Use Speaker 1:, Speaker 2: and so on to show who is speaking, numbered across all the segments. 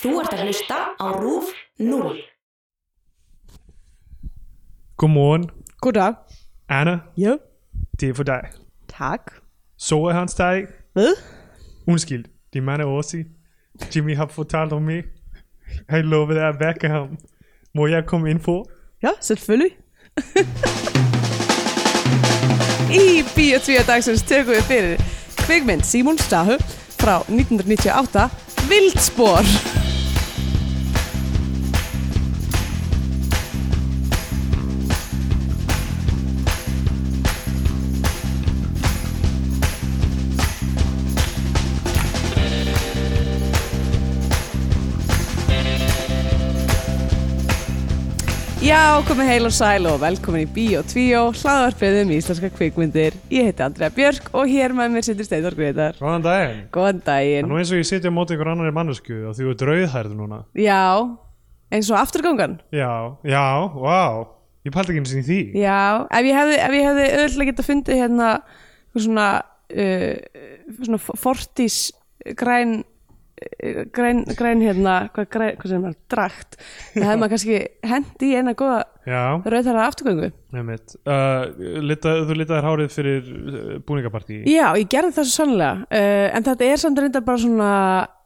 Speaker 1: Þú ert að hlusta á RÚF 0.
Speaker 2: Godmorgen,
Speaker 3: Goddag.
Speaker 2: Anna.
Speaker 3: Ja.
Speaker 2: Det er for dig.
Speaker 3: Tak.
Speaker 2: Så er hans dag.
Speaker 3: Hvad?
Speaker 2: Undskyld, det er mange år siden. Jimmy har fortalt om mig. Han lovede at vække ham. Må jeg komme ind på?
Speaker 3: Ja, selvfølgelig. Í Bíotvíja dagsins tökum við fyrir kvikmynd Simon Stahu frá 1998 Vildspor. Já, komið heil og sæl og velkomin í Bíó 2, hlaðvarpið um íslenska kvikmyndir. Ég heiti Andrea Björk og hér með mér sittur Steindor Greitar.
Speaker 2: Hvordan dag?
Speaker 3: Góðan daginn.
Speaker 2: Nú eins og ég sitja á móti ykkur annari mannesku og þú er drauðhærð núna.
Speaker 3: Já, eins og afturgangan.
Speaker 2: Já, já, wow. Ég paldi ekki eins og því.
Speaker 3: Já, ef ég hefði, ef ég hefði öðvöldlega geta fundið hérna eitthvað svona, uh, svona fortís græn uh, græn, græn hérna hvað, græn, hvað sem er drakt það hefði maður kannski hendi í eina góða
Speaker 2: Já,
Speaker 3: rauðhæra afturgöngu
Speaker 2: nefnitt. Uh, lita, þú litaðir hárið fyrir uh, búningapartí.
Speaker 3: Já, ég gerði það svo sannlega uh, en þetta er samt reynda bara svona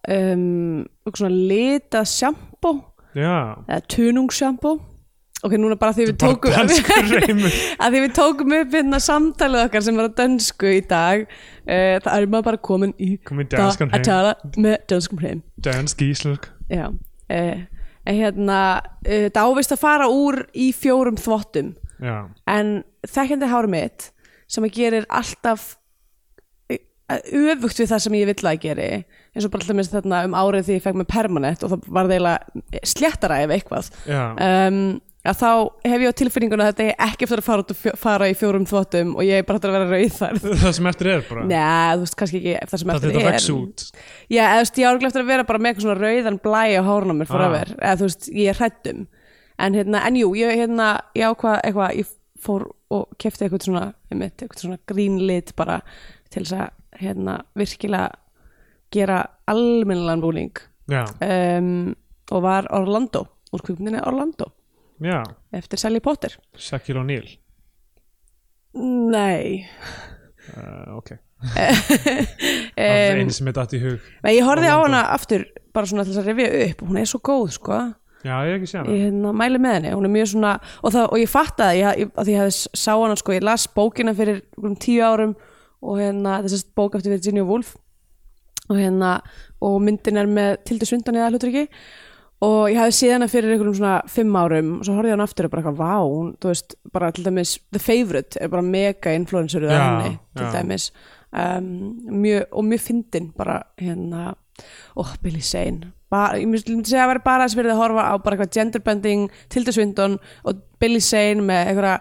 Speaker 3: um, eitthvað svona lita sjampó
Speaker 2: Já.
Speaker 3: eða tunungsjampó ok, núna bara því við
Speaker 2: Bara
Speaker 3: tókum
Speaker 2: danskur reymur.
Speaker 3: að því við tókum upp hérna samtalið okkar sem var á dönsku í dag uh, það er maður bara komin í
Speaker 2: Komin í danskan heim.
Speaker 3: að tala með dönskum heim
Speaker 2: Dansk íslensk.
Speaker 3: já uh, en hérna uh, það ávist að fara úr í fjórum þvottum
Speaker 2: Já.
Speaker 3: en þekkjandi hárum mitt sem að gerir alltaf eh, öfugt við það sem ég vill að ég geri eins og bara alltaf minnst þarna um árið því ég fekk mig permanent og það var þeirlega sléttara ef eitthvað
Speaker 2: Já.
Speaker 3: um, að þá hef ég á tilfinninguna að þetta ég ekki eftir að fara, út og fjó, fara í fjórum þvottum og ég er bara eftir að vera rauð þar
Speaker 2: Það sem eftir er bara.
Speaker 3: Nei, þú veist kannski ekki eftir það sem
Speaker 2: Það
Speaker 3: eftir
Speaker 2: þetta
Speaker 3: er
Speaker 2: vex út.
Speaker 3: Já, eða, þú veist, ég árglega eftir að vera bara með eitthvað svona rauðan blæ á hárun á mér
Speaker 2: Ah.
Speaker 3: forever eða þú veist, ég er hrættum en, hérna, en jú, ég, hérna, ég ákvað eitthvað ég fór og kefti eitthvað svona einmitt, eitthvað svona grínlit bara til þess að hérna, virkilega gera almennilegan búning
Speaker 2: Já,
Speaker 3: um, og var Orlando úr kvikmyndinni Orlando
Speaker 2: já.
Speaker 3: eftir Sally Potter
Speaker 2: Shaquille O'Neal.
Speaker 3: Nei,
Speaker 2: Uh, ok. Það er einu sem er datt í hug.
Speaker 3: Nei ég horfði á hana aftur bara svona til þess að rifja upp hún er svo góð sko
Speaker 2: Já, ég hef ekki séð hana.
Speaker 3: ég hérna, mæli með henni, hún er mjög svona og, það, og ég fatt að ég, ég, að ég hefði s- sá hana sko, ég las bókina fyrir um tíu árum og hérna, þess að bók eftir Virginia Woolf og hérna, og myndin er með Tildu Svindan í aðhlutryggi og ég hefði séð hana fyrir einhverjum svona fimm árum og svo horfði ég á hana aftur og bara eitthvað, vá hún, þú veist, bara til dæmis The Favourite er bara mega influencer
Speaker 2: Já,
Speaker 3: það henni, til
Speaker 2: já.
Speaker 3: dæmis um, mjög, og mjög fyndin bara hérna, og Billy Zane bara, ég myndi myndi segja að vera bara þess verið að horfa á bara eitthvað genderbending, Tilda Swindon og Billy Zane með einhverja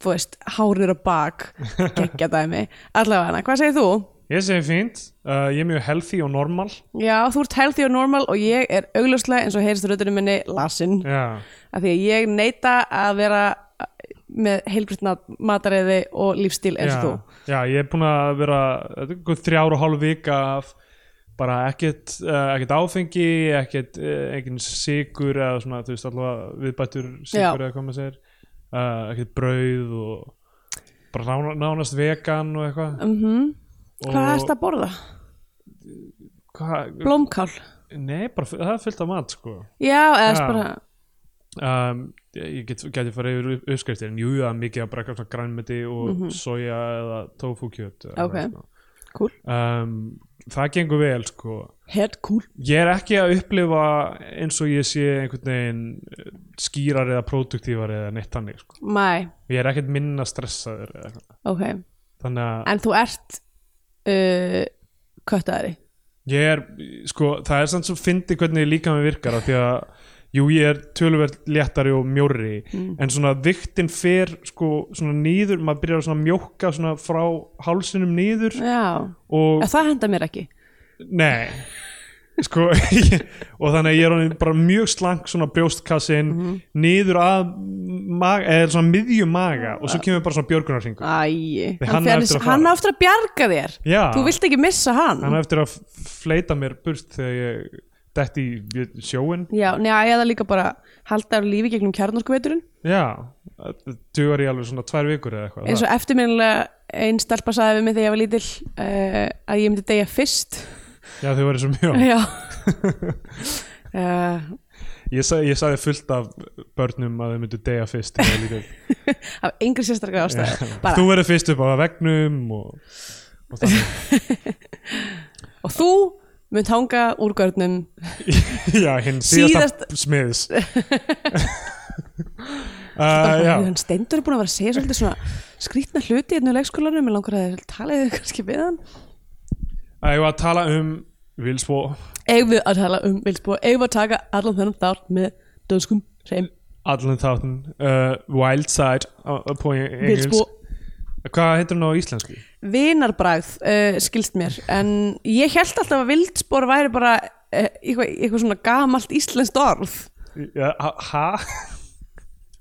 Speaker 3: þú veist, hárnir og bak geggja dæmi, allavega hana, hvað segir þú?
Speaker 2: Ég segi fínt. Uh, ég er mjög healthy og normal.
Speaker 3: Já, þú ert healthy og normal og ég er augljóslega eins og heyrist röddunum minni lasin,
Speaker 2: Já,
Speaker 3: af því að ég neita að vera eh, með heilbriðna matareiði og lífstíl eins
Speaker 2: já,
Speaker 3: og þú
Speaker 2: já, ég er búin að vera uh, þrjár og hálf vika af bara ekkert, uh, ekkert áfengi, ekkert uh, engin sigur eða svona, þú veist, allavega viðbættur
Speaker 3: Já.
Speaker 2: sigur eða hvað maður segir, uh, ekkert brauð og bara nána- nánast vegan og eitthvað.
Speaker 3: mm Hvað
Speaker 2: Og-
Speaker 3: og... ert að borða?
Speaker 2: Hvað-
Speaker 3: Blómkál?
Speaker 2: Nei, bara, fu- það er fullt af mat, sko.
Speaker 3: Já, eða
Speaker 2: Já.
Speaker 3: ja. bara
Speaker 2: um, ég get, geti farið yfir upp- uppskriftir en jú, það er mikið að bara eitthvað svona grænmeti og soja eða tofu kjöt eða
Speaker 3: Ok.
Speaker 2: eitthvað, sko.
Speaker 3: Cool.
Speaker 2: um, það gengur vel sko.
Speaker 3: Head cool
Speaker 2: ég er ekki að upplifa eins og ég sé einhvern veginn eh, skýrar eða produktívar eða neitt þannig sko.
Speaker 3: Mæ,
Speaker 2: ég er ekkert minna stressaður eða eitthvað.
Speaker 3: ok
Speaker 2: þannig að
Speaker 3: En þú ert uh, köttaðari
Speaker 2: Ég er, sko, það er samt svo fyndi hvernig líka með virkar af því að jú, ég er tölverð léttari og mjóri en svona viktin fer sko, svona nýður, maður byrjar að svona mjóka svona frá hálsinum nýður
Speaker 3: Já,
Speaker 2: og,
Speaker 3: og... það henda mér ekki
Speaker 2: nei sko, ég, og þannig að ég er honum bara mjög slank svona brjóstkassin nýður að maga, eða svona miðjum maga og svo kemur bara svona björgunarsingur
Speaker 3: Æi,
Speaker 2: Nei,
Speaker 3: hann,
Speaker 2: hann á
Speaker 3: hann,
Speaker 2: eftir að fara.
Speaker 3: hann á eftir að bjarga þér
Speaker 2: Já.
Speaker 3: Þú vilt ekki missa hann
Speaker 2: hann er eftir að fleita mér burt þegar ég dætt í sjóin
Speaker 3: Já, neða, eða líka bara halda á lífi gegnum kjarnorkuveturinn
Speaker 2: já, það dugar í alveg svona tvær vikur eða eitthvað
Speaker 3: eins og eftirminnilega einn stelpa saði við mig þegar ég var lítil uh, að ég myndi deyja fyrst
Speaker 2: já, þau verið svo mjög
Speaker 3: Já uh,
Speaker 2: ég, sa, ég sagði fullt af börnum að þau myndu deyja fyrst þegar ég var lítill.
Speaker 3: af yngri sérstaklega ástæði bara,
Speaker 2: þú verið fyrst upp á vegnum og, og þannig
Speaker 3: og þú mynd hanga úr görnum
Speaker 2: já, hinn síðasta smiðis uh, já,
Speaker 3: hann Steindur er búin að vera að segja svolítið svona skrýtna hluti hérna í leikskólanum ég langar að tala þið kannski við hann
Speaker 2: að ég var að tala um Vilsbó
Speaker 3: eigum við að tala um vilsbúa, eigum við að taka allan þennan þátt með döðskum hreim
Speaker 2: allan þáttin uh, Wildside á- á- på engelsk
Speaker 3: vilsbúa
Speaker 2: hvað heitir hann á íslensku?
Speaker 3: vinarbræð uh, skilst mér en ég held alltaf að vildspor væri bara uh, eitthvað, eitthvað svona gamalt íslenskt orð
Speaker 2: Ja, ha- ha?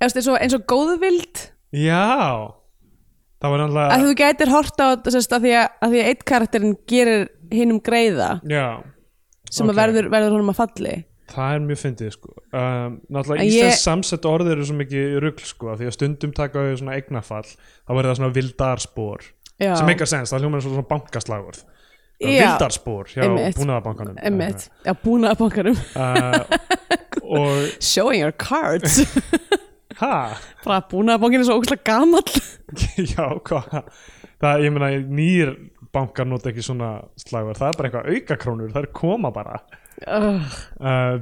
Speaker 3: Efst, eins, og, eins og góðvild
Speaker 2: já það var
Speaker 3: að
Speaker 2: náttúrulega
Speaker 3: þú gætir horta á þetta sérst, að, því að, að því að eitt karakterinn gerir hinum greiða
Speaker 2: já, Ok.
Speaker 3: sem að verður, verður honum að falli
Speaker 2: það er mjög fyndið sko um, náttúrulega
Speaker 3: En
Speaker 2: íslensk
Speaker 3: ég-
Speaker 2: samsett orð eru svo mikið rugl sko af því að stundum taka við svona eignafall þá verður það svona vildarspor
Speaker 3: Já.
Speaker 2: sem meikar sens, það hljómar eins og svona bankaslagurð
Speaker 3: Já.
Speaker 2: vildarspor hjá
Speaker 3: Einmitt.
Speaker 2: búnaðabankanum
Speaker 3: emmitt, já búna að bankarum
Speaker 2: uh, og
Speaker 3: showing your cards
Speaker 2: ha
Speaker 3: bara búna að bankin er svo ógustlega gamall
Speaker 2: Já, hvað Það, ég meina, nýr bankar nota ekki svona slagur, það er bara eitthvað aukakrónur það er koma bara
Speaker 3: uh,
Speaker 2: uh,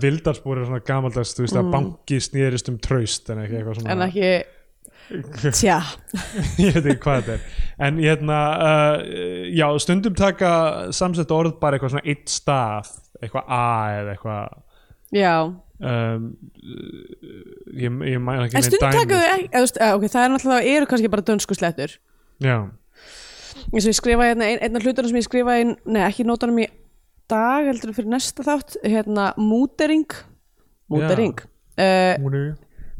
Speaker 2: Vildarspor er svona gamaldags, þú veist að banki snýrist um traust en ekki eitthvað svona
Speaker 3: Mm. en ekki tja,
Speaker 2: ég veit ekki hvað þetta er en hérna, uh, já, stundum taka samsett orð bara eitthvað svona eitt stað, eitthvað a eða eitthvað
Speaker 3: já
Speaker 2: um, ég, ég mæna ekki
Speaker 3: En stundum taka þau ekki, eða, þú veist, eh, ok, það er náttúrulega, eru kannski bara dönsku slettur.
Speaker 2: Já,
Speaker 3: Eins og ég skrifaði hérna, ein, einn af hlutunum sem ég skrifaði, inn- nei, ekki í nótunum í dag, heldur en fyrir næsta þátt, hérna, mútering, mútering, uh,
Speaker 2: múnu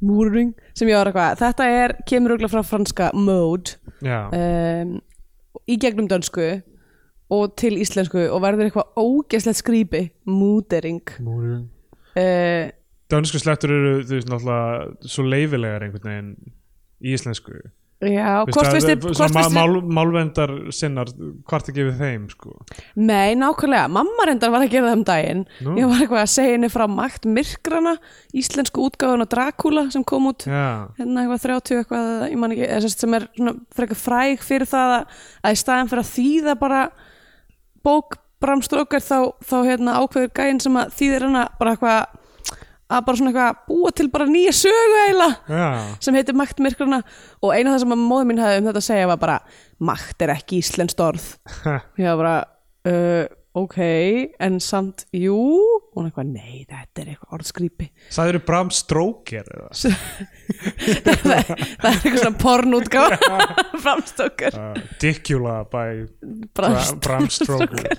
Speaker 3: múring, sem ég var eitthvað, þetta er, kemur auðvitað frá franska mode,
Speaker 2: Já,
Speaker 3: um, í gegnum dönsku og til íslensku og verður eitthvað ógeslegt skrýpi, mútering.
Speaker 2: múnu
Speaker 3: Uh,
Speaker 2: Dönsku slettur eru þú veist náttúrulega svo leifilegar einhvern veginn í íslensku
Speaker 3: já,
Speaker 2: Þú
Speaker 3: hvort
Speaker 2: að-
Speaker 3: veist þið,
Speaker 2: svona
Speaker 3: hvort
Speaker 2: ma-
Speaker 3: veist þið,
Speaker 2: mál, Málvendar sinnar, hvart ekki við þeim sko.
Speaker 3: Nei, nákvæmlega, mamma reyndar var að gera það um daginn
Speaker 2: Nú.
Speaker 3: Ég var eitthvað að segja henni frá makt myrkrana Íslensku útgáðun og Dracula sem kom út
Speaker 2: Já,
Speaker 3: Hérna eitthvað 30 eitthvað, eða ég man ekki eða sem sagt sem er svona frekar fræg fyrir það að- að í staðan fyrir að þýða bara bók bramstrókar þá, þá hérna ákveður gæinn sem að þýðir hana bara eitthvað að bara svona eitthvað búa til bara nýja sögu eiginlega
Speaker 2: já,
Speaker 3: sem heitir makt myrkrana og eina það sem að móðum mín hafði um þetta að segja var bara makt er ekki íslenskt orð ég var bara uh, ok, en samt jú, hún eitthvað, nei, þetta er eitthvað orðskrýpi
Speaker 2: Sæður Bram Stroker eða?
Speaker 3: það, það er eitthvað svona pornútgáfa framstókar
Speaker 2: Uh, Dicula by Bram,
Speaker 3: Bram-
Speaker 2: Bram Stroker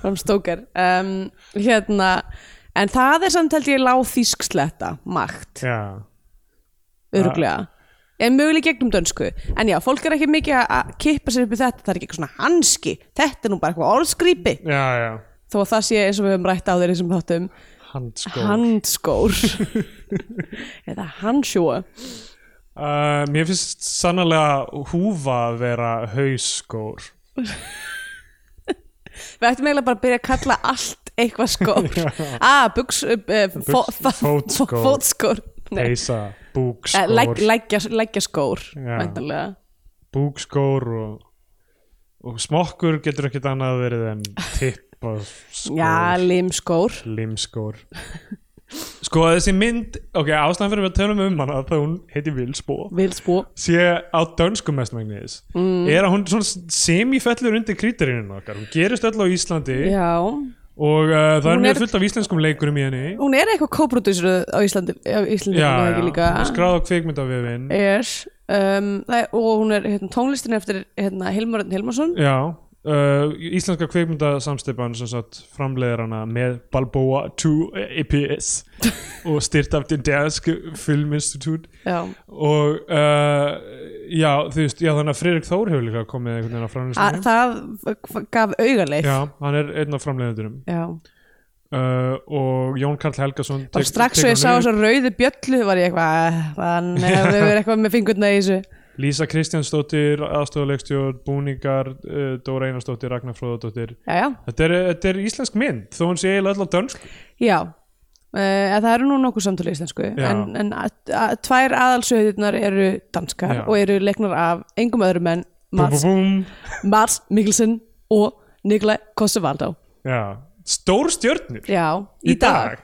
Speaker 3: framstókar um, hérna, en það er samt held ég láþísk sletta, makt
Speaker 2: Já,
Speaker 3: öruglega en möguleg gegnum dönsku en já, fólk er ekki mikið að- að kippa sér upp í þetta það er ekki eitthvað svona hanski, þetta er nú bara eitthvað orðskrýpi
Speaker 2: já, já
Speaker 3: þó að það sé eins og við höfum rætt á þeir þessum þáttum
Speaker 2: Handskór
Speaker 3: handskór eða handsjúa
Speaker 2: uh, Mér finnst sannlega húfa að vera hausskór
Speaker 3: Við ættum eiginlega bara að byrja að kalla allt eitthvað skór Ah, buks, uh, fó, fó,
Speaker 2: fótskór.
Speaker 3: Fótskór Nei,
Speaker 2: Heisa,
Speaker 3: eh,
Speaker 2: búkskór
Speaker 3: legg- Leggja leggja skór
Speaker 2: Já.
Speaker 3: Væntanlega
Speaker 2: búkskór og, og smokkur getur ekkert annað verið en tipp og skór,
Speaker 3: Já, limskór
Speaker 2: limskór sko þessi mynd ok, ástæðan fyrir við tölum um hana þegar hún heiti Vilsbó
Speaker 3: Vilsbú
Speaker 2: sé á dönskum mestmægnis mm. er að hún svona semifellur undir krítirinn okkar, hún gerist öll á Íslandi
Speaker 3: Já
Speaker 2: og uh, það er
Speaker 3: Hún
Speaker 2: mjög
Speaker 3: er-
Speaker 2: fullt af íslenskum leikurum í henni
Speaker 3: Hún er eitthvað kóprodúsur á Íslandi á Íslandi
Speaker 2: já,
Speaker 3: er það
Speaker 2: já,
Speaker 3: ekki líka
Speaker 2: hún er skráð á kvikmyndavefin
Speaker 3: Yes um, það er- Og hún er hérna, tónlistin er eftir hérna, Hilmar Örn Hilmarsson
Speaker 2: já Uh, íslenska kveikmyndasamstipan sem sagt framleiðir hana með Balboa 2 EPS og styrt af den danske filminstitut
Speaker 3: Já
Speaker 2: og uh, já þú veist, já þannig að Friðrik Þór hefur líka komið einhvern veginn að
Speaker 3: A,
Speaker 2: framleiðstunum
Speaker 3: Það gaf augaleif
Speaker 2: já, hann er einn af framleiðendunum
Speaker 3: Já.
Speaker 2: uh, uh, og Jón Karl Helgason
Speaker 3: bara strax og ég sá þess að rauði bjöllu var ég eitthvað, "Eh, þannig að það er eitthvað með fingurna í þessu
Speaker 2: Lísa Kristjánsdóttir, aðstofulegstjórn Búningar, uh, Dóra Einarsdóttir Ragnar Fróðardóttir
Speaker 3: já, já,
Speaker 2: þetta, er- þetta er íslensk mynd, þó hún sé eiginlega alltaf dönsk
Speaker 3: já Uh, það eru nú nokkuð samtölu íslensku
Speaker 2: Já.
Speaker 3: en, en að, að, tvær aðalsöðunar eru danskar
Speaker 2: Já.
Speaker 3: og eru leiknar af engum öðrum en
Speaker 2: búm, búm,
Speaker 3: Mats,
Speaker 2: búm.
Speaker 3: Mats Mikkelsen og Nikolai Kossevaldó
Speaker 2: Já. stór stjörnir
Speaker 3: Já, í, dag,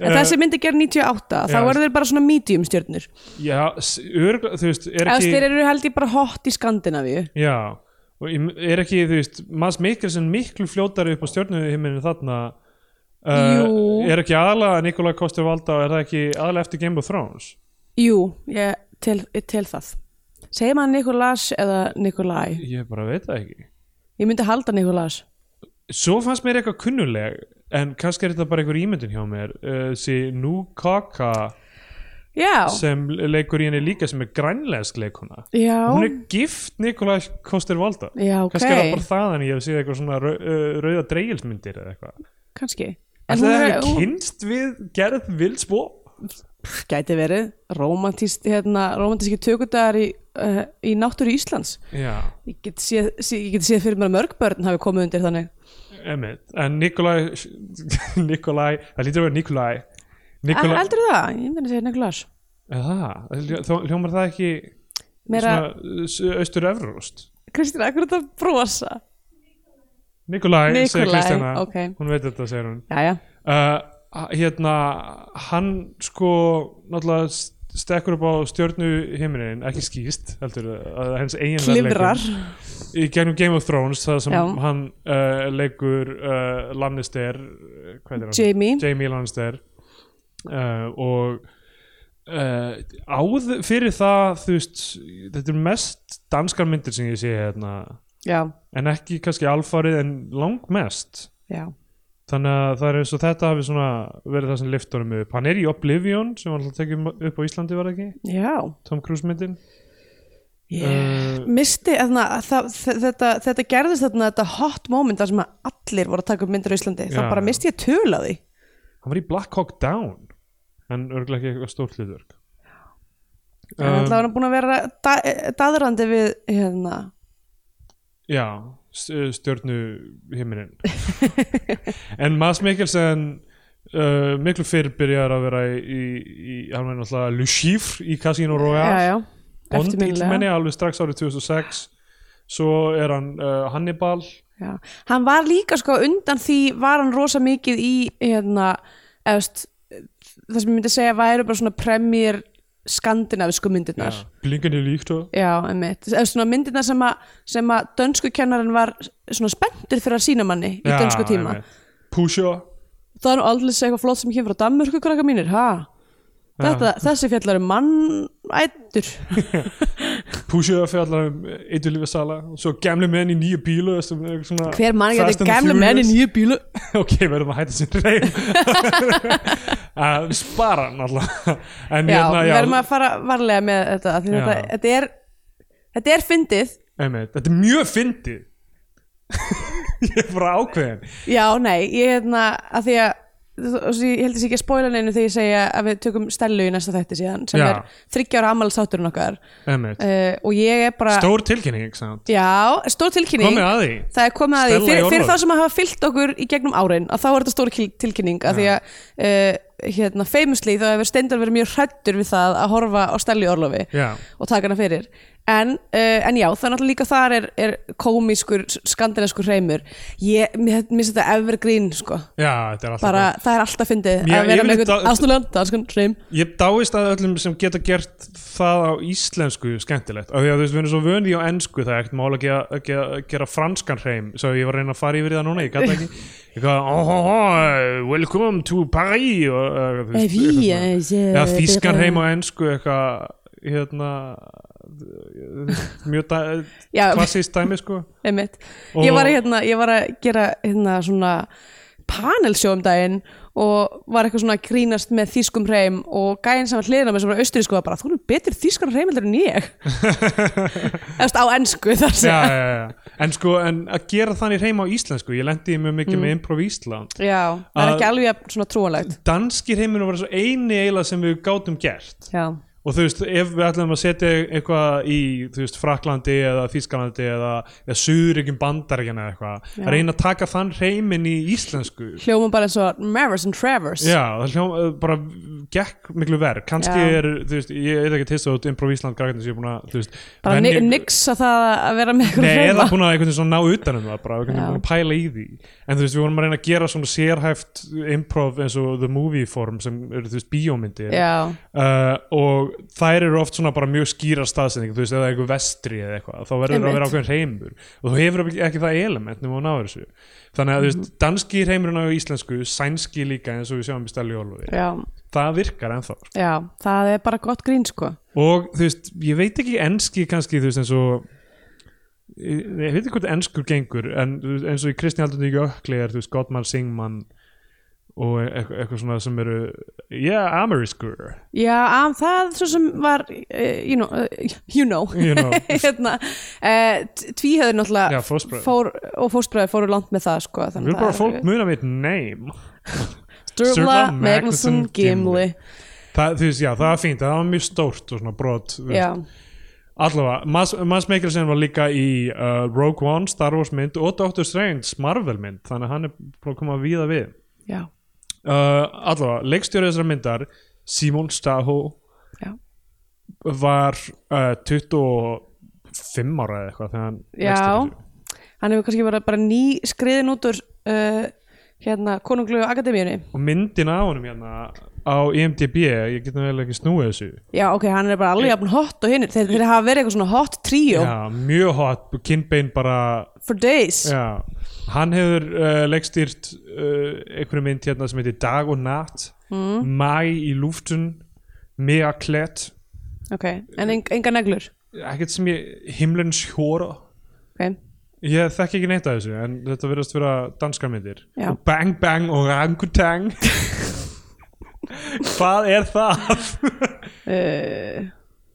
Speaker 3: En
Speaker 2: Eh,
Speaker 3: þessi myndi gerð 98, þá
Speaker 2: já.
Speaker 3: verður þeir bara svona medium stjörnur
Speaker 2: Já, s- örgla, þú veist, er
Speaker 3: Ef
Speaker 2: ekki
Speaker 3: þeir eru held ég bara hot í Skandinavíu
Speaker 2: Já, og ég- er ekki, þú veist Mads Mikkelsen miklu fljótari upp á stjörnuhimminu þarna Eh,
Speaker 3: Jú.
Speaker 2: Er ekki aðalega Nikolaj Kostur Valda er það ekki aðalega eftir Game of Thrones
Speaker 3: Jú, ég tel, ég tel það Segir maður Nikolás eða Nikolai?
Speaker 2: Ég bara veit það ekki
Speaker 3: Ég myndi halda Nikolás
Speaker 2: Svo fannst mér eitthvað kunnuleg en kannski er þetta bara einhver ímyndin hjá mér uh, þessi Nukaka
Speaker 3: Já,
Speaker 2: sem leikur í henni líka sem er grænlensk leikuna
Speaker 3: já,
Speaker 2: Hún er gift Nikolaj Kostur Valda
Speaker 3: já, ok
Speaker 2: Kannski er það bara þaðan ég hef séð eitthvað svona rau, uh, rauða dreigilsmyndir eða eitthvað
Speaker 3: Kannski En
Speaker 2: Ætli
Speaker 3: hún
Speaker 2: það
Speaker 3: er-
Speaker 2: hefur
Speaker 3: hún-
Speaker 2: kynst við Gerð Vilsbó?
Speaker 3: Gæti verið romantíst, hérna, romantíski tökudagar í, uh, í náttúru Íslands
Speaker 2: Já,
Speaker 3: Ég get séð, sé, ég get séð fyrir mér að mörg börn hafi komið undir þannig
Speaker 2: emmitt. En Nikolai, Nikolai, það lítur að vera Nikolai.
Speaker 3: Nikolai...
Speaker 2: Nikolai,
Speaker 3: Aldrei Ah, það, ég myndi að segja Nikolás
Speaker 2: Er það, Það hljó- þá hljómar það ekki
Speaker 3: Meira,
Speaker 2: svona eh, austur-evrúst?
Speaker 3: Kristina, akkur er þetta að brosa?
Speaker 2: Nikolai, segir
Speaker 3: Nikolai,
Speaker 2: Kristjana,
Speaker 3: ok.
Speaker 2: hún veit þetta, segir hún.
Speaker 3: Jæja,
Speaker 2: Uh, hérna, hann sko náttúrulega st- stekkur upp á stjörnu himinin, ekki skýst, heldur, að hans eigin
Speaker 3: klifrar
Speaker 2: í gegnum Game of Thrones það sem
Speaker 3: Já.
Speaker 2: hann uh, leikur uh, Lannister uh, hvað heitir hann?
Speaker 3: Jamie.
Speaker 2: Jamie Lannister uh, og uh, áð fyrir það þú veist, þetta er mest danskar myndir sem ég sé hérna
Speaker 3: Já,
Speaker 2: en ekki kannski alfarið en langmest
Speaker 3: já,
Speaker 2: þannig að það er eins og þetta hafi svona verið það sem lyft honum upp hann er í Oblivion sem hann tekið upp á Íslandi var það ekki
Speaker 3: já
Speaker 2: Tom Cruise myndin Eh.
Speaker 3: Uh, misti, eðna, það, þetta, þetta gerðist þarna þetta hot moment þar sem að allir voru að taka upp myndir á Íslandi, þá
Speaker 2: Já.
Speaker 3: bara misti ég töl á því
Speaker 2: hann var í Black Hawk Down en örgulega ekki eitthvað stórt hlutverk
Speaker 3: en um, alltaf
Speaker 2: um,
Speaker 3: hann er búin að vera da, daðrandi við hérna,
Speaker 2: já, eh, stjórnu himinin en Mads Mikkelsen uh, miklu fyrr byrjar að vera í, í hann verður náttúrulega Lucifer í Casino
Speaker 3: já,
Speaker 2: Royale
Speaker 3: já,
Speaker 2: Bond
Speaker 3: eftirminnilega
Speaker 2: íllmenni alveg strax árið 2006 svo er hann uh, Hannibal
Speaker 3: Já. hann var líka sko undan því var hann rosa mikið í hérna, eðst, það sem ég myndi segja væru bara svona premjir skandinavisku myndirnar já,
Speaker 2: blinkandi líkt og
Speaker 3: já einmitt, eða svona myndirnar sem að, sem að dönsku kennarinn var svona spenntur fyrir að sína manni í dönsku tíma
Speaker 2: Pusha
Speaker 3: það er nú aldrei eitthvað flott sem kemur frá Danmörku krakka mínir, ha? Þetta, þessi fjallar er mannættur
Speaker 2: Pusha fjallar um eitthulífa sala og svo gamle menn í nýju bílu sem er svona
Speaker 3: hver mann
Speaker 2: Fast and
Speaker 3: getur
Speaker 2: the
Speaker 3: gamle
Speaker 2: Furious.
Speaker 3: menn í nýju bílu
Speaker 2: ok, verðum að hætta sér reyn að spara hann alltaf en
Speaker 3: já,
Speaker 2: hérna,
Speaker 3: við
Speaker 2: já,
Speaker 3: verðum að fara varlega með þetta af því
Speaker 2: Já.
Speaker 3: þetta, þetta er þetta er fyndið,
Speaker 2: einmitt, þetta er mjög fyndið ég er bara ákveðin
Speaker 3: já, nei ég hefna, að því að og svo ég held þess ekki að spoila neinu þegar ég segja að við tökum Stellu í næsta þætti síðan sem
Speaker 2: Já.
Speaker 3: er 30 ára ammálsátturinn okkar
Speaker 2: einmitt,
Speaker 3: uh, og ég er bara
Speaker 2: stór tilkynning samt.
Speaker 3: já, stór tilkynning
Speaker 2: komið að því
Speaker 3: Það er komið að því,
Speaker 2: Stella í
Speaker 3: fyrir, fyrir
Speaker 2: orlofi.
Speaker 3: þá sem að hafa fyllt okkur í gegnum árin, að þá er þetta stóra kil- tilkynning að því að uh, hérna, famously þá hefur Steindar verið mjög hrættur við það að horfa á Stellu í orlofi
Speaker 2: já,
Speaker 3: og taka hana fyrir en, uh, en já, það er náttúrulega líka þar er, er komískur, skandinaskur hreimur ég, mér mér finnst þetta evergreen sko,
Speaker 2: já, þetta er alltaf
Speaker 3: bara það er alltaf fyndið
Speaker 2: Mér-
Speaker 3: að vera með
Speaker 2: yfirleitt
Speaker 3: einhvern
Speaker 2: að-
Speaker 3: ásnulegan danskan sko hreim
Speaker 2: gott. ég dáist að öllum sem geta gert það á íslensku skemmtilegt af því að þú veist, við erum svo vöndi á ensku það er ekkert mála að gera, að gera, að gera franskan hreim svo ég var að reyna að fara yfir í það núna, ég gæti ekki ég gæti, oh, oh, oh, welcome to Paris og, uh, þú veist, eitthvað svona. Já, þýskan heim á ennsku eitthvað hérna mjög da,
Speaker 3: já,
Speaker 2: klassíst dæmi sko
Speaker 3: einmitt
Speaker 2: Og-
Speaker 3: ég var, að, hérna, ég var að gera hérna svona panelsjó um daginn og var eitthvað svona að grínast með þýskum hreim og gæinn sem var hliðina með sem var austurísku var bara, þú erum betur þýskar hreimildar en ég eftir á ensku þar
Speaker 2: já,
Speaker 3: sem
Speaker 2: já, já. en sko, en að gera þannig hreim á íslensku ég lendi í mjög mikið með Improv Ísland
Speaker 3: Já, það er
Speaker 2: Að-
Speaker 3: ekki alveg jafn svona trúanlegt
Speaker 2: danski hreiminu var svo eini eiginlega sem við gátum gert
Speaker 3: Já,
Speaker 2: og þú veist, ef við ætlum að setja eitthvað í, þú veist, Fraklandi eða Þýskalandi eða, eða Suðuríkjum Bandaríkjana eða eitthvað,
Speaker 3: Já.
Speaker 2: að reyna að taka þann hreimin í íslensku
Speaker 3: hljóma bara eins og Maris and Travers
Speaker 2: Já, það hljó, bara gekk miklu verð kannski
Speaker 3: Já.
Speaker 2: er, þú veist, ég er ekki til þess að Improv Ísland grækna sem ég er búin að, þú veist
Speaker 3: bara
Speaker 2: venja-
Speaker 3: ni- niksa það að vera með eitthvað
Speaker 2: Nei, eða
Speaker 3: hreima
Speaker 2: búin að einhvern veginn svona ná utanum það bara, einhvern
Speaker 3: Já.
Speaker 2: veginn búin að pæla í því en þú veist, við vorum að reyna að gera svona sérhæft improv eins og the movie form sem eru, þú veist, bíómyndir
Speaker 3: Já,
Speaker 2: uh, og þær eru oft svona bara mjög skýra staðsending, þú veist, eða eitthvað vestri eða eitthvað, þá verður að vera
Speaker 3: Einmitt.
Speaker 2: ákveðin reymur og þú hefur ekki- ekki það element nema að ná þessu, þannig að þú veist, danski reymurinn á íslensku, sænski líka eins og við sjáum í Stelli Ólufi,
Speaker 3: já,
Speaker 2: það virkar ennþá, sko.
Speaker 3: já það er bara gott grín sko
Speaker 2: og þú veist, ég veit ekki enski kannski, þú veist, eins og ég ég veit ekki hvort enskur gengur en þú veist, eins og í Kristni Aldun í Jökli er, þú veist, Gottmann Singmann og eitthvað, eitthvað svona sem eru yeah, amerískur
Speaker 3: Já, am, það svo sem var uh, you know, uh, you know.
Speaker 2: You know.
Speaker 3: hérna, uh, tvíhöður náttúrulega
Speaker 2: Mm. Já, fóstbræður.
Speaker 3: fór, og fóstbræður fóru langt með það sko,
Speaker 2: Við erum bara fólk muna mitt name
Speaker 3: Sturla,
Speaker 2: Sturla,
Speaker 3: Magnusson,
Speaker 2: Magnusson,
Speaker 3: Gimli
Speaker 2: það, þú veist, já, það var fínt, það var mjög stórt og svona brot þú veist.
Speaker 3: Já,
Speaker 2: allavega, Mads- Mads Mikkelsen var líka í uh, Rogue One, Star Wars mynd og Doctor Strange, Marvel mynd þannig að hann er búin að koma að víða við
Speaker 3: já,
Speaker 2: uh, allavega, leikstjóri þessara myndar Simon Staho
Speaker 3: já
Speaker 2: var uh, 25 ára eða eitthvað þegar hann
Speaker 3: Já,
Speaker 2: leikstýrði þessu.
Speaker 3: hann hefur kannski bara, bara ný skriðin út úr uh, hérna, konunglu akademíunni
Speaker 2: og myndin af honum hérna á IMDb, ég getum vel ekki snúið þessu
Speaker 3: Já, ok, hann er bara alveg jafn hot og hinn þeir, þeir hafa verið eitthvað svona hot trio
Speaker 2: já, mjög hot, kinnbein bara
Speaker 3: for days
Speaker 2: já, hann hefur uh, leikstýrt uh, einhverju mynd hérna sem heitir Dag og Natt mm. Mæ í lúftun Mea klett
Speaker 3: Ok, en eng, enga neglur
Speaker 2: ekkert sem ég, himlens hjóra
Speaker 3: okay.
Speaker 2: Ég þekki ekki neitt af þessu en þetta verðast vera danskar myndir
Speaker 3: Já.
Speaker 2: og Bang Bang og Rangutang Hvað er það?
Speaker 3: uh,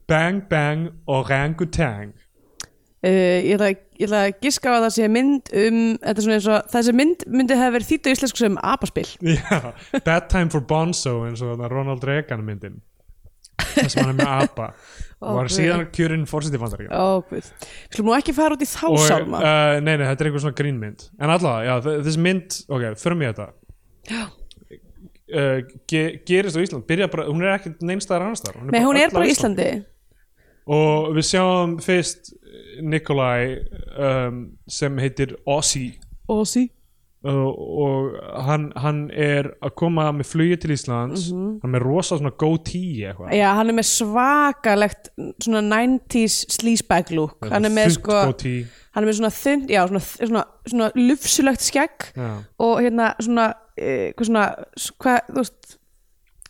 Speaker 2: bang Bang og Rangutang
Speaker 3: uh, ég, ætla, ég ætla að giska á að það sé mynd um þetta er svona eins og þessi mynd myndi hafa verið þýtt á íslensku sem apaspil
Speaker 2: Já, That Time for Bonzo eins og þarna Ronald Reagan myndin það sem hann er með apa
Speaker 3: Ó,
Speaker 2: og var
Speaker 3: guð.
Speaker 2: síðan kjörinn fórseti bandaríkja
Speaker 3: Ó, guð Við Skulum nú ekki fara út í þá
Speaker 2: og
Speaker 3: sálma
Speaker 2: uh, nei, nei, þetta er einhver svona grínmynd en allavega, já, þe- þessi mynd, ok, förum ég þetta Uh, ge gerist á Ísland, byrja bara hún er ekki neinstæðar annars þar
Speaker 3: Nei, hún er
Speaker 2: öll á
Speaker 3: bara í Íslandi
Speaker 2: og við sjáum fyrst Nikolai um, sem heitir Ossi
Speaker 3: Og sí
Speaker 2: uh, og hann, hann er að koma með flugi til Íslands
Speaker 3: Mhm.
Speaker 2: hann er með rosa svona goatee eitthvað
Speaker 3: Já, hann er með svakalegt svona 90s sleazebag look hann er með
Speaker 2: Þunnt
Speaker 3: sko
Speaker 2: goatee.
Speaker 3: hann er með svona þund, já, svona, svona, svona lufsulegt skegg
Speaker 2: Já.
Speaker 3: og hérna svona, eh, hvað svona s- hvað, þú veist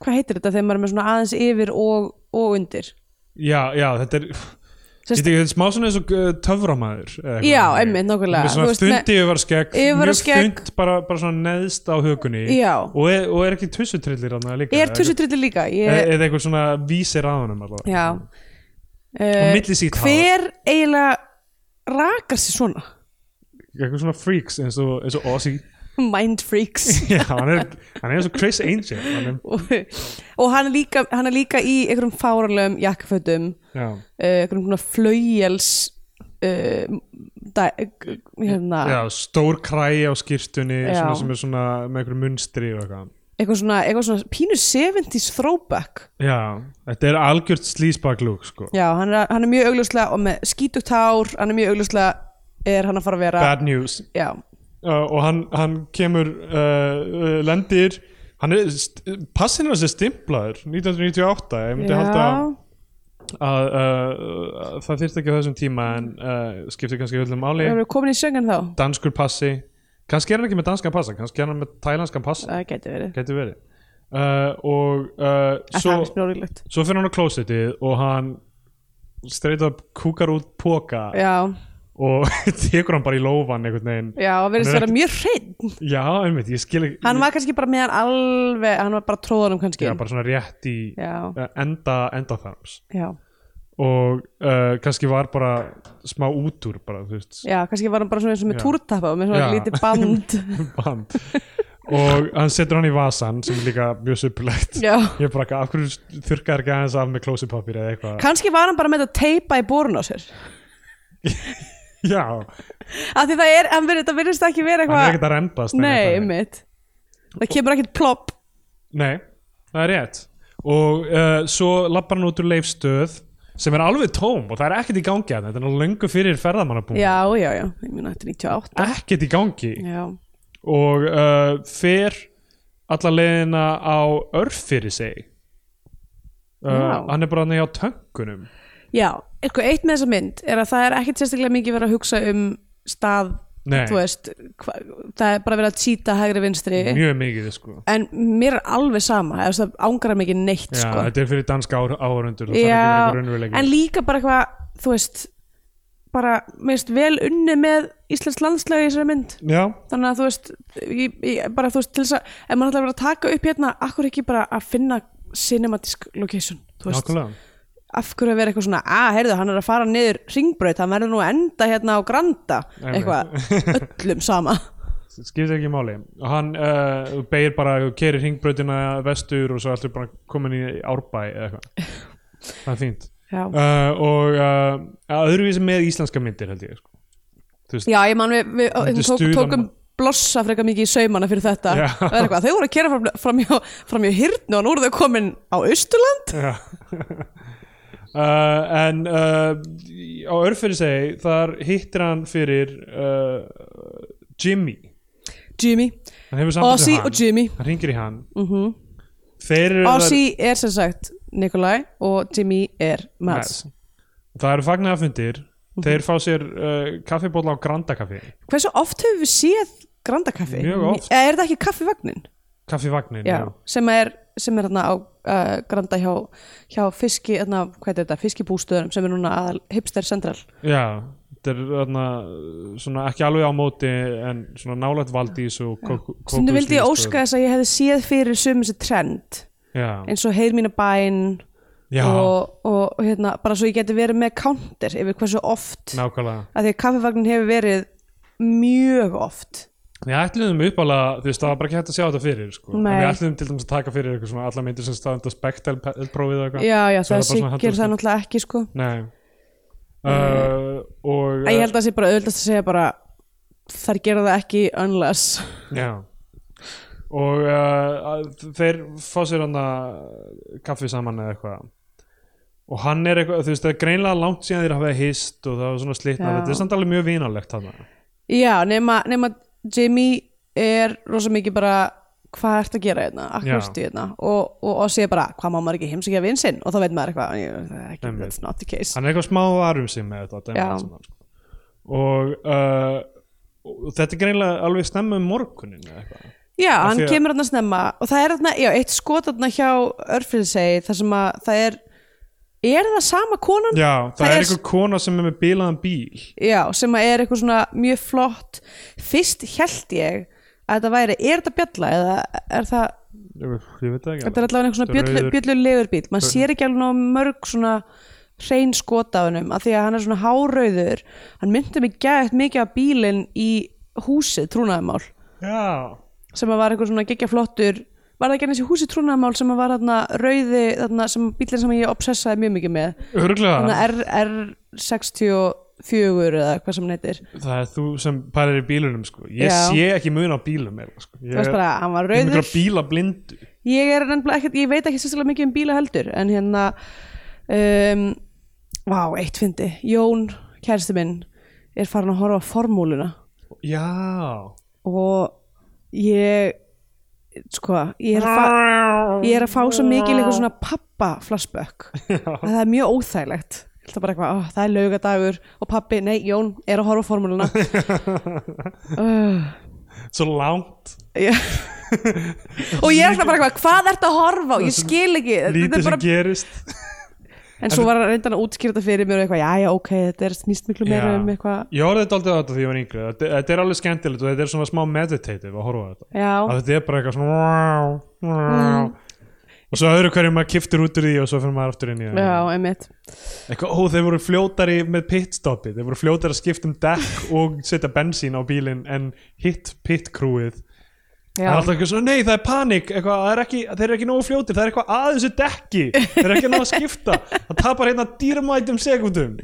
Speaker 3: hvað heitir þetta þegar maður er með svona aðeins yfir og, og undir
Speaker 2: já, já, þetta er
Speaker 3: Sest-
Speaker 2: Sest, ekki, þetta er smá svona eins og uh, töframæður eða eitthvað.
Speaker 3: Já, einmitt, nákvæmlega.
Speaker 2: Með
Speaker 3: Þú
Speaker 2: svona
Speaker 3: veist,
Speaker 2: þundi yfarskegg, mjög
Speaker 3: yfirvarskegg.
Speaker 2: þund bara, bara svona neðst á hugunni
Speaker 3: Já.
Speaker 2: og er, og er ekki tussutrillir hann líka
Speaker 3: er tussutryllir líka ég,
Speaker 2: eða eða eitthvað svona vísir að honum allavega.
Speaker 3: já
Speaker 2: og
Speaker 3: uh,
Speaker 2: milli sítt
Speaker 3: hver eiginlega rakar sér svona
Speaker 2: eitthvað svona freaks eins og, eins og Aussie
Speaker 3: mind freaks
Speaker 2: Já, hann er, hann er eins og Chris Angel hann er,
Speaker 3: og, og hann, er líka, hann er líka í einhverjum fáralegum jakkafötum
Speaker 2: já,
Speaker 3: uh, einhverjum svona flöjels uh, da, hérna,
Speaker 2: já, stór kræi á skýrtunni
Speaker 3: Já.
Speaker 2: svona, sem er svona með einhverjum munstri og eitthvað
Speaker 3: eitthvað svona, eitthvað svona pínu 70s throwback
Speaker 2: Já, þetta er algjört slísbak lúk sko.
Speaker 3: já, hann er, hann er mjög augljóslega og með skítugt hár, hann er mjög augljóslega er hann að fara að vera
Speaker 2: Bad news
Speaker 3: já,
Speaker 2: uh, og hann, hann kemur uh, uh, lendir hann er, st- passinn hans er stimplaður 1998, ég myndi
Speaker 3: já,
Speaker 2: halda að uh, uh, það þyrst ekki á þessum tíma en uh, skiptir kannski öllum áli
Speaker 3: erum við komin í söngan þá
Speaker 2: danskur passi kannski er hann ekki með danskan passa, kannski er hann með tælanskan passa
Speaker 3: það geti verið,
Speaker 2: gæti verið uh, og uh,
Speaker 3: en það
Speaker 2: svo,
Speaker 3: er smjórulegt
Speaker 2: svo fyrir hann á klósettið og hann straight up kúkar út póka
Speaker 3: já,
Speaker 2: og tekur hann bara í lófan einhvern veginn
Speaker 3: já, og verðist
Speaker 2: Hann er
Speaker 3: vera mjög hreinn
Speaker 2: já, einmitt, ég skil ekki
Speaker 3: hann var kannski bara með hann alveg hann var bara tróðanum kannski
Speaker 2: já, bara svona rétt í
Speaker 3: já,
Speaker 2: eh, enda, enda þarms
Speaker 3: já,
Speaker 2: og uh, kannski var bara smá útúr bara, þú veist,
Speaker 3: já, kannski var hann bara svona eins og með
Speaker 2: Já.
Speaker 3: túrtappa og með svona
Speaker 2: Já.
Speaker 3: lítið band
Speaker 2: band og hann setur hann í vasan sem er líka mjög suppulegt
Speaker 3: já
Speaker 2: ég er bara ekki, af hverju þurrkar ekki aðeins af með klósipapir eða eitthvað
Speaker 3: kannski var hann bara með þetta teipa í borun á sér
Speaker 2: já,
Speaker 3: af því það er, hann verið, þetta verðist ekki vera
Speaker 2: hann er
Speaker 3: eitthvað
Speaker 2: ekkert að rembast eða
Speaker 3: nei,
Speaker 2: eitthvað.
Speaker 3: mitt það kemur ekkert plopp
Speaker 2: Nei, það er rétt og uh, svo lappar hann út úr leifstöð sem er alveg tóm og það er ekkert í gangi að þetta er nú löngu fyrir ferðamannabúin
Speaker 3: já, já, já, ég meina þetta er 98
Speaker 2: ekkert í gangi
Speaker 3: já,
Speaker 2: og uh, fer alla leiðina á örf fyrir sig uh,
Speaker 3: Vá.
Speaker 2: hann er bara hann hjá tönkunum
Speaker 3: já, eitthvað eitt með þessa mynd er að það er ekkert sérstaklega mikið verið að hugsa um stað,
Speaker 2: Nei.
Speaker 3: þú veist hva, það er bara verið að títa hægri vinstri
Speaker 2: mjög mikið sko
Speaker 3: en mér er alveg sama eða, þú veist, það ángra mig ekki neitt
Speaker 2: Já,
Speaker 3: sko.
Speaker 2: þetta er fyrir danska áhör- áhörundur
Speaker 3: Já, en
Speaker 2: en,
Speaker 3: líka bara eitthvað þú veist bara, mér veist, vel unni með Íslands landslega í þessari mynd
Speaker 2: Já,
Speaker 3: þannig að þú veist, ég, ég, bara þú veist til þess að, ef maður ætlar að vera að taka upp hérna akkur ekki bara að finna cinematisk location, þú veist,
Speaker 2: nákvæmlega
Speaker 3: af hverju að vera eitthvað svona, að, heyrðu, hann er að fara niður ringbraut, hann verður nú að enda hérna á Granda,
Speaker 2: Einmitt.
Speaker 3: eitthvað öllum sama,
Speaker 2: skiptir ekki máli og hann uh, beir bara kerir hringbrautina vestur og svo allt er bara komin í árbæ eða eitthvað það er fínt
Speaker 3: já
Speaker 2: uh, og uh, öðruvísi með íslenska myndir held ég sko.
Speaker 3: já, ég man við, við
Speaker 2: Þetta er
Speaker 3: hérna tók,
Speaker 2: stuðan-
Speaker 3: tókum blossa frekar mikið í saumana fyrir þetta
Speaker 2: Já.
Speaker 3: það er eitthvað, þau voru að kera fram, fram, hjá, fram hjá hirtnu og nú eru þau komin á Austurland
Speaker 2: Já. uh, en uh, á örfyrir segi þar hittir hann fyrir uh, Jimmy
Speaker 3: Jimmy,
Speaker 2: hann hefur samband
Speaker 3: Ozzy
Speaker 2: við hann
Speaker 3: og Jimmy Mhm.
Speaker 2: hann ringir í hann mm -hmm. þeir eru
Speaker 3: Ozzy er sem sagt Nikolai og Jimmy er Mads Mhm.
Speaker 2: Mads. það eru fagnæðafundir þeir fá sér uh, kaffibóla á Granda kaffi
Speaker 3: Hversu oft höfum við séð grandakaffi?
Speaker 2: Mjög oft.
Speaker 3: Eða er það ekki kaffivagnin?
Speaker 2: kaffivagnin
Speaker 3: Já, sem er, sem er hérna á uh, granda hjá, hjá fiski, hérna, hvað er þetta, fiskibústöðunum sem er núna aðal hipster central.
Speaker 2: já þetta er þarna, svona ekki alveg á móti en svona nálægt valdís og kókus
Speaker 3: Stundu vildi ég óska þess að ég hefði séð fyrir sömum þessi trend
Speaker 2: já,
Speaker 3: eins og heið mína bæn
Speaker 2: já
Speaker 3: og, og hérna, bara svo ég geti verið með counter yfir hversu oft
Speaker 2: nákvæmlega
Speaker 3: af því að kaffivagnin hefur verið mjög oft
Speaker 2: við ætluðum uppálega, um þú veist það var bara ekki hægt að sjá þetta fyrir sko. En
Speaker 3: Nei.
Speaker 2: við ætluðum til dæmis að taka fyrir eitthvað svona alla myndir sem staðum þetta spektelprófið eða eitthvað
Speaker 3: Já, já,
Speaker 2: Svo er það bara
Speaker 3: það
Speaker 2: svona
Speaker 3: sikir það
Speaker 2: handverksmynd.
Speaker 3: náttúrulega ekki sko
Speaker 2: nei uh, og
Speaker 3: En ég held að það sé bara auðvitað að segja bara þær gera það ekki unless
Speaker 2: Já og uh, að- þeir fá sér hann kaffi saman eða eitthvað og hann er eitthvað, þú veist, það er greinlega langt síðan þeir hafa hist og það var svona slitna
Speaker 3: Já.
Speaker 2: þetta er samt alveg mjög vinalegt hann
Speaker 3: Já, nema, nema Jimmy er rosa mikið bara hvað ert að gera hérna,
Speaker 2: Já.
Speaker 3: akkur stu hérna og, og, og sé bara, hvað má maður ekki heimsækja vin sinn og þá veit maður eitthvað, "Ég- það er ekki,
Speaker 2: Einmitt.
Speaker 3: that's not the case
Speaker 2: hann er eitthvað smá varum sig með þetta dæmi
Speaker 3: Já.
Speaker 2: allt saman, sko. og, uh, og þetta er greinlega alveg snemma um morgunin eða eitthvað
Speaker 3: Já,
Speaker 2: Af
Speaker 3: hann
Speaker 2: því að-
Speaker 3: kemur hann að snemma og það er hann, já, eitt skot hann hjá Örfriðsegi þar sem að það er er það sama konan?
Speaker 2: Já, það,
Speaker 3: Það
Speaker 2: er
Speaker 3: er-
Speaker 2: eitthvað kona sem er með bílaðan bíl
Speaker 3: sem að er eitthvað svona mjög flott fyrst held ég að þetta væri, er þetta bjalla eða er það,
Speaker 2: ég ég veit það ekki
Speaker 3: þetta er allavega einhver svona
Speaker 2: Þetta er
Speaker 3: bjöllu,
Speaker 2: rauður-
Speaker 3: bjöllulegur bíl maður sér ekki alveg nóg mörg svona hrein skot af hennum af því að hann er svona hárauður hann myndi mig gæðið mikið af bílinn í húsið trúnaðumál
Speaker 2: Já,
Speaker 3: sem að var einhver svona geggja flottur var það ekki hann þessi húsi trúnaðamál sem að var þarna rauði, þarna sem bílinn sem ég obsessaði mjög mikið með,
Speaker 2: örglega
Speaker 3: þarna R, R64 eða hvað sem hann heitir
Speaker 2: Það er þú sem parir í bílunum sko. Ég
Speaker 3: Já.
Speaker 2: sé ekki mun á bílum eða, sko. Ég
Speaker 3: þú veist bara, hann var
Speaker 2: Ég er
Speaker 3: rauður
Speaker 2: mikla bíla blindu
Speaker 3: ég er nefnilega ekkert, ég veit ekki sérstaklega mikið um bíla heldur, en hérna um, vá, eitt fyndi Jón, kærsti minn er farin að horfa á formúluna
Speaker 2: Já
Speaker 3: og ég sko, ég er að fara ég er að fá svo mikil eitthvað svona pappa flashback að það er mjög óþægilegt Ég held að bara eitthvað, ó, það er laugadagur og pappi, nei, Jón, er að horfa á formúluna uh,
Speaker 2: Svo langt
Speaker 3: ég- og ég er alltaf bara eitthvað hvað ertu að horfa á, ég skil ekki þetta
Speaker 2: Lítið
Speaker 3: er
Speaker 2: sem
Speaker 3: bara,
Speaker 2: gerist
Speaker 3: en svo var hann reyndan að útskýra þetta fyrir mér og eitthvað, já, já, ok, þetta er snýst miklu meira
Speaker 2: Já.
Speaker 3: um eitthvað,
Speaker 2: Ég horfði þetta aldrei á þetta því ég var yngri Þetta þetta er alveg skemmtilegt og þetta er svona smá meditative að horfa á þetta að
Speaker 3: já, Mm.
Speaker 2: þetta er bara eitthvað svona og svo öðru hverju maður kiftir út úr því og svo fyrir maður aftur inn í
Speaker 3: já,
Speaker 2: það
Speaker 3: einmitt
Speaker 2: eitthvað, ó þeir voru fljótari með pitstoppi þeir voru fljótari að skipta um dekk og setja bensín á bílinn en hitt pitkrúið það
Speaker 3: já,
Speaker 2: er alltaf eitthvað svona, nei það er panik eitthvað, það er ekki, þeir eru ekki nógu fljótir, það er eitthvað að þessu dekki þeir eru ekki nógu að skipta það tapar hérna dýrmætum sekundum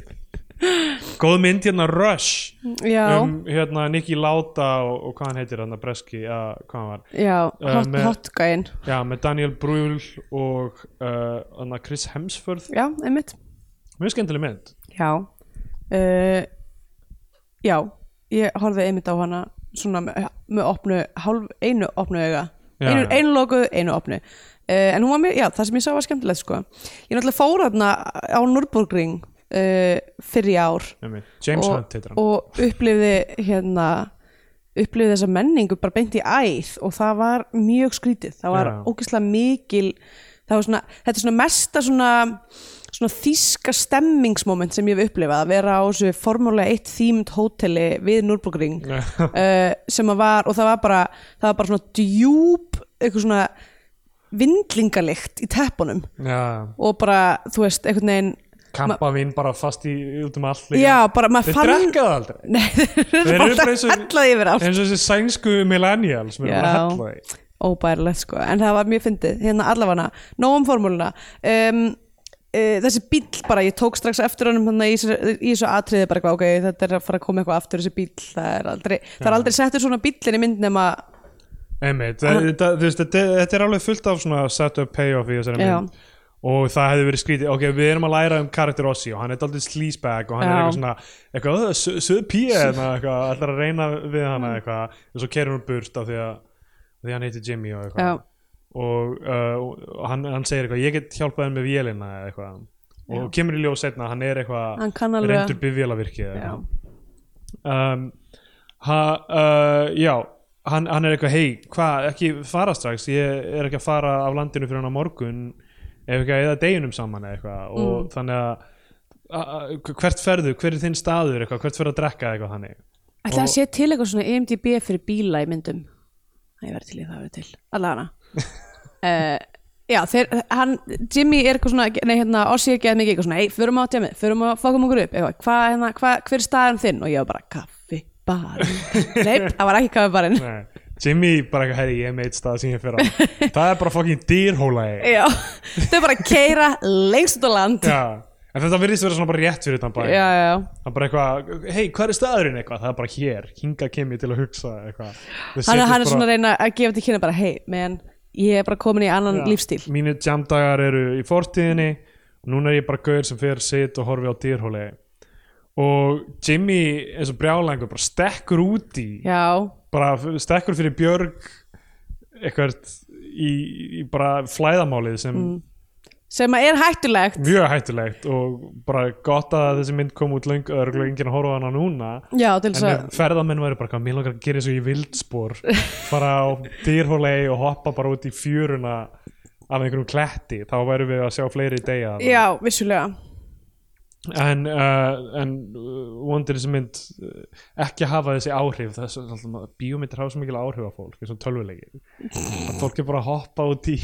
Speaker 2: góð mynd hérna Rush
Speaker 3: já,
Speaker 2: um hérna Nicky Lauda og, og hvað hann heitir hann að breski að hvað hann var
Speaker 3: já, hot,
Speaker 2: uh, með-
Speaker 3: hot gæinn
Speaker 2: já með Daniel Brühl og uh, hann að Chris Hemsworth
Speaker 3: já, einmitt,
Speaker 2: mjög skemmtileg mynd
Speaker 3: já uh, já, ég horfði einmitt á hana svona með, með opnu, hálf, einu opnu auga
Speaker 2: Já, já.
Speaker 3: einu, einu lokuð, einu opnu uh, en hún var mér, já, það sem ég sá var skemmtilegt sko, ég náttúrulega fór þarna á Nürburgring uh, fyrir ár
Speaker 2: Einmitt. James
Speaker 3: og,
Speaker 2: Hunt heitir hann
Speaker 3: og upplifði hérna upplifði þessa menningu bara beint í æð og það var mjög skrítið það var
Speaker 2: Já.
Speaker 3: ógeðslega mikil það var svona, þetta er svona mesta svona svona þýska stemmingsmoment sem ég hef upplifað að vera á þessu formúlega eitt þýmd hóteli við Nürburgring
Speaker 2: Já.
Speaker 3: uh, sem að var og það var bara, það var bara svona djúp eitthvað svona vindlingalikt í teppunum
Speaker 2: já,
Speaker 3: og bara, þú veist, einhvern veginn
Speaker 2: kampa vinn bara fast í út um allt líka.
Speaker 3: já, bara maður
Speaker 2: þeir
Speaker 3: fann
Speaker 2: drekka það aldrei
Speaker 3: Nei, þeir
Speaker 2: Þeir
Speaker 3: eru
Speaker 2: eru
Speaker 3: bara
Speaker 2: bara eins og-
Speaker 3: hellað yfir allt
Speaker 2: eins og þessi sænsku millennials sem eru bara
Speaker 3: Já.
Speaker 2: að hella því.
Speaker 3: Óbærilegt sko, en það var mjög fyndið Hérna allafana, nóg um formúluna um, uh, Þessi bíll bara Ég tók strax eftir honum þannig, í, þessu- í þessu atriði bara eitthvað, ok, þetta er að fara að koma eitthvað aftur þessi bíll, það er aldrei Það er aldrei settur svona bíllinn í mynd nema
Speaker 2: Einmitt,
Speaker 3: Ah.
Speaker 2: það, það, þú veist, þetta, þetta er alveg fullt af svona setup payoff í þessari
Speaker 3: Já.
Speaker 2: mynd og það hefði verið skrítið, ok, við erum að læra um karakter Ossi og hann er daldið sleazebag og hann er
Speaker 3: Já.
Speaker 2: eitthvað svona, eitthvað, "Ö, sö- söð píja hérna, eitthvað, allar að reyna við hana
Speaker 3: Mm.
Speaker 2: eitthvað, en svo kerir hún burt af því að af því að hann heitir Jimmy og eitthvað
Speaker 3: Já.
Speaker 2: og, uh, og hann, hann segir eitthvað, ég get hjálpað henn með vélina eða eitthvað og kemur í ljós setna, hann er eitthvað
Speaker 3: Hann kann alveg-
Speaker 2: reyndur bifvélavirki eða
Speaker 3: Já,
Speaker 2: eitthvað um, ha, uh, já hann, hann er eitthvað hei, hvað, ekki fara strax ég er ekki að fara af landinu fyrir hann á morgun ef ekki að eða deginum saman eða eitthvað
Speaker 3: Mm.
Speaker 2: og þannig að a- a- hvert ferðu, hver er þinn staður eitthvað, hvert ferðu að drekka eitthvað þannig
Speaker 3: Ætla að sé til eitthvað svona E EMDB fyrir bíla í myndum Það ég verði til í það verið til Allana uh, Já, þeir, hann, Jimmy er eitthvað svona Nei, hérna, Ossi er geðað mikið eitthvað svona Ei, förum á tjami, förum að fókum okkur upp eitthvað, Hvað, hérna, hvað, hver er staðan þinn? Og ég var bara, kaffi, barinn Nei, það var ekki kaffi, barinn
Speaker 2: Nei. Jimmy bara eitthvað, herri, ég er með eitt stað sem ég fer á það er bara fucking dýrhóla
Speaker 3: Já, þau bara keira lengst út á land Já,
Speaker 2: já, en þetta virðist vera svona bara rétt fyrir utan bæ
Speaker 3: já, já,
Speaker 2: það er bara eitthvað, hei, hvað er staðurinn eitthvað það er bara hér, hinga kem ég til að hugsa eitthvað Það
Speaker 3: hann,
Speaker 2: setjast
Speaker 3: hann er
Speaker 2: bara-
Speaker 3: svona að reyna að gefa til kynna bara Hei, menn, ég er bara komin í annan
Speaker 2: Já.
Speaker 3: lífstíl
Speaker 2: mínir jamdagar eru í fortíðinni og núna er ég bara gaur sem fer sitt og horfi á dýrhóli og Jimmy eins og brjálangur bara stekkur út í
Speaker 3: Já,
Speaker 2: bara f- stekkur fyrir Björg eitthvað í, í bara flæðamálið sem
Speaker 3: sem að er hættulegt
Speaker 2: mjög hættulegt og bara gott að þessi mynd kom út löng, örgulega enginn að horfa á hana núna
Speaker 3: Já, til
Speaker 2: en
Speaker 3: þess að
Speaker 2: ef ferðamenn væri bara eitthvað, mér langar að gera eins og ég vildspor fara á dýrhólei og hoppa bara út í fjöruna af einhverjum kletti, þá værum við að sjá fleiri degja þarna.
Speaker 3: Já, vissulega
Speaker 2: en, uh, en uh, vondir þessi mynd uh, ekki hafa þessi áhrif þess að alltaf maður- bíómyndir hafa svo mikil áhrif á fólk eins og tölvuleiki að fólk er bara að hoppa út í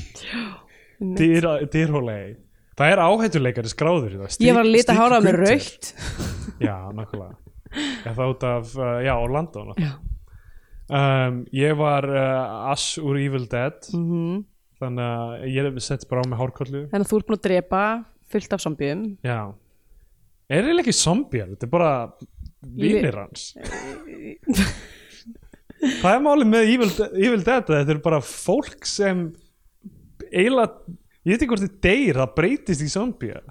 Speaker 2: dýr, dýrhólei það er áhættuleikari skráður hérna. í það. Steve-
Speaker 3: Ég var að lita
Speaker 2: Steve
Speaker 3: hára á mig
Speaker 2: Gunther.
Speaker 3: raukt
Speaker 2: já, nákvæmlega er það út af, uh, já, Orlando náttúrulega.
Speaker 3: Já,
Speaker 2: um, ég var uh, Ash úr Evil Dead
Speaker 3: Mm.
Speaker 2: þannig að ég sett bara á mig hárkollu
Speaker 3: Mhm. Þannig að þú ert búin að drepa fullt af zombiðum
Speaker 2: já er eiginlega ekki zombjar, þetta er bara vinir hans það er málið með Evil, De- Evil Dead að þetta er bara fólk sem eiginlega, ég veit ekki hvort þið deyr það breytist í zombjar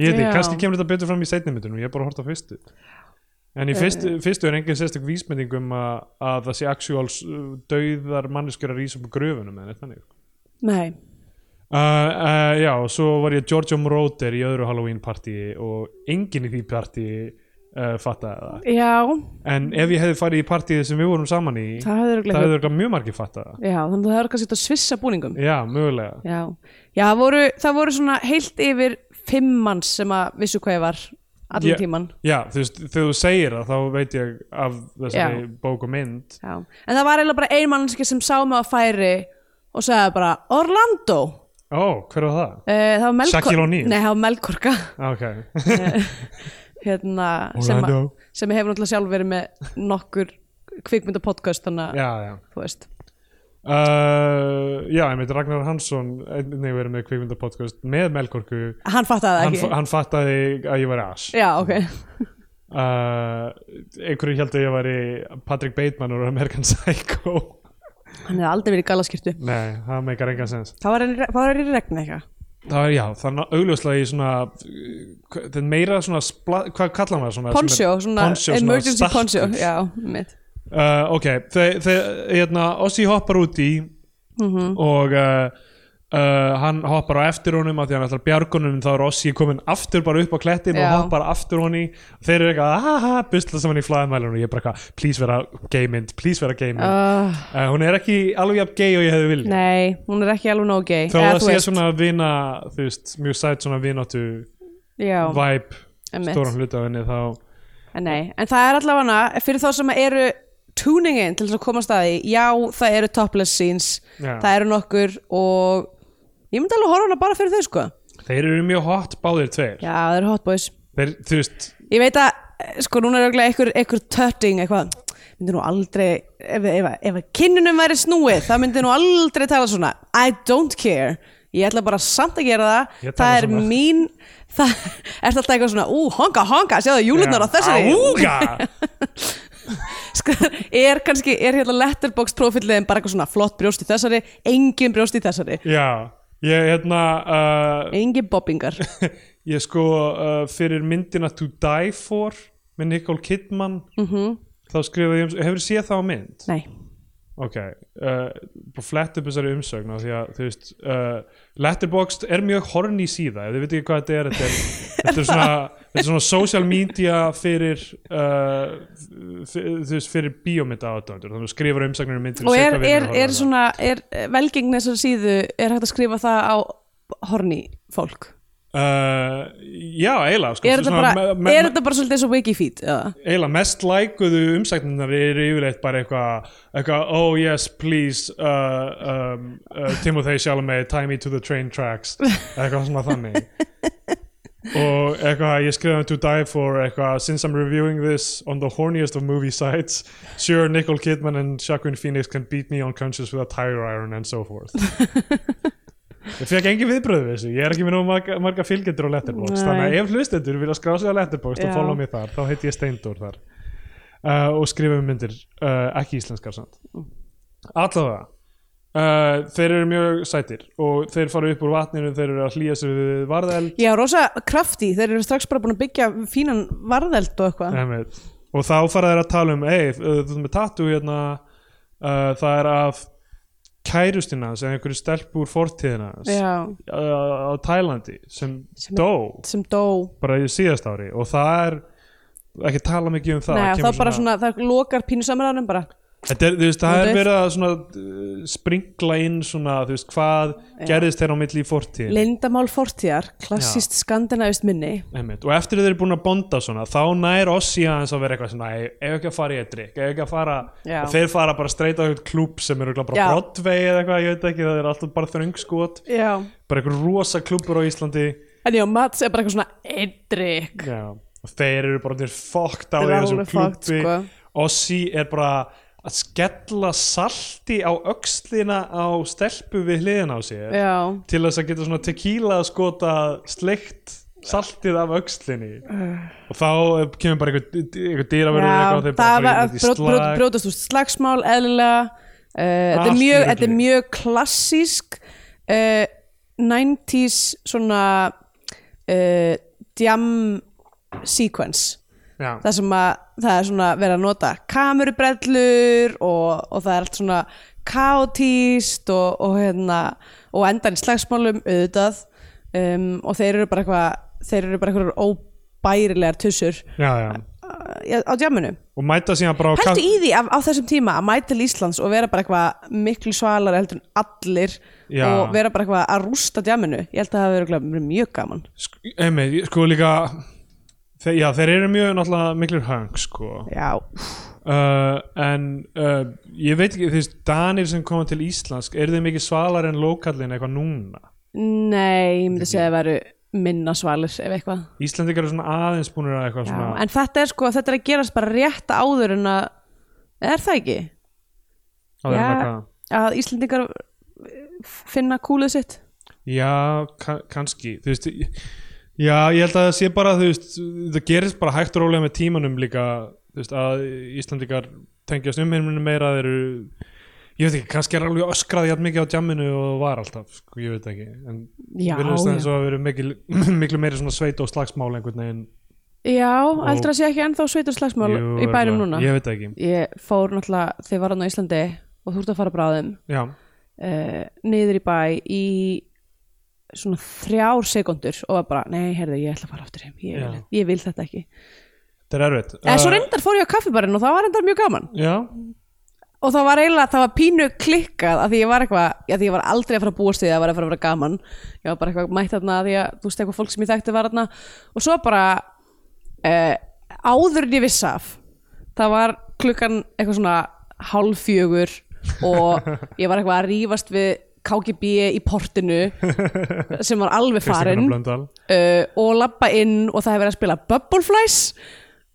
Speaker 2: ég veit ekki,
Speaker 3: Já.
Speaker 2: kannski kemur þetta betur fram í seinni myndunum, ég er bara að horta á fyrstu en í fyrstu, fyrstu er engin sérstök vísmynding um að, að það sé actuals uh, dauðar manneskjur að rísa upp úr gröfunum en þannig
Speaker 3: Nei,
Speaker 2: Uh, uh, já, og svo var ég Giorgio Moroder í öðru Halloween partíi og enginn í því partíi uh, fattaði það.
Speaker 3: já,
Speaker 2: En ef ég hefði farið í partíið sem við vorum saman í,
Speaker 3: það hefur
Speaker 2: það
Speaker 3: örugglega
Speaker 2: hefði örugglega mjög margir fattaði það.
Speaker 3: Já, þannig að það hefur kannski þetta svissa búningum
Speaker 2: Já, mögulega.
Speaker 3: Já, já það, voru, það voru svona heilt yfir fimm manns sem að vissu hvað ég var allan
Speaker 2: Ég-
Speaker 3: tíman
Speaker 2: Já, þú veist, þegar þú segir það þá veit ég af þessari bók og mynd
Speaker 3: Já. en það var eiginlega bara ein mannski sem sá mig á færi og sagði bara Orlando
Speaker 2: Ó, hver var það?
Speaker 3: uh, það var
Speaker 2: Shaquille
Speaker 3: Melkor
Speaker 2: O'Neal?
Speaker 3: Nei, það var Melkorka
Speaker 2: Ah, Ok,
Speaker 3: hérna, sem, að,
Speaker 2: Orlando
Speaker 3: sem hefur náttúrulega sjálf verið með nokkur kvikmyndapodcast þannig að
Speaker 2: Já, já
Speaker 3: þú veist
Speaker 2: Uh, já, ég meit Ragnar Hansson einnig verið með kvikmyndapodcast með Melkorku
Speaker 3: hann fattaði það
Speaker 2: hann,
Speaker 3: ekki
Speaker 2: f- hann fattaði að ég var ass
Speaker 3: já, ok
Speaker 2: uh, einhverju held að ég væri Patrick Bateman úr American Psycho
Speaker 3: hann hefði aldrei verið í galaskirtu
Speaker 2: Nei, það meikar engan sens
Speaker 3: það var, í- það var í regn eitthvað
Speaker 2: Það er já, þannig augljóslega í svona uh, hva- þetta er meira svona, spla, hvað kallar maður svona
Speaker 3: Poncho,
Speaker 2: sem
Speaker 3: svona
Speaker 2: er- poncho, svona
Speaker 3: emergency
Speaker 2: stappi.
Speaker 3: poncho já, mitt
Speaker 2: uh, Ok, þegar hérna, Ossi hoppar út í
Speaker 3: Mhm.
Speaker 2: og uh, uh, hann hoppar á eftir honum af því hann ætlar að bjargunum þá er Ossi komin aftur bara upp á klettin
Speaker 3: Já.
Speaker 2: og hoppar aftur honni þeir eru eitthvað, aha, busla saman í flæðmælun og ég er bara eitthvað, please vera geimind please vera geimind
Speaker 3: uh,
Speaker 2: Uh, hún er ekki alveg jafn gay og ég hefði viljað
Speaker 3: nei, hún er ekki alveg nóg gay
Speaker 2: Þó
Speaker 3: Eða,
Speaker 2: að
Speaker 3: þú
Speaker 2: sé
Speaker 3: veist,
Speaker 2: svona vina, þú veist, mjög sætt svona vináttu
Speaker 3: já,
Speaker 2: vibe
Speaker 3: einmitt.
Speaker 2: stóran hluta af henni þá
Speaker 3: En Nei, en það er allavega fyrir þá sem eru tuning in til þess að koma staði, já það eru topless scenes,
Speaker 2: Já.
Speaker 3: það eru nokkur og ég myndi alveg horfa á hana bara fyrir þau sko.
Speaker 2: Þeir eru mjög hot báðir tveir
Speaker 3: Já, það eru hot boys.
Speaker 2: Þeir, þú veist,
Speaker 3: Ég veit að, eh, sko, núna er auðvitað einhver, einhver tötting eitthvað, myndi nú aldrei ef, ef, ef, ef kinnunum væri snúið, það myndi nú aldrei tala svona I don't care, ég ætla bara samt að gera það,
Speaker 2: Ég tala
Speaker 3: það er
Speaker 2: svona.
Speaker 3: mín það er alltaf eitthvað svona ú, honga, honga, sjáðu júlutnar á þessari
Speaker 2: Ága
Speaker 3: Skar- er kannski, er hérna letterbox profilliðin bara eitthvað svona flott brjóst í þessari engin brjóst í þessari,
Speaker 2: Já, ég hérna uh,
Speaker 3: engin bobbingar
Speaker 2: Ég sko uh, fyrir myndina To Die For með Nicole Kidman -hmm.
Speaker 3: Mhm.
Speaker 2: þá skrifaði ég, um- hefur séð það á mynd?
Speaker 3: nei,
Speaker 2: Ok, uh, bara flett upp þessari umsögn af því að, þú veist, uh, Letterboxd er mjög horny síða, ef þið veit ekki hvað þetta er, þetta er, þetta er, svona, þetta er svona social media fyrir, uh, f- þú veist, fyrir bíómynda aðdöndur, þannig að þú skrifar umsögnir um myndir
Speaker 3: og er, er, er svona er velgengni þessari síðu er hægt að skrifa það á horni fólk
Speaker 2: Uh, já, eiginlega, sko,
Speaker 3: er þetta
Speaker 2: svona
Speaker 3: bara,
Speaker 2: me- me-
Speaker 3: er þetta bara svolítið eins og Wikifeed eða?
Speaker 2: eiginlega mest lækuðu umsæknirnar eru yfirleitt bara eitthvað eitthva, oh yes please uh, um, uh, Timothée Chalamet tie me to the train tracks eitthvað svona þannig og eitthvað ég skrifaði um to die for eitthvað since I'm reviewing this on the horniest of movie sites sure Nicole Kidman and Jacqueline Phoenix can beat me unconscious with a tire iron and so forth Ég fekk engin viðbröðu við þessu, ég er ekki með nú marga, marga fylgjendur á Letterboxd,
Speaker 3: Nei.
Speaker 2: þannig að ef hlustendur vilja skrá sig á Letterboxd
Speaker 3: Já.
Speaker 2: og follow mig þar, þá heiti ég Steindór þar uh, og skrifa um myndir, uh, ekki íslenskar samt. Allavega, uh, þeir eru mjög sætir og þeir fara upp úr vatninu, þeir eru að hlýja sér við varðeld
Speaker 3: já, rosa krafti, þeir eru strax bara búin að byggja fínan varðeld og eitthvað
Speaker 2: Einmitt. og þá fara þeir að tala um hey, þú ert með tattoo hérna uh, það er af kærustina sem einhverju stelpu úr fortíðina uh,
Speaker 3: já,
Speaker 2: á Tælandi sem,
Speaker 3: Sem-
Speaker 2: dó
Speaker 3: sem dó
Speaker 2: bara í síðast ári og það er ekki tala mikið um það,
Speaker 3: Nei, og
Speaker 2: kemur
Speaker 3: það bara svona, það lokar pínusamræðanum bara
Speaker 2: Þetta er, þú veist, það er
Speaker 3: Notið.
Speaker 2: verið að svona, uh, springla inn svona, þú veist, hvað gerðist þeirra á milli í fortíðin
Speaker 3: Lindamál fortíðar, klassist skandinavist minni
Speaker 2: Einmitt. og eftir að þeir eru búin að bonda svona þá nær Ossi aðeins að vera eitthvað svona "Æ, ef ekki að fara í eitt drikk, ef ekki að fara
Speaker 3: Já.
Speaker 2: þeir fara bara streyta á eitthvað klúb sem eru bara
Speaker 3: Já.
Speaker 2: Broadway eða eitthvað, ég veit ekki það er alltaf bara þröngskot,
Speaker 3: Já
Speaker 2: bara eitthvað rosa klúbur á Íslandi
Speaker 3: En já, Mats er bara eitthvað svona einn drikk
Speaker 2: Já. og þeir eru bara þeir fokkt á
Speaker 3: Þeir
Speaker 2: því
Speaker 3: eru
Speaker 2: þessum
Speaker 3: alveg fucked,
Speaker 2: klúbi
Speaker 3: sko.
Speaker 2: Ossi er bara að skella salti á öxlina á stelpu við hliðin á sér
Speaker 3: Já,
Speaker 2: til þess að geta svona tequila skota sleikt saltið af öxlinni og þá eh, kemur bara einhver, einhver dýraverður
Speaker 3: Uh. já
Speaker 2: eitthvað, þeir bara
Speaker 3: það
Speaker 2: fara
Speaker 3: var
Speaker 2: í- í
Speaker 3: brot, brot,
Speaker 2: slag. Ah,
Speaker 3: brotast úr slagsmál eðlilega uh, þetta,
Speaker 2: Allt
Speaker 3: er
Speaker 2: í
Speaker 3: mjög,
Speaker 2: rugli.
Speaker 3: þetta er mjög klassísk uh, 90s svona uh, jam sequence
Speaker 2: Já.
Speaker 3: það sem að það er svona verið að nota kamerubrellur og, og það er allt svona kaotíst og, og, hérna, og endan í slagsmálum auðvitað um, og þeir eru bara eitthvað þeir eru bara eitthvað óbærilegar tussur
Speaker 2: já, já,
Speaker 3: á djamunu
Speaker 2: og mæta síðan bara á
Speaker 3: Pæltu
Speaker 2: kaff-
Speaker 3: í því af, á þessum tíma að mæta til Íslands og vera bara eitthvað miklu svalar heldur en allir
Speaker 2: Já.
Speaker 3: og vera bara eitthvað að rústa djaminu ég held að það hafi verið örugglega mjög gaman
Speaker 2: Sk- einmitt, sko líka þeir, já, þeir eru mjög náttúrulega miklir hang sko.
Speaker 3: Já,
Speaker 2: uh, en uh, ég veit ekki, þú veist, Danir sem koma til Íslands eru þeir mikið svalar en lokallin eitthvað núna
Speaker 3: nei, ég myndi segja að veru minna svalir ef eitthvað
Speaker 2: Íslandingar eru svona aðeins búinir að eitthvað
Speaker 3: Já,
Speaker 2: svona
Speaker 3: en þetta er sko, þetta er að gerast bara rétt áður en að, er það ekki?
Speaker 2: aðeins
Speaker 3: já.
Speaker 2: að hvað
Speaker 3: Að Íslendingar eh, finna kúlið sitt
Speaker 2: Já, ka kannski þú veist, ég- Já, ég held að það sé bara þú veist, það gerist bara hægt og rólega með tímanum líka þú veist, að Íslandingar tengjast umheiminu meira þeir eru ég veit ekki, kannski er alveg öskraði jafn mikið á djamminu og það var alltaf, sko, ég veit ekki en
Speaker 3: Já,
Speaker 2: virðist það eins
Speaker 3: já.
Speaker 2: og að vera mikil, miklu meiri svona sveit og slagsmál einhvern veginn
Speaker 3: já aldrei að sé ekki ennþá sveitur slagsmál
Speaker 2: Jú,
Speaker 3: í
Speaker 2: örugglega.
Speaker 3: bænum núna
Speaker 2: Ég veit það ekki,
Speaker 3: ég fór náttúrulega þegar ég var hann á Íslandi og þú ert að fara bráðum
Speaker 2: já,
Speaker 3: uh, niður í bæ í svona þrjár sekundur og var bara, nei, herðu, ég ætla að fara aftur heim ég vil,
Speaker 2: Já.
Speaker 3: ég vil þetta ekki
Speaker 2: þetta er erfitt
Speaker 3: en svo
Speaker 2: Uh,
Speaker 3: reyndar fór ég á kaffibarinn og það var reyndar mjög gaman
Speaker 2: Já,
Speaker 3: og það var eiginlega, það var pínu klikkað að því ég var eitthvað, að því ég var aldrei að fara að búast við að það var að fara að vera gaman ég var bara eitthvað mætt þarna af því að þú veist eitthvað fólk sem ég þekkti var þarna og svo bara uh, áður en ég viss af það var klukkan eitthvað svona hálf fjögur og ég var eitthvað að rífast við KGB í portinu sem var alveg
Speaker 2: Kristín
Speaker 3: farin uh,
Speaker 2: Blöndal
Speaker 3: og labba inn og það hefur verið að spila Bubbleflies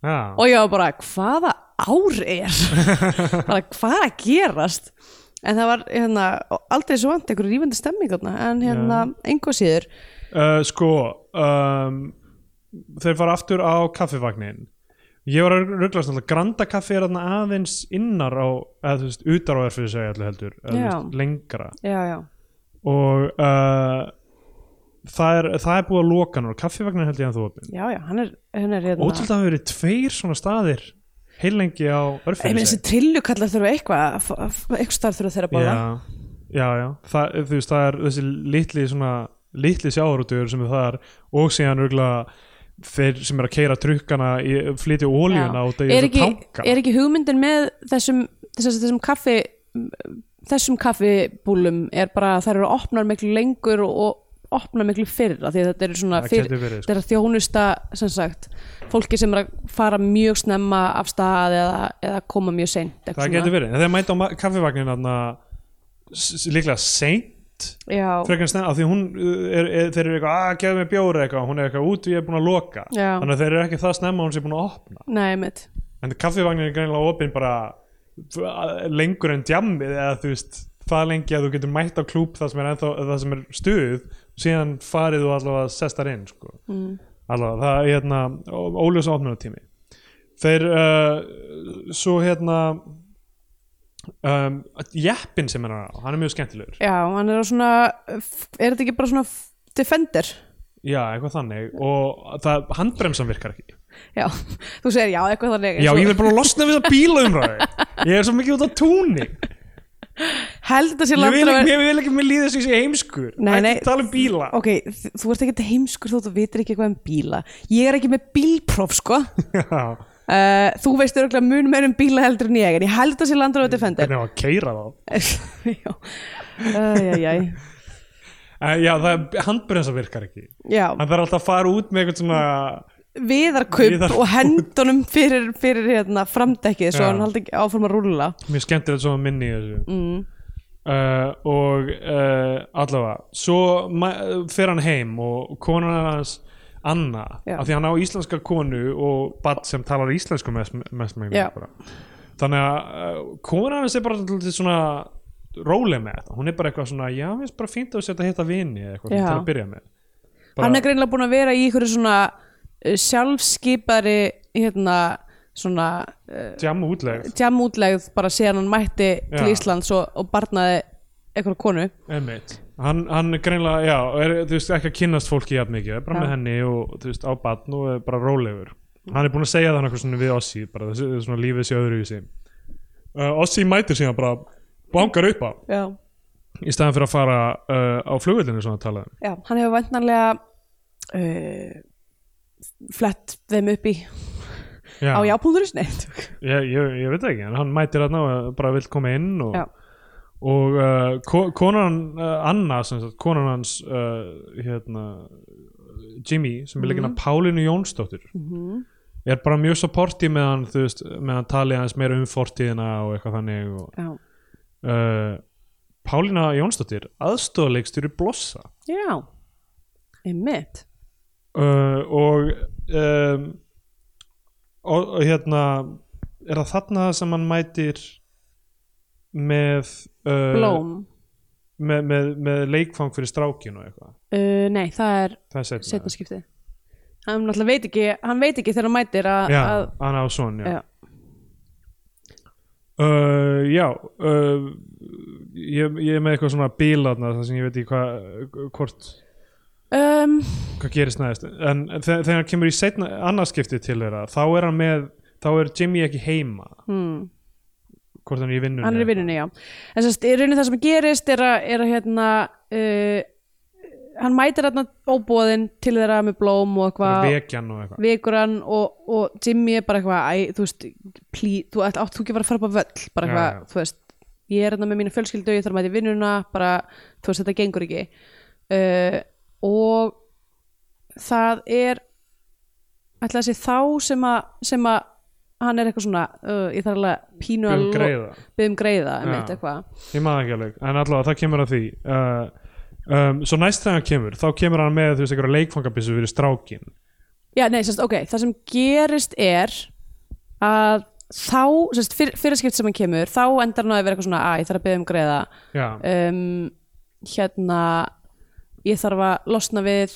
Speaker 2: Já,
Speaker 3: og ég var bara, hvaða ár er bara, hvað er að gerast en það var hérna, aldrei svo vant einhverju rífandi stemming þarna, en hérna, engu að síður
Speaker 2: Uh, sko um, þeir fara aftur á kaffivagnin ég var að rugglast alltaf Granda kaffi er þarna aðeins innar á eða þú veist, utar á erfið segja allir heldur eða, þú
Speaker 3: Já.
Speaker 2: veist, lengra
Speaker 3: já, já,
Speaker 2: og uh, það, er, það er búið að loka núna kaffivagnin held ég að þú opin
Speaker 3: já, já, hann er, hann er hérna
Speaker 2: ótrúlega hafa verið tveir svona staðir heilengi á
Speaker 3: Ég meina
Speaker 2: örfið
Speaker 3: þessi trillukallar þurfa eitthvað að fá- eitthvað starf þurfa þeirra að borða
Speaker 2: já, já, já. Það, þú veist, það er þessi litli svona, litli sjávarútugur sem er þar og síðan örgla þeir sem er að keira trukkana í, flytja ólíuna út af
Speaker 3: er,
Speaker 2: þessu
Speaker 3: ekki,
Speaker 2: tanka
Speaker 3: er ekki hugmyndin með þessum, þessum, þessum kaffi þessum kaffibúlum er bara að þær eru opnar miklu lengur og, og opnar miklu fyrr af því að þetta eru svona
Speaker 2: Það
Speaker 3: fyrr,
Speaker 2: gæti verið, sko.
Speaker 3: þetta er að þjónusta sem sagt, fólki sem er að fara mjög snemma af stað eða, eða koma mjög seint eitthvað
Speaker 2: það
Speaker 3: svona.
Speaker 2: getur verið, en þeir mæta á ma- kaffivagnin þarna s- líklega seint
Speaker 3: Já,
Speaker 2: frekar snemma, af því hún uh, er, er, þeir eru eitthvað, "Ah, að gefa mig bjóri eitthvað hún er eitthvað út, ég er búin að loka
Speaker 3: Já.
Speaker 2: þannig að þeir eru ekki það snemma að hún sé búin að opna
Speaker 3: nei, mitt
Speaker 2: en kaffivagnin er greinilega opinn bara f- lengur en djammið eða þú veist það lengi að þú getur mætt á klúb það sem er, ennþá, það sem er stuð síðan farið þú allavega að sestar inn sko. mm. allavega, það er hérna óljós opnunatími þeir uh, svo hérna um, jeppin sem er hann á, hann er mjög skemmtilegur
Speaker 3: Já, hann er á svona er þetta ekki bara svona defender?
Speaker 2: já, eitthvað þannig og það, handbremsan virkar ekki
Speaker 3: Já, þú segir já, eitthvað þannig
Speaker 2: já, ég verð bara að losna við það bílaumræði ég er svo mikið út á túni
Speaker 3: held þetta sé
Speaker 2: Ég vil,
Speaker 3: Rover-
Speaker 2: ekki, ég vil ekki með líða þessu heimskur
Speaker 3: Nei, nei.
Speaker 2: Ekki tala um bíla
Speaker 3: ok, þ- þú ert ekkert heimskur þó þú vitir ekki eitthvað um bíla ég er ekki með bílpróf sko
Speaker 2: Já,
Speaker 3: uh, þú veist örgulega mun meir um bíla heldur en ég en ég held að sé landur á Defender
Speaker 2: Hvernig á að keira þá
Speaker 3: já, æjæjæj
Speaker 2: Eh, Já, það handbremsa virkar ekki
Speaker 3: já,
Speaker 2: Hann þarf alltaf að fara út með eitthvað svona
Speaker 3: viðarkup
Speaker 2: Viðarkubb.
Speaker 3: og hendunum fyrir, fyrir hérna, framdekkið svo
Speaker 2: Já.
Speaker 3: hann haldi ekki áfram að rúlla
Speaker 2: Mjög skemmtilegt svona minni í þessu mm. Og uh, allavega Svo ma- fer hann heim og konan hans Anna
Speaker 3: Já.
Speaker 2: af því hann á íslenska konu og barn sem talar íslensku mest, mest
Speaker 3: Já.
Speaker 2: Þannig að uh, konan hans er bara til svona róleg með þetta, hún er bara eitthvað svona já, mér finnst bara fínt að þú setja að hitta vini eða eitthvað
Speaker 3: Já.
Speaker 2: svona til að byrja með
Speaker 3: hann er greinlega búin að vera í ykkur svona uh, sjálfskipari hérna svona uh,
Speaker 2: Djamma útlegð
Speaker 3: jamútlegð bara síðan hann mætti til
Speaker 2: Já.
Speaker 3: Íslands og, og barnaði einhverja konu
Speaker 2: Einmitt. Hann, hann er greinlega, já, er, þú veist, ekki að kynnast fólki jafn mikið, er bara
Speaker 3: Já.
Speaker 2: með henni og þú veist, á batn og er bara rólegur hann er búin að segja það eitthvað svona við Ossi bara þessu svona lífið sé öðru í sig uh, Ossi mætir síðan bara bangar upp á,
Speaker 3: já
Speaker 2: í staðan fyrir að fara uh, á flugvillinu svona að tala um.
Speaker 3: Já, hann hefur væntanlega uh, flett þeim upp í
Speaker 2: Já.
Speaker 3: á jápúndurins neitt
Speaker 2: ég, ég, ég veit það ekki, en hann mætir hann og bara vill koma inn og,
Speaker 3: Já.
Speaker 2: og uh, ko- konan uh, Anna, sem sagt, konan hans uh, hérna Jimmy, sem er leikinn af Pálinu Jónsdóttir er bara mjög supporti með hann, þú veist, með hann talið hans meira um fortíðina og eitthvað þannig og,
Speaker 3: já,
Speaker 2: uh, Pálina Jónsdóttir aðstoðaleikstjóri Blossa
Speaker 3: já. einmitt
Speaker 2: uh, og, um, og og hérna er það þarna sem hann mætir með uh,
Speaker 3: blóm,
Speaker 2: með, með, með leikfang fyrir strákinu og eitthvað
Speaker 3: uh, nei það er
Speaker 2: það er
Speaker 3: setna
Speaker 2: setna
Speaker 3: skiptið hann náttúrulega veit ekki, hann veit ekki þegar hann mætir að,
Speaker 2: já,
Speaker 3: að
Speaker 2: hann á son já,
Speaker 3: Já.
Speaker 2: Uh, já uh, ég, ég er með eitthvað svona bílarna þar sem ég veit ekki hvað hvort,
Speaker 3: um,
Speaker 2: hvað gerist næðist en þe- þegar hann kemur í setna annarskipti til þeirra þá er hann með þá er Jimmy ekki heima
Speaker 3: hmm,
Speaker 2: hvort hann er í vinnunni
Speaker 3: hann er í
Speaker 2: eða-
Speaker 3: vinnunni, já en sérst, í rauninni það sem gerist er að, er að hérna uh, hann mætir hérna óbóðin til þeirra með blóm og
Speaker 2: Bara
Speaker 3: eitthvað
Speaker 2: vekjan og eitthvað
Speaker 3: vekur hann og, og Jimmy er bara eitthvað æ, þú veist, plí, þú ætti átt þú ekki bara að fara upp á völl bara
Speaker 2: Já,
Speaker 3: eitthvað,
Speaker 2: já.
Speaker 3: þú veist ég er hérna með mína fjölskyldu, ég þarf að mæta í vinnuna bara, þú veist, þetta gengur ekki uh, og það er ætla að sé þá sem að, sem að hann er eitthvað svona uh, ég þarf alveg að pínu
Speaker 2: Biðja um
Speaker 3: lo-
Speaker 2: greiða.
Speaker 3: biðja um greiða einmitt,
Speaker 2: Já.
Speaker 3: eitthvað
Speaker 2: ég maður ekki alveg, en allavega það kemur að því uh, um, svo næst þegar hann kemur þá kemur hann með þú veist einhverja leikfangabissu fyrir strákin
Speaker 3: Já, nei, sérst, ok, það sem gerist er að þá, sérst, fyr, fyrir skipt sem hann kemur þá endar hann á að vera eitthvað svona, að ég þarf að beða um greiða
Speaker 2: já,
Speaker 3: um, hérna ég þarf að losna við eh,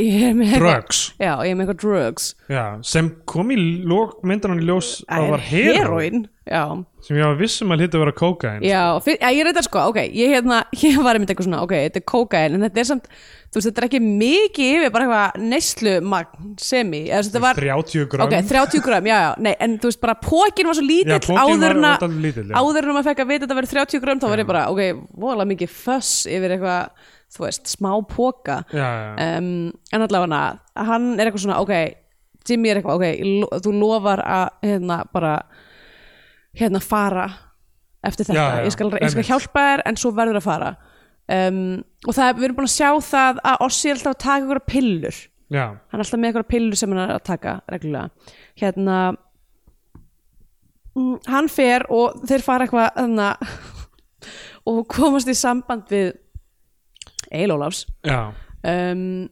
Speaker 3: ég er með eitthvað-
Speaker 2: drugs
Speaker 3: Já, ég er með eitthvað drugs
Speaker 2: já, sem kom í lók myndan hann í ljós að það var heroin
Speaker 3: heroin Já,
Speaker 2: sem ég var vissum að hlita að vera kókain
Speaker 3: Já, fyr, ja, ég reyndar sko, ok, ég, hérna, ég var einmitt eitthvað svona, ok, þetta er kókain, en þetta er samt, þú veist, þetta er ekki mikið yfir bara eitthvað neyslumagn sem í, eða þú veist, þetta var,
Speaker 2: 30 grömm
Speaker 3: ok, 30 grömm, já, já, nei, en þú veist, bara pókin var svo lítill
Speaker 2: Já, pokinn var
Speaker 3: áður en að-
Speaker 2: dálítið lítill, já.
Speaker 3: áður en að maður fekk að vita að þetta verið 30 grömm, þá var ég bara, ok, vola mikið föss yfir eitthvað, þú veist, smá póka,
Speaker 2: já, já, já.
Speaker 3: um, en allavega hann er eitthvað svona, ok Jimmy er eitthvað, ok, ég lo- þú lofar að hérna bara hérna fara eftir þetta
Speaker 2: Já, já,
Speaker 3: ég skal, ég skal
Speaker 2: einmitt.
Speaker 3: hjálpa þér en svo verður að fara um, og það, við erum búin að sjá það að Ossi er alltaf að taka ykkur pillur
Speaker 2: já.
Speaker 3: hann er alltaf með eitthvað pillur sem hann er að taka reglulega hérna mm, hann fer og þeir fara eitthvað þarna, og komast í samband við Eil Ólafs
Speaker 2: já.
Speaker 3: um,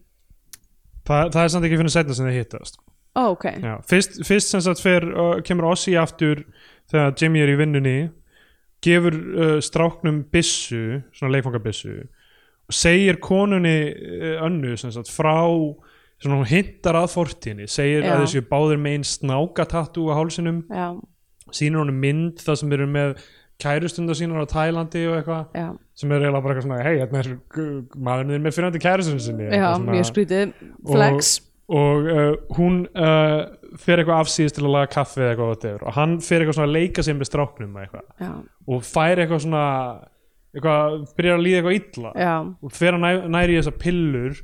Speaker 2: Það, það er samt ekki fyrir setna sem þið hittast
Speaker 3: Ó, ok,
Speaker 2: já. fyrst, fyrst sem sagt fer, uh, kemur Ossi aftur þegar Jimmy er í vinnunni gefur uh, stráknum byssu, svona leikfangabissu og segir konunni uh, önnu sem sagt frá svona hún hintar að fortinni segir
Speaker 3: Já.
Speaker 2: að þessu báðir með einn snákatatú á hálsinum,
Speaker 3: já,
Speaker 2: sýnir honum mynd það sem eru með kærustunda sínar á Tælandi og eitthvað
Speaker 3: já,
Speaker 2: sem er eiginlega bara eitthvað svona, hei, hérna er gu- maðurinn þinn með fyrrandi kærustunum sinni
Speaker 3: já,
Speaker 2: Eitthvað svona-
Speaker 3: mjög skrítið flex,
Speaker 2: og uh, hún uh, fer eitthvað afsýðist til að laga kaffi eða eitthvað whatever. og hann fer eitthvað svona að leika sér með stráknum eða eitthvað.
Speaker 3: já,
Speaker 2: og fær eitthvað svona eitthvað, byrjar að líða eitthvað illa
Speaker 3: já
Speaker 2: og fer að næ, næri í þessar pillur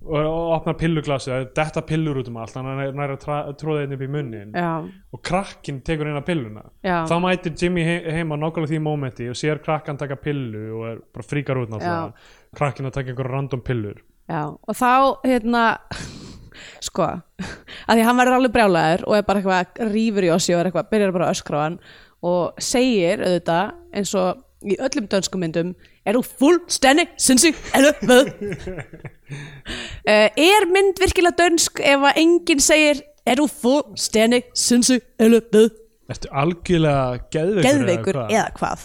Speaker 2: og, og opnar pilluglasið það er detta pillur út um allt hann næ- nær að tra, tróða einn upp í munnin
Speaker 3: já,
Speaker 2: og krakkin tekur eina pilluna
Speaker 3: Já.
Speaker 2: þá mætir Jimmy he heima nákvæmlega því mómenti og sér krakkan taka pillu og er bara fríkar út náttúrulega krakkin að taka einhverja random pillur
Speaker 3: já og þá, hérna sko, að því hann verður alveg brjálæður og er bara eitthvað rýfur í ossi og er eitthvað, byrjar bara að öskra á hann og segir auðvitað eins og í öllum dönskum myndum er þú fullstenni sinnsig elöföð Eh, er mynd virkilega dönsk ef að enginn segir er þú fullstenni sinnsig elöföð
Speaker 2: Ertu algjörlega geðveikur, eða
Speaker 3: geðveikur
Speaker 2: hvað?
Speaker 3: eða hvað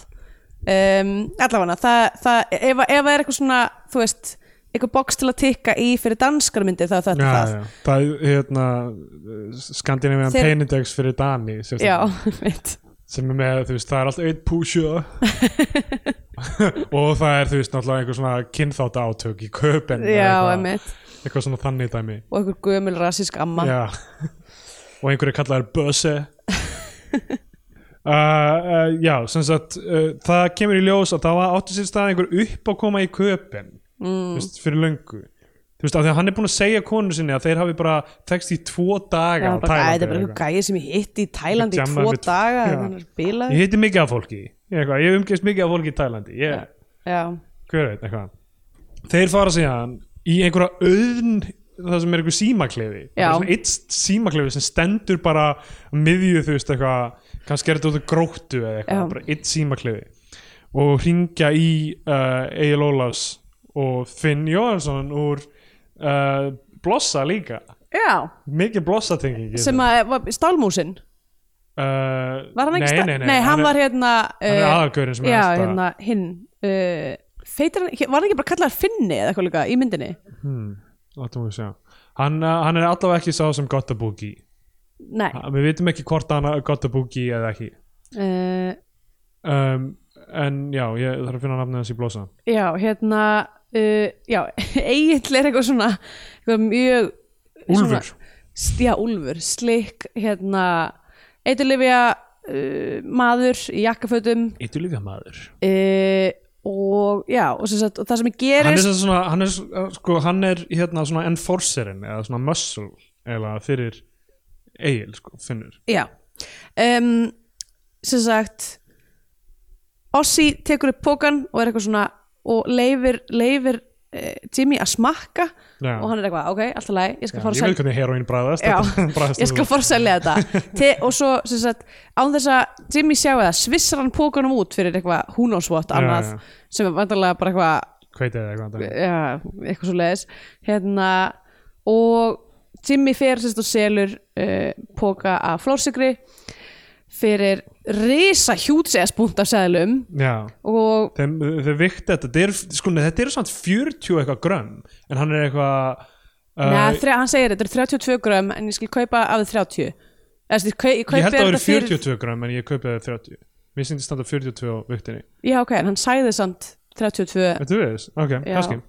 Speaker 3: um, allavega það, það ef, ef það er eitthvað svona þú veist, eitthvað box til að tikka í fyrir danskar myndi það er þetta
Speaker 2: já,
Speaker 3: það
Speaker 2: já. það er hérna skandinavian
Speaker 3: Þeir-
Speaker 2: Þeir... penindex fyrir Dani sérstaklega,
Speaker 3: Já, mitt
Speaker 2: sem er með, þú veist, það er alltaf einn púsjö og það er, þú veist, náttúrulega einhver svona kynþáta átök í köpen eða
Speaker 3: Já,
Speaker 2: eitthvað,
Speaker 3: emitt
Speaker 2: eitthvað svona þannig dæmi
Speaker 3: Og einhver gömul rassísk amma
Speaker 2: já. og einhverju kallaðir böse Uh, uh, já, sem sagt uh, það kemur í ljós að það var áttu sér stað einhver upp að koma í köpen mm. veist, fyrir löngu þú veist, af því að hann er búin að segja konu sinni að þeir hafi bara tekst í tvo daga á
Speaker 3: bara, bara,
Speaker 2: Tælandi
Speaker 3: "Æ, þetta er bara
Speaker 2: eða
Speaker 3: eitthvað gæði sem ég hitti í Tælandi í
Speaker 2: Jamma
Speaker 3: tvo
Speaker 2: við-
Speaker 3: daga
Speaker 2: Já.
Speaker 3: hann er bilað
Speaker 2: ég hitti mikið af fólki ég, eitthvað, ég umgeist mikið af fólki í Tælandi ég,
Speaker 3: já,
Speaker 2: hver veit, eitthvað þeir fara síðan í einhverja auðn það sem er einhver símaklefi
Speaker 3: Já.
Speaker 2: Bara svona eitt símaklefi sem stendur bara á miðju þú veist eitthvað kannski er þetta út af gróttu eða
Speaker 3: Já.
Speaker 2: eitthvað bara eitt símaklefi og hringja í uh, Egil Ólafs og Finn Jóhansson úr uh, Blossa líka
Speaker 3: já.
Speaker 2: mikið Blossa tengingi
Speaker 3: sem að var stálmúsin
Speaker 2: uh,
Speaker 3: var hann ekki
Speaker 2: nei,
Speaker 3: stál-
Speaker 2: nei, nei,
Speaker 3: nei, hann
Speaker 2: er-
Speaker 3: var hérna
Speaker 2: hann er
Speaker 3: eh,
Speaker 2: aðalgaurinn sem er
Speaker 3: já,
Speaker 2: alltaf-
Speaker 3: hérna hinn uh, feitir hann, var hann ekki bara kallar Finni eða eitthvað líka í myndinni
Speaker 2: hmm, látum við sjá hann, uh, hann er allavega ekki sá sem Gottabugi
Speaker 3: nei,
Speaker 2: Ha, við vitum ekki hvort hann gott að búki eða ekki
Speaker 3: uh,
Speaker 2: um, en já, ég þarf að finna nafnið hans í blossa
Speaker 3: já, hérna uh, já, eiginlega er eitthvað svona eitthvað mjög svona-
Speaker 2: Úlfur,
Speaker 3: S- já, Úlfur, slik hérna, eiturlifja uh, maður í jakkafötum
Speaker 2: eittu líka maður
Speaker 3: uh, og já, og, sem sagt, og það sem
Speaker 2: hann er,
Speaker 3: gerist
Speaker 2: sem sagt svona, hann, er, s- sko, hann er hérna svona enforcerin eða svona muscle eða fyrir eigil sko, finnur
Speaker 3: já, um, sem sagt Ossi tekur upp pókan og er eitthvað svona og leifir, leifir uh, Jimmy að smakka
Speaker 2: Já.
Speaker 3: og hann er eitthvað, ok, alltaf læg ég skal
Speaker 2: Já,
Speaker 3: fara
Speaker 2: ég
Speaker 3: að selja
Speaker 2: veit hvernig heroín bræðast
Speaker 3: Já,
Speaker 2: þetta bræðast
Speaker 3: ég skal
Speaker 2: þetta.
Speaker 3: fara að selja þetta Te, og svo sem sagt, án þess að Jimmy sjáu það, svissar hann pókunum út fyrir eitthvað who knows what
Speaker 2: Já,
Speaker 3: annað
Speaker 2: já.
Speaker 3: sem er vantarlega bara eitthvað
Speaker 2: Hveitið eða eitthvað annað.
Speaker 3: ja, eitthvað svo leiðis hérna, og Jimmy fer sérst og selur uh, póka af flórsikri fyrir risa hjútsæðaspunkt af seðlum
Speaker 2: já,
Speaker 3: og
Speaker 2: þeim, þeim vikti þetta þetta eru sko, nei, þetta er samt 40 eitthvað grönn en hann er eitthvað uh,
Speaker 3: Nei, þrjá, hann segir þetta er 32 grömm en ég skil kaupa af því 30 Eða, sem sagt, kau- ég
Speaker 2: ég held að það
Speaker 3: kaupi
Speaker 2: eru
Speaker 3: þetta fyrir-
Speaker 2: 42 grönn en ég kaupið það 30 mér syndi standa 42 á viktinni
Speaker 3: Já, ok, en hann sagði samt 32
Speaker 2: Þetta við þess, ok,
Speaker 3: Já.
Speaker 2: kannski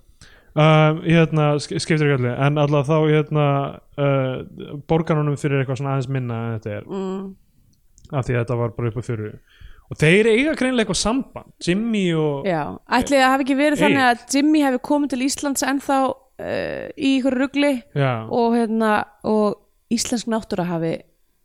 Speaker 2: um, hérna, sk- skiptir ekki allir en alltaf þá hérna uh, borgarunum fyrir eitthvað svona aðeins minna en þetta er,
Speaker 3: mm.
Speaker 2: af því að þetta var bara upp á fjöru og þeir eiga greinlega eitthvað samband Jimmy og,
Speaker 3: Já, ætli það hafi ekki verið
Speaker 2: Egill.
Speaker 3: þannig að Jimmy hefði komið til Íslands ennþá uh, í ykkur rugli
Speaker 2: já,
Speaker 3: og, hérna, og íslensk náttúra hafi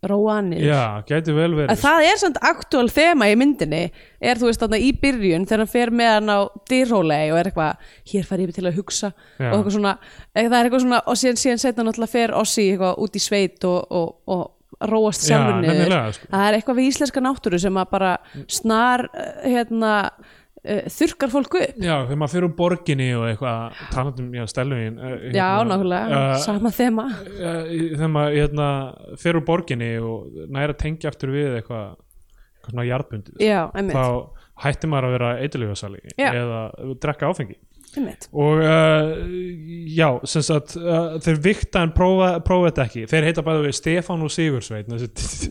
Speaker 3: róa hann niður.
Speaker 2: já gæti vel
Speaker 3: En
Speaker 2: verið
Speaker 3: það er samt aktúal þema í myndinni er þú veist þarna í byrjun þegar hann fer með hann á dyrhólei og er eitthvað hér fær ég til að hugsa
Speaker 2: Já.
Speaker 3: og eitthvað svona, eða það er eitthvað svona og síðan, síðan setna náttúrulega fer Ossi eitthvað út í sveit og, og, og róast
Speaker 2: Já,
Speaker 3: sjálfur niður
Speaker 2: nefnilega, sko. Mm.
Speaker 3: það er eitthvað við íslenska náttúru sem að bara snar eh, hérna eh, þurkar fólk upp
Speaker 2: já, þegar maður fyrir úr borginni og eitthvað talandum, já, stelvin uh, hérna,
Speaker 3: Já, nákvæmlega,
Speaker 2: uh,
Speaker 3: sama þema
Speaker 2: uh, þegar maður hérna, fyrir úr borginni og næra tengja aftur við eitthvað, eitthvað svona jarðbundið
Speaker 3: Já, einmitt,
Speaker 2: þá hætti maður að vera eitilöfasali
Speaker 3: Já.
Speaker 2: eða drekka áfengi
Speaker 3: einmitt.
Speaker 2: og uh, já, sem sagt uh, þeir vikta en prófa, prófa þetta ekki þeir heita bæði við Stefán og Sigursveit þessi,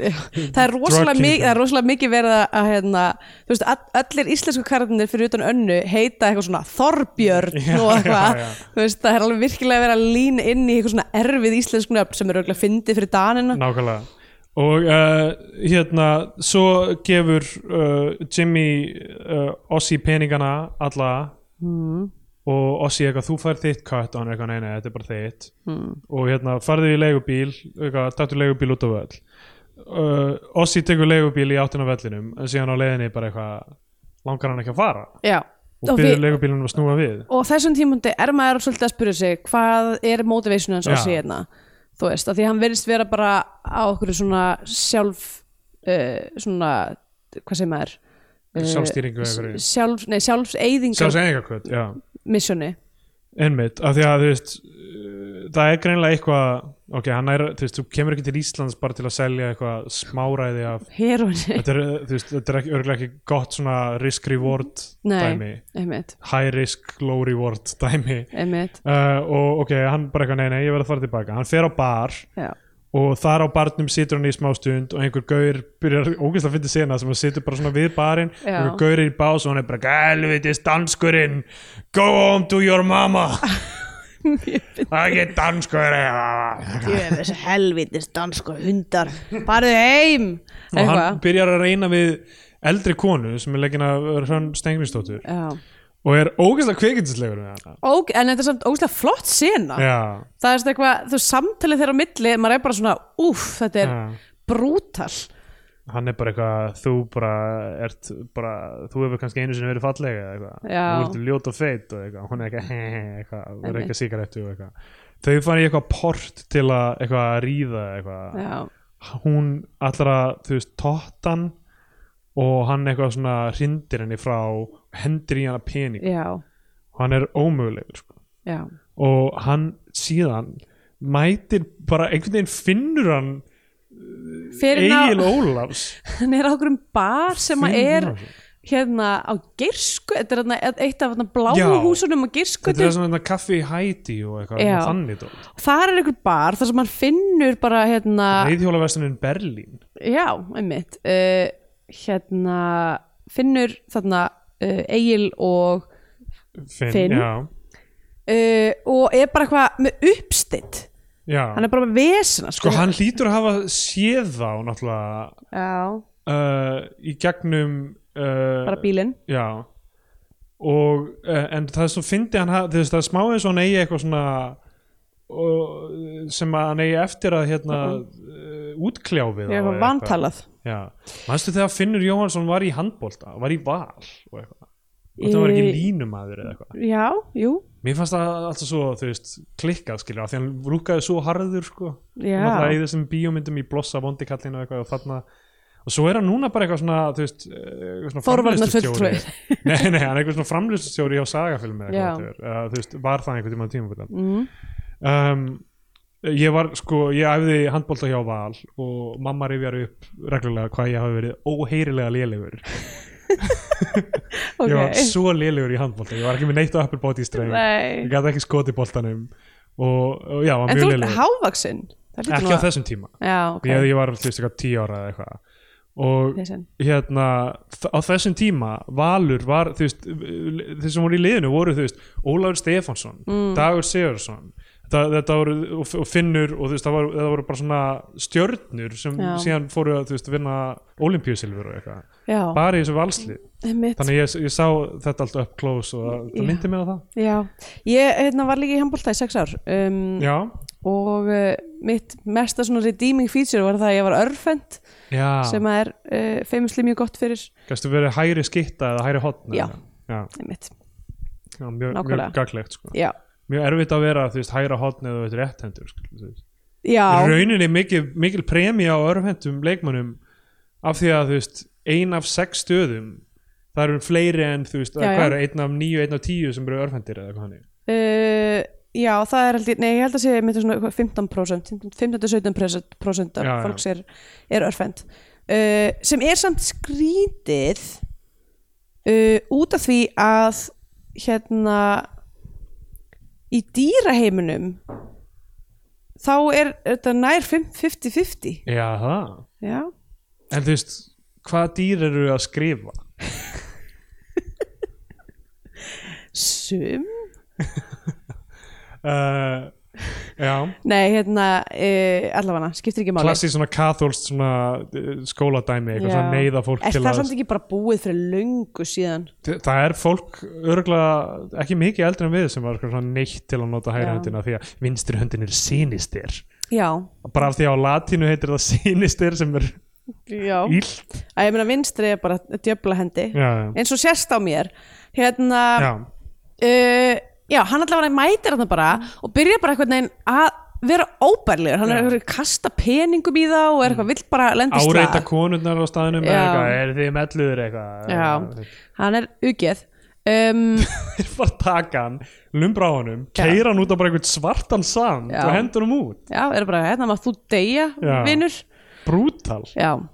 Speaker 3: Það er rosalega,
Speaker 2: kingdom.
Speaker 3: mik það er rosalega mikið verið að- að hérna, þú veist, all- allir íslensku kararnir fyrir utan önnu heita eitthvað svona Þorbjörn
Speaker 2: Já,
Speaker 3: og eitthvað,
Speaker 2: já, já.
Speaker 3: þú veist, það er alveg virkilega verið að lína inn í eitthvað svona erfið íslensku nöfn sem er auðvitað fyndið fyrir Danina
Speaker 2: nákvæmlega og uh, hérna svo gefur uh, Jimmy uh, Ossi peningana alla
Speaker 3: mm.
Speaker 2: og Ossi eitthvað, þú fær þitt kött og hann er eitthvað, nei, nei, þetta er bara þitt
Speaker 3: Mm.
Speaker 2: og hérna, farðu í leigubíl eitthvað, taktu leigubíl út á völl uh, Ossi tekur leigubíl í áttina að vellinum en síðan á leiðinni bara eitthvað langar hann ekki að fara
Speaker 3: Já,
Speaker 2: og
Speaker 3: við-
Speaker 2: byrður leigubílunum að snúa við
Speaker 3: og þessum tímundi er maður svolítið að spyrja sig hvað er motivation hans
Speaker 2: Já.
Speaker 3: á síðan þú veist, af því hann verðist vera bara á okkur svona sjálf uh, svona, hvað segir maður Eh,
Speaker 2: Sjálfstýringu eða hverju.
Speaker 3: s- sjálf, nei, sjálfseyðingar
Speaker 2: sjálfs einhverkvöld, já,
Speaker 3: missjóni
Speaker 2: einmitt af því að þú veist, uh, það er greinlega eitthvað ok, hann er, þú veist, þú kemur ekki til Íslands bara til að selja eitthvað smáræði af
Speaker 3: heroinni,
Speaker 2: þetta er, uh, þú veist, þetta er ekki, örgulega ekki gott svona risk-reward dæmi
Speaker 3: nei, einmitt
Speaker 2: high risk, low reward dæmi
Speaker 3: einmitt,
Speaker 2: uh, og ok, hann bara eitthvað, nei, nei, ég verð að fara tilbaka hann fer á bar
Speaker 3: já,
Speaker 2: og þar á barnum situr hann í smá stund og einhver gaur byrjar ógeðslega að finna sena sem hann situr bara svona við barinn og
Speaker 3: Já.
Speaker 2: einhver gaur er í bás og hann er bara helvitis danskurinn, go home to your mama ekki danskur og
Speaker 3: ég er þessi helvitis dansko hundar farðu heim
Speaker 2: hann
Speaker 3: eitthvað,
Speaker 2: byrjar að reyna við eldri konu sem er leggin að Hrönn Stengnistóttur
Speaker 3: já,
Speaker 2: og er ógeðslega kvikindislegur með hana
Speaker 3: Ó, en þetta er samt ógæslega flott sena
Speaker 2: já,
Speaker 3: það er svona eitthvað, þú samtalið þeirra á milli maður er bara svona, úff, þetta er
Speaker 2: Já.
Speaker 3: brútal
Speaker 2: hann er bara eitthvað þú bara ert bara, þú hefur kannski einu sinni verið fallega eitthvað,
Speaker 3: Já.
Speaker 2: þú ert ljót og feit og eitthvað, hún er eitthvað, he, he, he, eitthvað þú er eitthvað sigarettu og eitthvað þau fara í eitthvað port til að eitthvað ríða eitthvað,
Speaker 3: já,
Speaker 2: hún allra, þú veist, tottan og hann eitthvað svona hrindir henni frá, hendir í hana pening
Speaker 3: já,
Speaker 2: hann er ómögulegur sko.
Speaker 3: já
Speaker 2: og hann síðan mætir bara einhvern veginn finnur hann
Speaker 3: fyrir
Speaker 2: Egil
Speaker 3: ná,
Speaker 2: Ólafs sko.
Speaker 3: hann er á okkur um bar sem að
Speaker 2: Finnur
Speaker 3: er
Speaker 2: hann.
Speaker 3: hérna á Girsku þetta er hérna eitt af hérna bláu
Speaker 2: Já.
Speaker 3: húsunum á Girsku
Speaker 2: Þetta er svona þetta kaffi í hæti og eitthvað
Speaker 3: Já.
Speaker 2: svona þannig dót.
Speaker 3: þar er einhver bar þar sem hann finnur bara hérna
Speaker 2: Reiðhjólaversunin Berlín.
Speaker 3: já, einmitt uh, hérna finnur þarna uh, Egil og
Speaker 2: Finn.
Speaker 3: Finn.
Speaker 2: Já,
Speaker 3: uh, og er bara eitthvað með uppstitt
Speaker 2: já.
Speaker 3: hann er bara með vesina
Speaker 2: Sko hann hlýtur að hafa séð þá náttúrulega
Speaker 3: já,
Speaker 2: uh, í gegnum uh,
Speaker 3: bara bílinn
Speaker 2: Já. Og uh, en það er svo fyndi hann ha- þú veist það er smá eins og hann eigi eitthvað svona og, sem að hann eigi eftir að hérna uh, útkljá við þá
Speaker 3: ég er
Speaker 2: eða
Speaker 3: eitthvað vantalað
Speaker 2: Já. Manstu þegar Finnur Jóhansson var í handbólta, var í val og eitthvað. Og það var
Speaker 3: Í-
Speaker 2: ekki línumæður eða eitthvað.
Speaker 3: já, jú,
Speaker 2: Mér fannst það alltaf svo, þú veist, klikkað skilja, því hann rúkaði svo harður sko
Speaker 3: Já.
Speaker 2: Hann alltaf í þessum bíómyndum í blossa vondikallinu og eitthvað og þarna og svo er hann núna bara eitthvað svona, þú veist eh, eitthvað svona
Speaker 3: Forvarnafulltrúi.
Speaker 2: framleiðslustjóri. Nei, nei, hann er eitthvað svona framlýststjóri hjá sagafilmi
Speaker 3: Já.
Speaker 2: eitthvað, þú, uh, þú veist, var það einhvern tímann tíma
Speaker 3: Mhm.
Speaker 2: mm. um, Ég var sko, ég æfði handbólta hjá Val og mamma rifjar upp reglulega hvað ég hafi verið óheyrilega lélegur
Speaker 3: ok
Speaker 2: Ég var svo lélegur í handbólta, ég var ekki með neitt á upper body strength
Speaker 3: Nei.
Speaker 2: ég gæti ekki skoti boltanum og, og já, var mjög
Speaker 3: en þú ert
Speaker 2: leilig
Speaker 3: hávaksinn Það hlýtur
Speaker 2: ekki á
Speaker 3: nú að-
Speaker 2: þessum tíma
Speaker 3: já, ok
Speaker 2: ég, ég var alltaf eitthvað tíu ára eða eitthvað og
Speaker 3: Vesen.
Speaker 2: hérna þ- á þessum tíma Valur var þú veist, þeir sem voru í liðinu voru þú veist, Ólafur Stefánsson,
Speaker 3: Mm.
Speaker 2: Dagur Sigurðsson þetta, þetta voru og, og Finnur og þú veist, það voru, það voru bara svona stjörnur sem
Speaker 3: Já.
Speaker 2: síðan fóru að þú veist, vinna olimpíusilfur og eitthvað
Speaker 3: já,
Speaker 2: bara í þessu valslið,
Speaker 3: einmitt
Speaker 2: þannig ég, ég sá þetta alltaf up close og það,
Speaker 3: Já.
Speaker 2: það myndi mig á það
Speaker 3: já, ég hérna, var líka í handbólta í sex ár um,
Speaker 2: já,
Speaker 3: og uh, mitt mesta svona redeeming feature var það að ég var örfend
Speaker 2: já.
Speaker 3: sem að er uh, famously mjög gott fyrir
Speaker 2: Gæstu verið hægri skitta eða hægri hotn
Speaker 3: Já.
Speaker 2: já,
Speaker 3: einmitt,
Speaker 2: já mjög, mjög
Speaker 3: Nákvæmlega.
Speaker 2: gaglegt sko.
Speaker 3: já
Speaker 2: Mjög erfitt að vera þú veist, hægra hotn eða þú veist, rétthendur sko, þú veist. Í
Speaker 3: já,
Speaker 2: Rauninni er mikil, mikil premi á örfhendum leikmönnum af því að þú veist, ein af sex stöðum það eru fleiri en þú veist,
Speaker 3: Já,
Speaker 2: hvað
Speaker 3: já.
Speaker 2: eru, einn af níu, einn af tíu sem eru örfhendir eða hvað hann er
Speaker 3: uh, já það er aldrei, nei ég held að sé myndi svona eitthvað 15% 15-17% af
Speaker 2: Já, já.
Speaker 3: fólks er, er örfend uh, sem er samt skrítið uh, út af því að hérna í dýraheiminum þá er þetta nær 50-50
Speaker 2: Já, það
Speaker 3: já,
Speaker 2: En þú veist, hvaða dýr eru að skrifa?
Speaker 3: sum
Speaker 2: Uh, já,
Speaker 3: nei hérna uh, allavega skiptir ekki máli
Speaker 2: klassísk svona katholst svona eh, skóladæmi, eitthvað svona
Speaker 3: Já.
Speaker 2: neyða fólk
Speaker 3: er
Speaker 2: til
Speaker 3: það
Speaker 2: að
Speaker 3: samt ekki bara búið fyrir löngu síðan
Speaker 2: Þa- það er fólk örgulega ekki mikið eldri en við sem var svona neitt til að nota hægri
Speaker 3: Já.
Speaker 2: höndina því að vinstri höndin er sinistir
Speaker 3: já,
Speaker 2: bara af því að á latínu heitir það sinistir sem er
Speaker 3: já.
Speaker 2: illt
Speaker 3: að ég meina vinstri er bara djöfla hendi
Speaker 2: já, já.
Speaker 3: eins og sérst á mér hérna já,
Speaker 2: Já.
Speaker 3: já hann allavega mætir hann bara og byrja bara eitthvað neginn að vera óbærlegur, hann
Speaker 2: Já.
Speaker 3: er eitthvað að kasta peningum í þá og er eitthvað vill bara lendi
Speaker 2: áreita konurnar á staðnum eða
Speaker 3: Já.
Speaker 2: eitthvað, er þið melluður eitthvað
Speaker 3: já, hann er ugeð um,
Speaker 2: þeir bara taka hann, lumbra á honum keira hann út á bara einhvern svartan sand
Speaker 3: Já.
Speaker 2: og hendur hann út,
Speaker 3: já, er bara hérna maður þú deyja,
Speaker 2: Já.
Speaker 3: vinnur
Speaker 2: brútal
Speaker 3: já,
Speaker 2: um,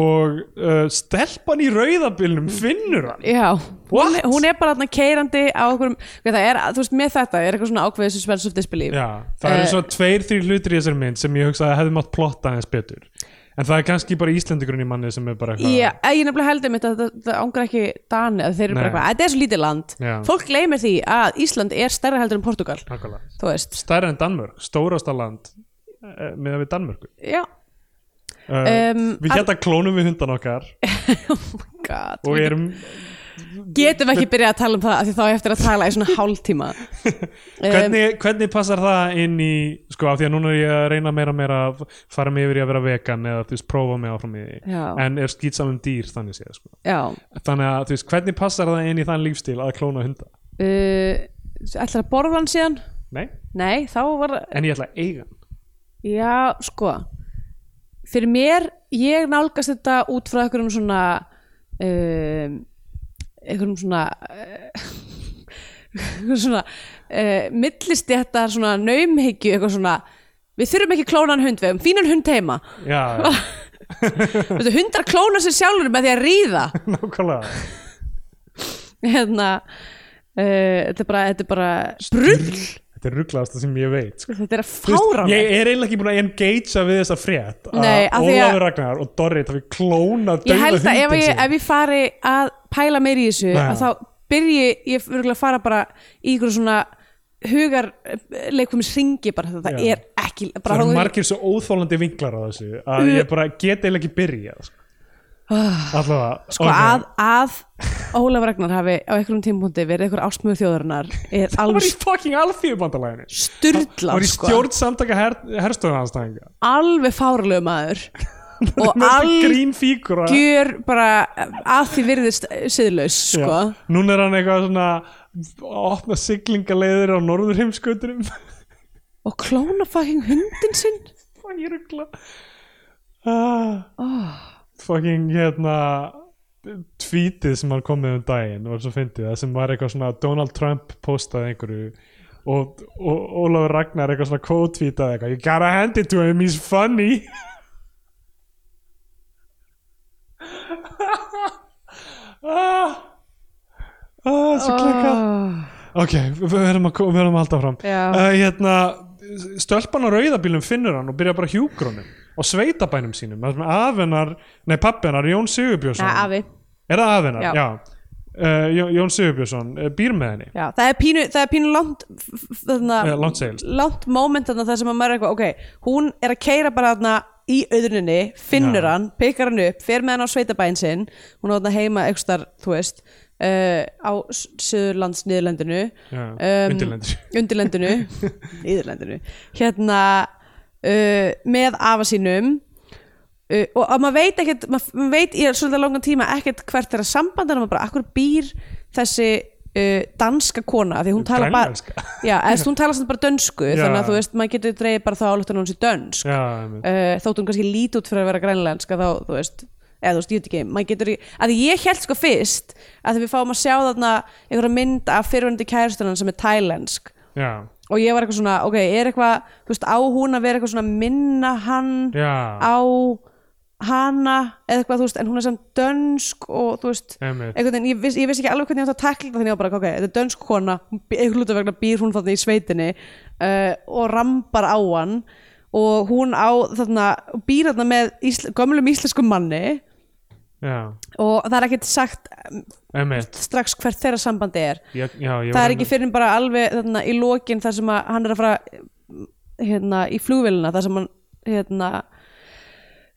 Speaker 2: og uh, stelpan í rauðabilnum finnur hann
Speaker 3: já hún,
Speaker 2: What?
Speaker 3: hún er bara þarna keirandi á okkur það er, þú veist, með þetta er eitthvað svona ákveðið sem spennst of disbelief
Speaker 2: Já, það eru
Speaker 3: Eh,
Speaker 2: svona tveir, þrjir hlutir í þessari mynd sem ég hugsaði að hefði mátt plotta aðeins betur en það er kannski bara Íslendikurinn í manni sem er bara eitthvað
Speaker 3: Já, eh, ég nefnilega heldur mitt að það ángur ekki Dani að þeir eru bara
Speaker 2: Nei.
Speaker 3: eitthvað, þetta er svo lítið land
Speaker 2: Já.
Speaker 3: fólk gleymir því að Ísland er stærra heldur en Portugal,
Speaker 2: nákvæmlega.
Speaker 3: þú veist
Speaker 2: stærra en Danmörk, stórasta land eh, miðað við Danmörku Eh,
Speaker 3: Já,
Speaker 2: uh,
Speaker 3: Um,
Speaker 2: Við hérna klónum við hundan okkar
Speaker 3: god
Speaker 2: og erum
Speaker 3: getum ekki byrjað að tala um það af því þá á ég eftir að tala í svona hálftíma um,
Speaker 2: hvernig, hvernig passar það inn í sko af því að núna er ég að reyna meira og meira að fara mig yfir í að vera vegan eða þú veist prófa mig áfram í því
Speaker 3: Já.
Speaker 2: en er skýtsam um dýr þannig séð sko.
Speaker 3: já,
Speaker 2: þannig að þú veist hvernig passar það inn í þann lífstíl að klóna hunda
Speaker 3: uh, ætlar að borða hann síðan
Speaker 2: nei,
Speaker 3: nei, þá var,
Speaker 2: en ég ætla að eiga hann
Speaker 3: já, sko fyrir mér, ég nálgast þetta út frá einhverjum svona um, einhverjum svona uh, einhverjum svona uh, millistjættar svona naumhyggju eitthvað svona við þurfum ekki klónan hund, við hefum fínan hund heima
Speaker 2: já,
Speaker 3: Veistu, hundar klóna sér sjálfur með því að ríða
Speaker 2: nákvæmlega
Speaker 3: hérna uh, þetta er bara, þetta er bara brull,
Speaker 2: þetta er rugglaðasta sem ég veit sko.
Speaker 3: þetta er að
Speaker 2: Þú veist,
Speaker 3: fára
Speaker 2: ég er eiginlega ekki búin að engagea við þessa frétt að
Speaker 3: Nei, af því að-
Speaker 2: Ólafur Ragnar og Dorrit hafi klónað
Speaker 3: ég
Speaker 2: dauða
Speaker 3: held að ef
Speaker 2: hundinn
Speaker 3: ég,
Speaker 2: sinn.
Speaker 3: ef ég fari að pæla meir í þessu
Speaker 2: Já.
Speaker 3: að þá byrji ég örgulega að fara bara í ykkur svona hugarleikum syngi bara þetta, það
Speaker 2: Já.
Speaker 3: er ekki
Speaker 2: það
Speaker 3: bara
Speaker 2: eru
Speaker 3: hún-
Speaker 2: margir svo óþólandi vinklar á þessu að ég bara get eiginlega ekki byrjað sko. allavega
Speaker 3: sko að, að Ólaf Ragnar hafi á einhverjum tímpúndi verið einhver ástmjög þjóðarinnar er
Speaker 2: það var
Speaker 3: alveg
Speaker 2: í fucking alþýðubandalæðinu það
Speaker 3: styrla
Speaker 2: var í stjórn samtaka her, herstöðananstæðinga
Speaker 3: alveg fáralegu maður og algjör sko.
Speaker 2: grín fíkur
Speaker 3: bara að því virðist siðlaus sko
Speaker 2: núna er hann eitthvað svona að opna siglingaleiðir á norðurheimskautunum
Speaker 3: og klóna fucking hundin sinn
Speaker 2: fucking ruggla ah, fucking hérna tweetið sem hann kom með um daginn var svo fyndið, það sem var eitthvað svona Donald Trump postaði einhverju og, og Ólafur Ragnar eitthvað svona co-tweetaði eitthvað, you gotta hand it to him he's funny ah, ah, svo klikkað Ok, við verðum að, við verðum að halda fram
Speaker 3: Já.
Speaker 2: uh, hérna, Stölpan á rauðabílum finnur hann og byrja bara hjúgrónum á sveitabænum sínum þar sem afenar, nei pappenar, Jón Sigurbjörnsson
Speaker 3: Nei, afi
Speaker 2: Er það afenar?
Speaker 3: Já.
Speaker 2: Já. Uh, Jón- Jón Sigurbjörnsson uh, býr með henni
Speaker 3: Já, það er pínu, það er pínu langt þarna,
Speaker 2: Eh, langt seilst.
Speaker 3: langt moment þarna þar sem að maður er eitthvað ok, hún er að keira bara þarna í auðruninni, finnur
Speaker 2: Já.
Speaker 3: hann pikkar hann upp, fer með hann á sveitabæn sinn hún er þarna heima ekstar, þú veist uh, á söðurlands niðurlendinu um,
Speaker 2: Já, undirlendinu.
Speaker 3: undirlendinu niðurlendinu hérna uh, með afa sínum uh, og, og maður veit ekkert maður, maður veit í svolítið langan tíma ekkert hvert þeirra sambandar maður bara akkur býr þessi uh, danska kona af því hún talar bara
Speaker 2: Grænlenska.
Speaker 3: já, eða, þú- hún talar samt bara dönsku
Speaker 2: Já.
Speaker 3: þannig að þú veist maður getur dreigð bara þá álöftan hún sé dönsk uh,
Speaker 2: Já, einmitt.
Speaker 3: þótt hún kannski líti út fyrir að vera grænlenska þá þú veist eða þú veist, ég veit ekki, maður getur ekki að því ég held sko fyrst að því við fáum að sjá þarna einhverja mynd af fyrirvöndi kæristunan sem er thailensk
Speaker 2: já,
Speaker 3: og ég var eitthvað svona, ok, er eitthvað þú veist, á hún að vera eitthvað svona minna hann
Speaker 2: já
Speaker 3: á hana eða eitthvað, þú veist, en hún er samt dönsk og þú veist,
Speaker 2: Einmitt.
Speaker 3: einhvern veginn, ég vissi ég viss ekki alveg hvernig ég átt að takla þetta þannig ég var bara, ok, þetta er dönsk kona hún bý- einhver hluta vegna býr hún þarna í sveitinni uh, og rambar á hann og hún á þarna býr þarna með ísl, gömlum íslenskum manni
Speaker 2: Já,
Speaker 3: og það er ekkert sagt um,
Speaker 2: emitt
Speaker 3: strax hvert þeirra sambandi er
Speaker 2: já, já, ég
Speaker 3: það
Speaker 2: var
Speaker 3: er ekki
Speaker 2: einmitt-
Speaker 3: fyrir bara alveg þarna, í lokin þar sem að hann er að fara hérna í flugvélina þar sem hann hérna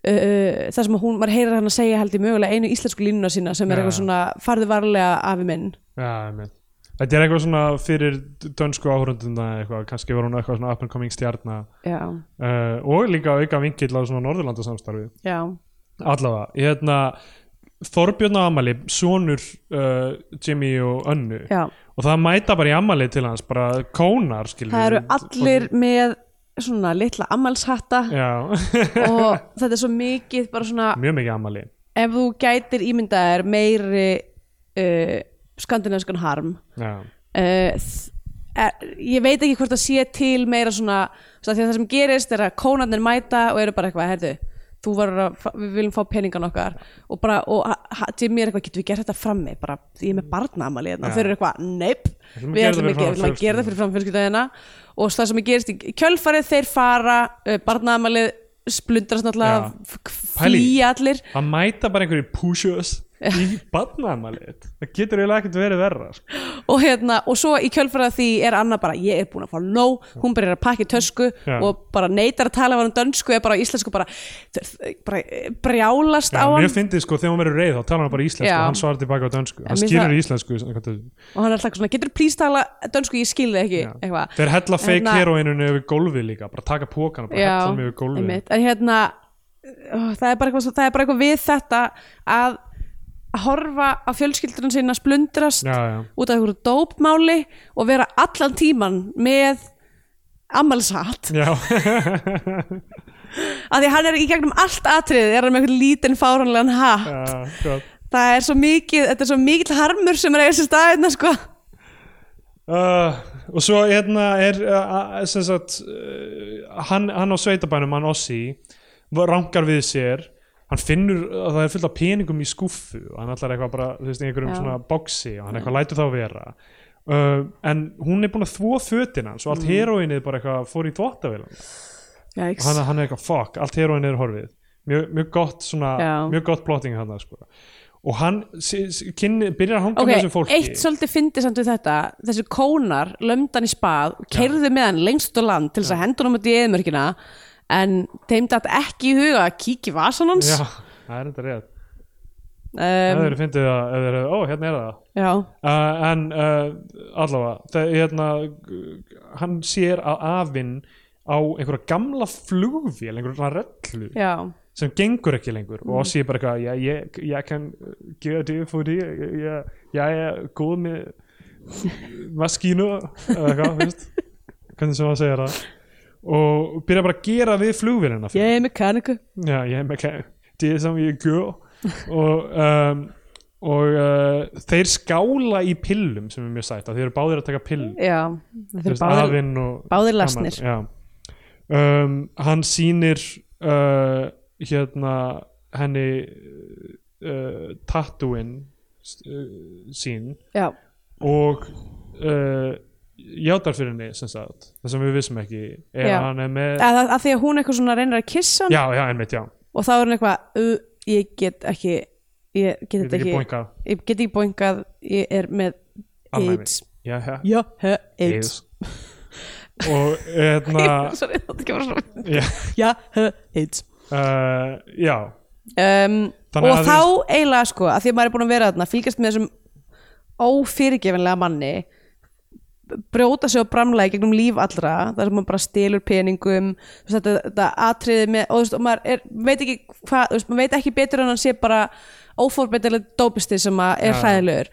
Speaker 3: Uh, þar sem að hún, maður heyrir hann að segja held ég mögulega einu íslensku línuna sína sem er
Speaker 2: Já.
Speaker 3: eitthvað svona farðu varlega afi minn
Speaker 2: Já, einmitt Þetta er eitthvað svona fyrir dönsku áhörunduna eitthvað, kannski var hún eitthvað svona up and coming stjarnar
Speaker 3: já,
Speaker 2: uh, og líka auka vinkill á svona Norðurlandasamstarfið
Speaker 3: já,
Speaker 2: allavega, ég hérna Þorbjörn á Amali, sonur uh, Jimmy og Önnu
Speaker 3: já
Speaker 2: og það mæta bara í Amali til hans bara kónar, skilur
Speaker 3: það eru
Speaker 2: við.
Speaker 3: allir með svona litla ammalshatta
Speaker 2: Já,
Speaker 3: og þetta er svo mikið bara svona
Speaker 2: mjög mikið Amali
Speaker 3: ef þú gætir ímyndaðir meiri uh, skandinaviskan harm
Speaker 2: Já,
Speaker 3: Eh, þ- er, ég veit ekki hvort það sé til meira svona, svona því að það sem gerist er að kónarnir mæta og eru bara eitthvað, heyrðu þú verður að, fá- við viljum fá peningan okkar og bara, og ha- ha- Jimmy er eitthvað getum við gert þetta frammi, bara, ég er
Speaker 2: Mm.
Speaker 3: með barnaamali hérna. og þeir eru eitthvað, neip
Speaker 2: ætlum að
Speaker 3: við
Speaker 2: gera
Speaker 3: ætlum
Speaker 2: þetta fyrir
Speaker 3: ekki, við ætlum
Speaker 2: framan
Speaker 3: að gera það fyrir fram fjölskyldaðina og það sem gerist í kjölfarið þeir fara, uh, barnaamalið splundrast náttúrulega,
Speaker 2: Já.
Speaker 3: f-
Speaker 2: Pæli í-
Speaker 3: flýja allir
Speaker 2: það mæta bara einhverjir pushers í barnaðamælið það getur eiginlega ekkert verið verra sko.
Speaker 3: og hérna, og svo í kjölfarað því er Anna bara, ég er búin að fá nóg hún byrjar að pakka í tösku
Speaker 2: Já.
Speaker 3: og bara neytar að tala var hann dönsku eða bara á íslensku bara, bara eh, brjálast
Speaker 2: Já,
Speaker 3: á
Speaker 2: mjög
Speaker 3: hann
Speaker 2: fyndið sko, þegar hún verður reið þá talar hann bara íslensku
Speaker 3: Já.
Speaker 2: og hann svarar tilbaka á dönsku hann
Speaker 3: mér
Speaker 2: skýrir
Speaker 3: það-
Speaker 2: íslensku samkvæmt þessu.
Speaker 3: og hann er alltaf svona, getur plís tala dönsku, ég skil þig ekki,
Speaker 2: Já.
Speaker 3: eitthvað
Speaker 2: þeir hella fake
Speaker 3: Hérna-
Speaker 2: heroinunni yfir gólfið líka bara taka pókan og bara hella hann yfir gólfið
Speaker 3: einmitt. en hérna ó, það, er bara eitthvað, svo- það er bara eitthvað við þetta að horfa á fjölskyldurinn sinna splundrast
Speaker 2: Já, já.
Speaker 3: út af einhverju dópmáli og vera allan tíman með ammælshatt
Speaker 2: Já,
Speaker 3: af því að hann er í gegnum allt atriðið er hann með einhvern lítinn fáranlegan hatt
Speaker 2: já, gott.
Speaker 3: það er svo mikið, þetta er svo mikill harmur sem er að eiga sér staðina sko
Speaker 2: Uh, og svo hérna er uh, uh, sem sagt uh, hann, hann á sveitabænum, hann Ossi rangar við sér hann finnur að það er fullt af peningum í skúffu og hann allar eitthvað bara, þú veist, í einhverjum
Speaker 3: Já.
Speaker 2: svona boxi og hann eitthvað lætur þá vera uh, en hún er búin að þvo fötin hans og
Speaker 3: Mm.
Speaker 2: allt heroinnið bara eitthvað fór í þvottavélan og hann, hann er eitthvað fuck, allt heroinni er horfið mjög, mjög gott svona,
Speaker 3: Já.
Speaker 2: mjög gott plotting hann sko. og hann si, si, kynni, byrjar að hanga
Speaker 3: Ok,
Speaker 2: með þessu fólki
Speaker 3: eitt svolítið fyndi samt við þetta þessi kónar lömdan í spað og kerðu með hann lengst út á land til þess að hendur hann út í eðmörkina en þeim datt ekki í huga að kíkja í vasan hans
Speaker 2: já, það er þetta rétt
Speaker 3: um,
Speaker 2: Það eru fyndið að, ef þeir eru, ó, hérna er það.
Speaker 3: já,
Speaker 2: Uh, en uh, allavega, það, hérna, g- hann sér að afinn á einhverja gamla flugvél, einhverja svona rellu
Speaker 3: já,
Speaker 2: sem gengur ekki lengur og sé bara eitthvað, já, ég, ég kann gera þetta fyrir því, ég, ég, ég er góð með maskínu, eða eitthvað, veist, hvernig sem hann segir það og byrja bara að gera við flugvélina fyrir
Speaker 3: ég er mekaniku
Speaker 2: Já, ég er með kæm Það er sem ég gjör og, um, og uh, þeir skála í pillum sem er mjög sætt að þeir eru báðir að taka pillum
Speaker 3: já, þetta
Speaker 2: Þú
Speaker 3: er
Speaker 2: veist,
Speaker 3: báðir
Speaker 2: afinn og
Speaker 3: báðir
Speaker 2: gaman,
Speaker 3: lasnir.
Speaker 2: já. um, Hann sýnir uh, hérna henni uh, tattooinn uh, sín
Speaker 3: já,
Speaker 2: og uh, játar fyrir henni sem sagt, það sem við vissum ekki er
Speaker 3: Já.
Speaker 2: að hann er með
Speaker 3: að, að því að hún eitthvað svona reynir að kissa hann
Speaker 2: Já, já, einmitt, já,
Speaker 3: og þá er hann eitthvað "Ú, ég get ekki ég get
Speaker 2: við
Speaker 3: þetta
Speaker 2: ekki
Speaker 3: ekki,
Speaker 2: bóinkað
Speaker 3: ég get ekki boingað ég er með
Speaker 2: Alnæmi.
Speaker 3: AIDS
Speaker 2: Já, já,
Speaker 3: já, hö, AIDS
Speaker 2: og hérna
Speaker 3: Sorry, þetta kemur svona
Speaker 2: já,
Speaker 3: já, hö, AIDS
Speaker 2: uh, já,
Speaker 3: um,
Speaker 2: Þannig
Speaker 3: og
Speaker 2: að
Speaker 3: þá eiginlega sko að því að maður er búin að vera þarna fylgjast með þessum ófyrirgefinlega manni brjóta sig og bramlega í gegnum líf allra þar sem maður bara stelur peningum þú veist, þetta, þetta atriði með og, þú veist, og maður er, veit ekki hvað þú veist, maður veit ekki betur en hann sé bara ófórbetileg dópisti sem að er
Speaker 2: Já.
Speaker 3: hræðilegur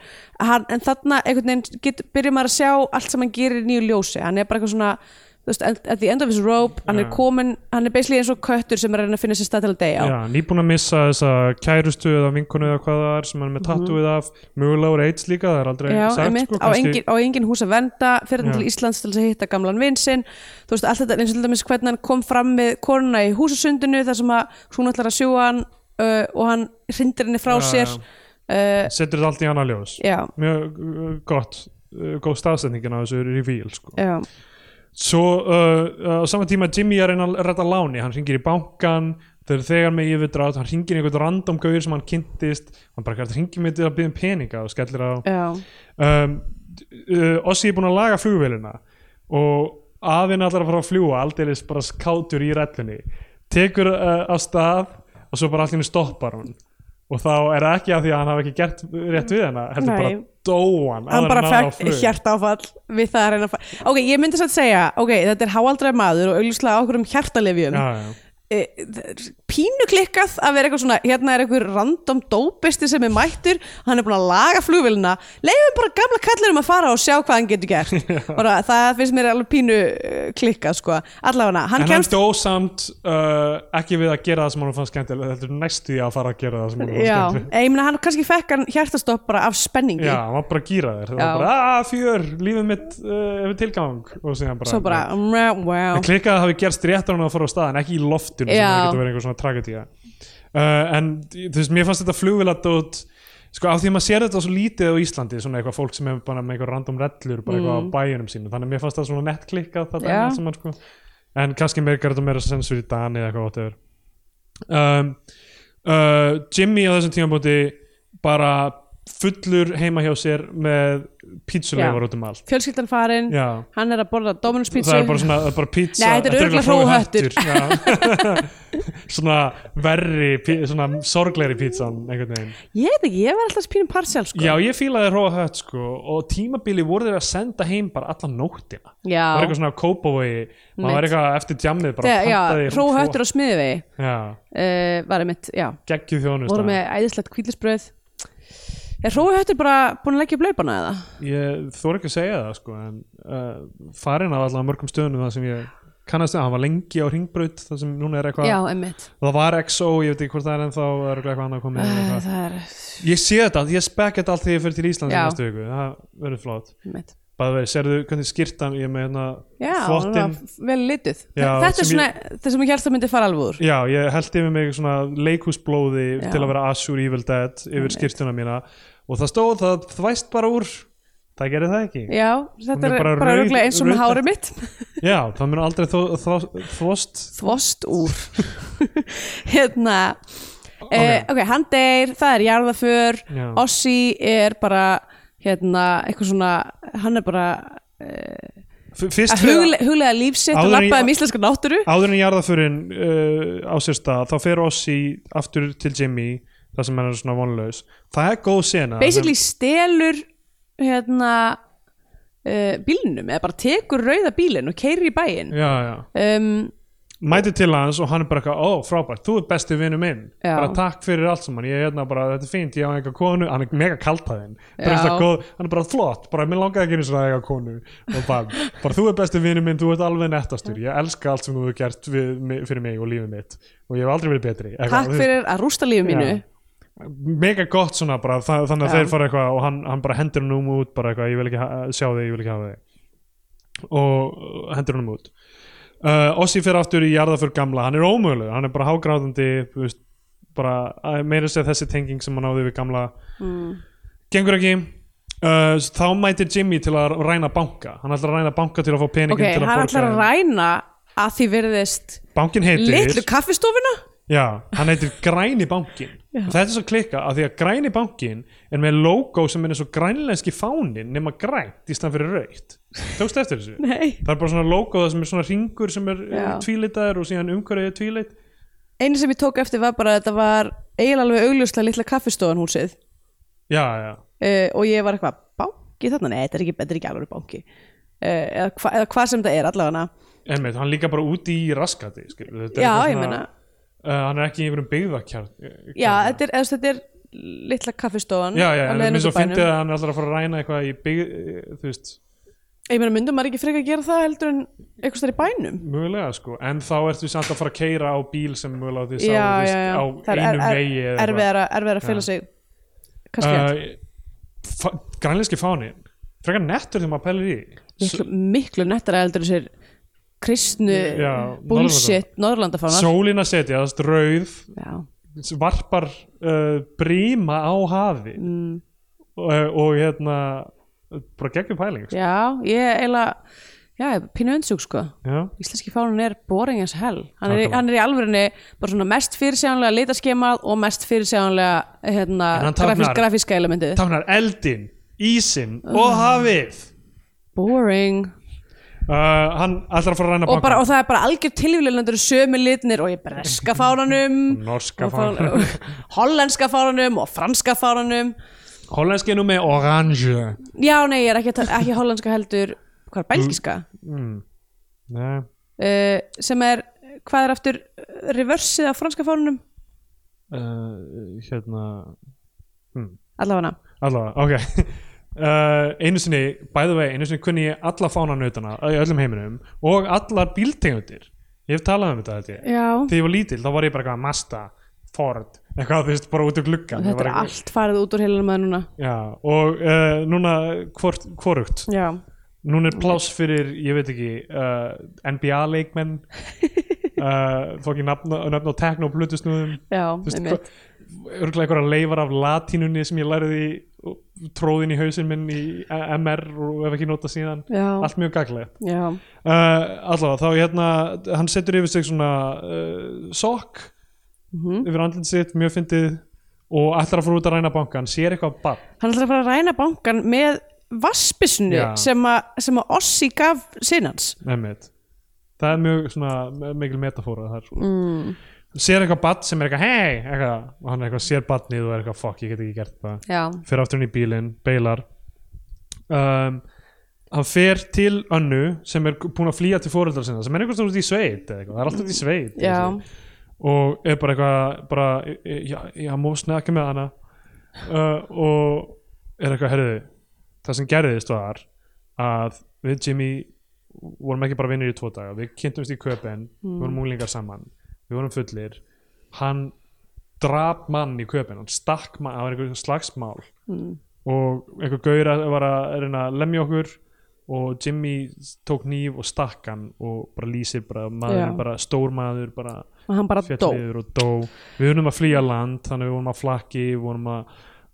Speaker 3: hann, en þarna einhvern veginn get, byrjar maður að sjá allt sem hann gerir í nýju ljósi hann er bara eitthvað svona þú veist, at at the end of his rope hann
Speaker 2: Já.
Speaker 3: er komin, hann er basically eins og köttur sem er að reyna að finna sér stað til að deyja á
Speaker 2: já nýbúin að missa þessa kærustu eða vinkonu eða hvað það er sem hann er með tattooið af mögulega úr AIDS líka, það er aldrei
Speaker 3: Mhm. Já,
Speaker 2: sagt
Speaker 3: einmitt,
Speaker 2: sko,
Speaker 3: á, engin, á engin hús að venda fyrir hann
Speaker 2: Já.
Speaker 3: til Íslands til þess að hitta gamlan vinsinn þú veist, allt þetta, eins og til dæmis hvernig hann kom fram með konuna í húsusundinu þar sem að hún ætlar að sjúa hann uh, og hann hrindir henni frá
Speaker 2: Já,
Speaker 3: sér uh,
Speaker 2: setur þetta allt í annað ljós
Speaker 3: já,
Speaker 2: mjög uh, gott uh, góð staðsetningin á þessu reveal sko.
Speaker 3: já,
Speaker 2: svo uh, uh, á sama tíma Jimmy er að reyna að redda láni hann ringir í bankan þegar þegar með yfirdrátt, hann ringir í einhvern random gauður sem hann kynntist, hann bara hægt ringir mig til að byggja um peninga og skellir á
Speaker 3: já,
Speaker 2: um, uh, Ossi er búin að laga flugvélina og aðinn allar að fara að fljúa aldeilis bara skátur í rellunni tekur uh, af stað og svo bara allir stoppar hún og þá er það ekki af því að hann hafi ekki gert rétt við hana, heldur
Speaker 3: Nei.
Speaker 2: bara dóan
Speaker 3: hann bara fekk hjartáfall við það að reyna að fara ok, ég myndi satt segja, ok, þetta er háaldræð maður og auðvitað á okkur um hjartalefjum
Speaker 2: já, já.
Speaker 3: e, pínu klikkað að vera eitthvað svona hérna er eitthvað random dópisti sem er mættur hann er búin að laga flugvélina leiðum bara gamla kallinum að fara og sjá hvað hann getur gert bara, það finnst mér alveg pínu eh, klikkað sko allavega hann
Speaker 2: en hann
Speaker 3: kemst
Speaker 2: dó samt uh, ekki við að gera það sem hann fann skemmtilega heldur næstu því að fara að gera það sem hann fann
Speaker 3: já,
Speaker 2: skemmtilega
Speaker 3: eh, ég meina hann kannski fekk hann hjartastopp bara af spenningi
Speaker 2: já, hann var bara að gýra þér það var
Speaker 3: Já.
Speaker 2: bara, aaa, fjör, lífið mitt uh, hefur tilgang og síðan bara
Speaker 3: svo bara, mjá,
Speaker 2: En
Speaker 3: mjá
Speaker 2: klikkað hafi gerst réttar hann að fara á staðan ekki í loftinu sem
Speaker 3: Já.
Speaker 2: það getur verið einhver svona tragedía uh, en þú veist, mér fannst þetta flugviladót sko af því að maður sér þetta svo lítið á Íslandi svona eitthvað fólk sem hefur bara með eitthvað random rellur bara eitthvað á bæjunum sínum þannig að mér fannst það svona nett klikkað þetta
Speaker 3: Mm. Já.
Speaker 2: yeah. saman sko en kannski meirgar þetta meira sensur í Dani eða eitthvað whatever um, uh, Jimmy á þessum tímabóti bara fullur heima hjá sér með pítsuleifar
Speaker 3: Já.
Speaker 2: út um allt
Speaker 3: fjölskyldan farin,
Speaker 2: Já.
Speaker 3: hann er að borða Dominus pizza
Speaker 2: það er bara svona, það er bara pizza
Speaker 3: Nei, þetta er
Speaker 2: örugglega
Speaker 3: örugglega
Speaker 2: hrói höttur. Já. svona verri pi- svona sorglegri pizzan einhvern veginn
Speaker 3: ég veit ekki, ég var alltaf pínum parsjál sko.
Speaker 2: Já, ég fílaði Róa Hött sko og tímabili voru þeir að senda heim bara alla nóttina.
Speaker 3: Já.
Speaker 2: Það var eitthvað svona kópavogi, maður var
Speaker 3: Mitt.
Speaker 2: eitthvað eftir djammið bara
Speaker 3: Þegar- já,
Speaker 2: pantaði
Speaker 3: hróhöttur og smiðvegi
Speaker 2: Hró- Já,
Speaker 3: uh, var einmitt, já,
Speaker 2: geggjuð
Speaker 3: voru
Speaker 2: þjónust.
Speaker 3: með æðislegt kvílisbröð er hróhöttur bara búin að leggja upp laupana eða?
Speaker 2: Ég þór ekki að segja það sko en uh, farin af allavega mörgum stöðunum það sem ég kannast að hann var lengi á ringbraut það sem núna er eitthvað,
Speaker 3: Já, einmitt
Speaker 2: það var XO, ég veit ekki hvort það er ennþá, það er örugglega eitthvað annað komið.
Speaker 3: Æ,
Speaker 2: Uh,
Speaker 3: það er,
Speaker 2: ég sé þetta, ég spekja þetta allt þegar ég fyrir til Íslands í
Speaker 3: Já.
Speaker 2: næstu viku, það verður flott.
Speaker 3: einmitt
Speaker 2: Bæði verið, serðu hvernig skýrtan, ég er með hérna
Speaker 3: Já, hún
Speaker 2: þvottinn-
Speaker 3: var vel lituð
Speaker 2: Já,
Speaker 3: Þetta er
Speaker 2: sem
Speaker 3: svona,
Speaker 2: ég-
Speaker 3: það sem ég helst að myndi fara alveg úr
Speaker 2: Já, ég held yfir mig svona leikhúsblóði
Speaker 3: Já.
Speaker 2: til að vera Asur Evil Dead yfir skýrtuna mína og það stóð það þvæst bara úr það gerir það ekki
Speaker 3: Já,
Speaker 2: er
Speaker 3: þetta er
Speaker 2: bara
Speaker 3: bara,
Speaker 2: rauð-
Speaker 3: örugglega eins og
Speaker 2: rauð-
Speaker 3: með hárið mitt
Speaker 2: Já, það mun aldrei þó, þó, þvost
Speaker 3: Þvost úr Hérna eh,
Speaker 2: Ok.
Speaker 3: ok, hann deyr, það er jarðaför
Speaker 2: Já.
Speaker 3: Ossi er bara hérna, eitthvað svona hann er bara eh,
Speaker 2: F- Fyrst
Speaker 3: að huglega, huglega lífsitt og
Speaker 2: Áður en ég-
Speaker 3: lappa um íslenska náttúru
Speaker 2: áður en jarðaförin uh, á sér stað, þá fer Ossi aftur til Jimmy, það sem hann er svona vonlaus það er góð sena
Speaker 3: basically stelur hérna uh, bílnum eða bara tekur rauða bílinn og keirir í bæinn
Speaker 2: Já, já
Speaker 3: um,
Speaker 2: mæti til hans og hann er bara eitthvað, ó frábært, þú er besti vinnu minn
Speaker 3: Já.
Speaker 2: bara takk fyrir allt saman, ég er hérna bara þetta er fínt, ég á einhver konu, hann er mega kaltæðin
Speaker 3: Já.
Speaker 2: góð, hann er bara flott, bara mér langaði ekki eins og það eiga konu og bara, bara þú er besti vinnu minn, þú ert alveg nettastur ég elska allt sem þú hefur gert við, mi- fyrir mig og lífið mitt og ég hef aldrei verið betri
Speaker 3: takk fyrir að rústa lífið mínu
Speaker 2: Já. mega gott svona bara, þa þannig að
Speaker 3: Já.
Speaker 2: þeir fara eitthvað og hann, hann bara hendur hann um út bara eitthvað, ég vil ekki ha- sjá þig, ég vil ekki hafa þig og uh, hendur hann um út uh, Ossi fer aftur í jarðaför gamla hann er ómöguleg, hann er bara hágrátandi þú veist, bara að- meira sér þessi tenging sem hann áði við gamla
Speaker 3: Mm.
Speaker 2: gengur ekki uh, s- þá mætir Jimmy til að ræna banka hann ætlar að ræna banka til að fá peningin
Speaker 3: ok,
Speaker 2: til að
Speaker 3: hann
Speaker 2: borga
Speaker 3: ætlar að
Speaker 2: þeim.
Speaker 3: ræna að því verðist
Speaker 2: bankin heitir
Speaker 3: litlu kaffistofuna
Speaker 2: Já, hann heitir Græni bankin og þetta er svo klikka af því að Græni bankin er með logo sem er eins og grænlenski fánin nema grænt í stand fyrir raukt Tókstu eftir þessu?
Speaker 3: Nei.
Speaker 2: Það er bara svona logo það sem er svona ringur sem er
Speaker 3: Já.
Speaker 2: tvílitaður og síðan umhverfið er tvílit
Speaker 3: einu sem ég tók eftir var bara að þetta var eiginlega alveg augljóslega litla kaffistofan húsið
Speaker 2: Já, já,
Speaker 3: uh, og ég var eitthvað banki þarna, nei þetta er ekki, þetta er ekki alveg banki uh, eða, hva, eða hvað sem þetta er allavega
Speaker 2: emmitt, hann líka bara úti í raskati skil, Já,
Speaker 3: Já, ég meina.
Speaker 2: uh, Hann er ekki í einhverjum byggðakjarn
Speaker 3: já, þetta er, eða, þetta er litla kaffistofan
Speaker 2: Já, já,
Speaker 3: á
Speaker 2: en mér
Speaker 3: leiðinni út
Speaker 2: svo
Speaker 3: úr bænum.
Speaker 2: fyndið að hann er alltaf að fara að ræna eitthvað í byggð, uh, þú veist,
Speaker 3: ég meina myndum maður ekki frekar að gera það heldur en eitthvað stær í bænum
Speaker 2: mögulega sko, en þá ertu samt að fara að keira á bíl sem mögulega þið sá, þú
Speaker 3: já, já,
Speaker 2: veist,
Speaker 3: já,
Speaker 2: á
Speaker 3: það er
Speaker 2: einum
Speaker 3: er-
Speaker 2: vegi eða eitthvað.
Speaker 3: erfiðara erfiðara að fela sig kannski uh,
Speaker 2: uh, fa- grænlenski fánin frekar nettur þegar maður pælir í því.
Speaker 3: miklu, miklu nettara heldur en þessir kristnu
Speaker 2: Já,
Speaker 3: bullshit norðurlandafánar
Speaker 2: sólin að setja, það er rauð
Speaker 3: já,
Speaker 2: varpar uh, bríma á hafi mm. og, og hérna bara geggjum pæling sko.
Speaker 3: já, ég eiginlega já, ég er pínu undsug sko
Speaker 2: já,
Speaker 3: íslenski fánun er boring as hell hann er, í-
Speaker 2: Nákvæmlega.
Speaker 3: hann er í alvörinni bara svona mest fyrirsjáanlega litaskemað og mest fyrirsjáanlega hérna,
Speaker 2: En hann
Speaker 3: grafís,
Speaker 2: táknar-
Speaker 3: grafíska elementið
Speaker 2: táknar eldin, ísin
Speaker 3: Ah.
Speaker 2: og hafið
Speaker 3: boring
Speaker 2: uh, hann ætlar að fara að ræna
Speaker 3: og, bara,
Speaker 2: banka
Speaker 3: og það er bara algjör tilvíðlendur sömu litnir og ég breska fánanum
Speaker 2: Norska
Speaker 3: og fán-
Speaker 2: fánanum.
Speaker 3: hollenska fánanum og franska fánanum
Speaker 2: hollenski er nú með orange
Speaker 3: já nei ég er ekki, að ta- ekki hollenska heldur hvað er belgiska
Speaker 2: Nei.
Speaker 3: uh, sem er hvað er aftur eh, reversið á franska fánanum
Speaker 2: uh, hérna
Speaker 3: allavega
Speaker 2: Allavega, ok Uh, einu sinni, by the way, einu sinni kunni ég alla fánanautana í öllum heiminum og allar bíltegundir ég hef talað um þetta held ég
Speaker 3: já
Speaker 2: þegar ég var lítil þá var ég bara eitthvað Mazda, Ford, eitthvað þú veist bara út um úr glugga
Speaker 3: þetta er allt farið út úr heilanum að núna
Speaker 2: Já, og uh, núna hvort, hvorugt
Speaker 3: já
Speaker 2: núna er pláss fyrir, ég veit ekki uh, NBA leikmenn uh, fók ég nafna, nafna á tekno og blutusnúðum
Speaker 3: Já,
Speaker 2: Þú veist,
Speaker 3: einmitt.
Speaker 2: hva- örugglega einhverja leifar af latínunni sem ég lærði í- tróðin í hausinn minn í MR og hef ekki notað síðan
Speaker 3: Já.
Speaker 2: allt mjög gaglegt
Speaker 3: Já,
Speaker 2: uh, allavega þá hérna hann eh, setur yfir sig svona uh, sokk yfir andlinn sitt, mjög fyndið og ætlar að fara út að ræna bankan sér eitthvað barn
Speaker 3: hann ætlar að fara að ræna bankan með vassbissinu
Speaker 2: Já.
Speaker 3: sem, að- sem að Ossi gaf sinans
Speaker 2: Einmitt. það er mjög svona me- mikil metafóra það er svona sér eitthvað barn sem er eitthvað hei eitthvað, og hann er eitthvað sér barnið og er eitthvað fuck ég get ekki gert það
Speaker 3: já,
Speaker 2: fer aftur inn í bílinn, beilar um, hann fer til önnu sem er búin að flýja til fóreldra sinna sem er einhvers staðar út í sveit eða eitthvað, það er alltaf út í sveit
Speaker 3: Já.
Speaker 2: og er bara eitthvað bara, e, ég, ég má snakka með hana uh, og er eitthvað, herðu það sem gerðist var að við Jimmy vorum ekki bara vinnir í tvo daga við kynntumst í köpen, við
Speaker 3: Mm.
Speaker 2: vorum múlingar saman við vorum fullir hann drap mann í köpen hann stakk mann, það var einhver slagsmál
Speaker 3: Mm.
Speaker 2: og einhver gaur að- var að reyna að lemja okkur og Jimmy tók nýf og stakk hann og bara lýsir bara maður,
Speaker 3: Já.
Speaker 2: bara stór maður bara
Speaker 3: og hann bara
Speaker 2: féll
Speaker 3: dó
Speaker 2: niður og dó við vorum að flýja land, þannig við vorum að flakki við vorum að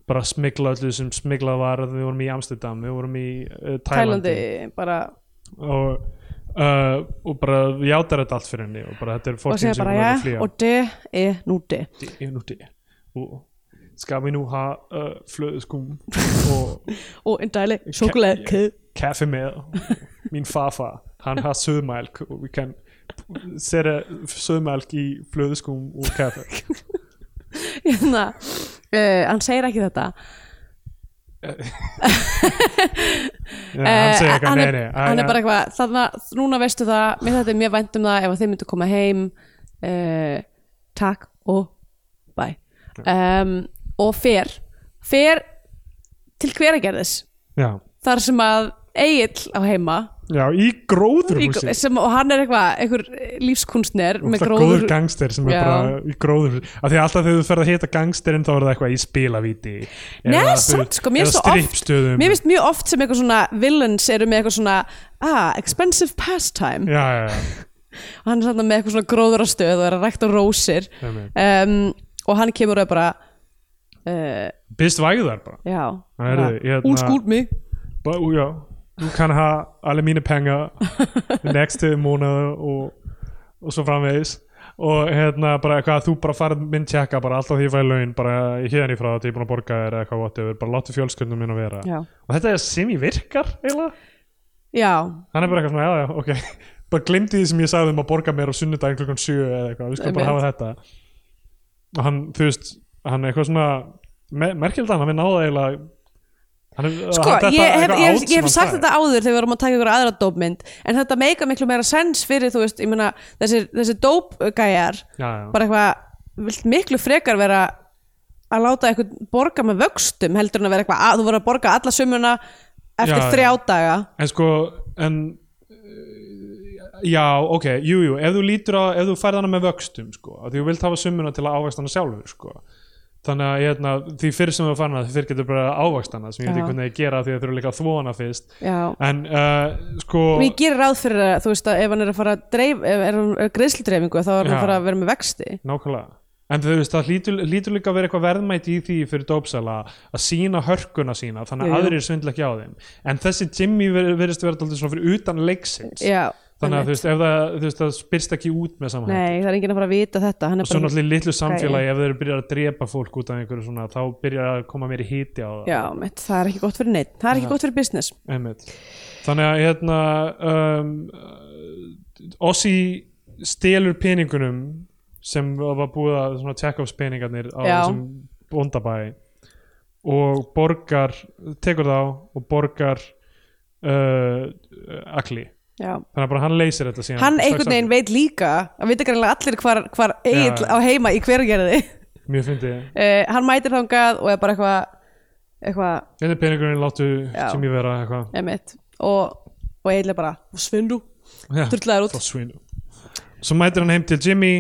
Speaker 2: bara smigla öllu sem smiglað var, við vorum í Amsterdam við vorum í uh, Tælandi
Speaker 3: Tælandi bara
Speaker 2: og, uh, og bara játar þetta allt fyrir henni og bara þetta er
Speaker 3: og segja
Speaker 2: fórtíðin sem
Speaker 3: bara
Speaker 2: við verðum að
Speaker 3: já
Speaker 2: flýja
Speaker 3: og de er nú de
Speaker 2: Det er nu det. Og skal vi nu have øh, flødeskum og
Speaker 3: og en dejlig chokoladekæde
Speaker 2: kaffe med min farfar? Han har sødmælk, og vi kan sætte sødmælk i flødeskum sko og kaffe.
Speaker 3: hérna, uh, hann segir ekki þetta
Speaker 2: Ja, han
Speaker 3: Eh,
Speaker 2: siger ikke,
Speaker 3: hann
Speaker 2: nej,
Speaker 3: er,
Speaker 2: nej.
Speaker 3: hann er
Speaker 2: Ej,
Speaker 3: bara
Speaker 2: ja.
Speaker 3: eitthvað þarna, núna veistu það, mér þetta er mjög vænt um það ef að þið myndu koma heim uh, takk og bæ um, og fer fer til hveragerðis
Speaker 2: Ja.
Speaker 3: þar sem að Egil á heima
Speaker 2: ja, og i gråderhuset.
Speaker 3: sem, og hann er eitthvað, einhver lífskunstner
Speaker 2: Og
Speaker 3: með
Speaker 2: það er
Speaker 3: gróður
Speaker 2: góður gangster sem er
Speaker 3: Já.
Speaker 2: bara í gróður af því að alltaf þegar þú ferð að hita gangsterinn þá er það eitthvað í spilavíti
Speaker 3: Nei,
Speaker 2: eða þú-
Speaker 3: samt sko, mér
Speaker 2: eða
Speaker 3: finnst svo oft
Speaker 2: strippstöðum.
Speaker 3: Mér finnst mjög oft sem eitthvað svona villains eru með eitthvað svona ah, expensive pastime
Speaker 2: já, já, já.
Speaker 3: og hann er svona með eitthvað svona gróðrastöð og er að rækta rósir
Speaker 2: Einmitt.
Speaker 3: um, og hann kemur og er bara uh,
Speaker 2: byrst vægðar bara
Speaker 3: já,
Speaker 2: Það er þið, hérna-
Speaker 3: úrskúld mig
Speaker 2: Bare, uh, ja, du kan have alle mine penge næste måned og, og svo framvegis og hérna bara eitthvað þú bara farið minn tjekka bara alltaf því ég fæ laun bara hérna í frá þetta ég er búin að borga þér eða eitthvað whatever bara láttu fjölskyldum minn að vera
Speaker 3: Já.
Speaker 2: og þetta er sem ég virkar eiginlega
Speaker 3: Já,
Speaker 2: hann er bara eitthvað svona já já ok bara glimti því sem ég sagði um að borga mér á sunnudaginn klukkan 7 eða eitthvað við skulum bara
Speaker 3: Einmitt.
Speaker 2: hafa þetta og hann þú veist hann er eitthvað svona me merkilegt að hann hafi náða eiginlega hann er-
Speaker 3: sko,
Speaker 2: hann- þetta
Speaker 3: ég
Speaker 2: er
Speaker 3: hef,
Speaker 2: eitthvað
Speaker 3: ég,
Speaker 2: át
Speaker 3: hef,
Speaker 2: sem
Speaker 3: ég hef
Speaker 2: hann
Speaker 3: sagt
Speaker 2: sagði.
Speaker 3: þetta áður þegar við vorum að taka ykkur aðra dópmynd en þetta meika miklu meira sens fyrir þú veist, ég meina, þessir, þessir dópgæjar
Speaker 2: Já, já.
Speaker 3: bara eitthvað, vilt miklu frekar vera að láta eitthvað borga með vöxtum heldur en að vera eitthvað að þú voru að borga alla sumuna
Speaker 2: Já,
Speaker 3: eftir
Speaker 2: já.
Speaker 3: þrjá daga
Speaker 2: En sko, en eh, Já, ok, jú, jú, ef þú lítur á ef þú færð hana með vöxtum, sko af því þú vilt hafa summuna til að ávægst hana sjálfur, sko þannig að hérna, því fyrir sem þú færð hana því fyrir getur bara ávægst hana sem ég veit
Speaker 3: Já.
Speaker 2: ekki hvernig ég gera því að þú eru líka að þvó hana fyrst
Speaker 3: já,
Speaker 2: en uh, sko
Speaker 3: en ég gerir ráð fyrir að þú veist að ef hann er að fara að dreif ef er hann er greiðsludreifingu þá er hann
Speaker 2: Já.
Speaker 3: að fara að vera með vexti
Speaker 2: nákvæmlega En þú veist, það lítur, lítur líka að vera eitthvað verðmætt í því fyrir dópsala að sína hörkuna sína, þannig
Speaker 3: Jú,
Speaker 2: að
Speaker 3: jú.
Speaker 2: aðrir svindla ekki á þeim. En þessi Jimmy ver- virðist vera dálítið svona fyrir utan leiksins.
Speaker 3: já,
Speaker 2: Þannig að
Speaker 3: einmitt.
Speaker 2: þú veist, ef það, þú veist, það spyrst ekki út með saman
Speaker 3: nei, það er enginn að fara að vita þetta hann
Speaker 2: og
Speaker 3: er
Speaker 2: svo
Speaker 3: bara,
Speaker 2: náttúrulega í litlu samfélagi ef þeir eru byrjar að drepa fólk út af einhverju svona þá byrjar að koma mér í hiti á það
Speaker 3: já, mitt, það er ekki gott fyrir neitt það er ekki gott fyrir business
Speaker 2: Einmitt. þannig að hérna um, Ossi stelur peningunum sem var búið að svona check-offs peningarnir á
Speaker 3: Já.
Speaker 2: þessum bóndabæi og borgar tekur þá og borgar uh, agli
Speaker 3: já
Speaker 2: þannig að bara hann leysir þetta síðan
Speaker 3: hann
Speaker 2: strax
Speaker 3: einhvern veginn
Speaker 2: aftur.
Speaker 3: veit líka hann veit ekki allir hvar, hvar
Speaker 2: Já.
Speaker 3: Egil á heima í hvergerði
Speaker 2: mjög fyndið
Speaker 3: uh, hann mætir þangað og er bara eitthvað eitthvað,
Speaker 2: Þetta er peningurinn, láttu
Speaker 3: Já.
Speaker 2: sem ég vera eitthvað
Speaker 3: emitt og, og Egil er bara, svindu
Speaker 2: Já,
Speaker 3: Drullaður út.
Speaker 2: frá svínu. Svo mætir hann heim til Jimmy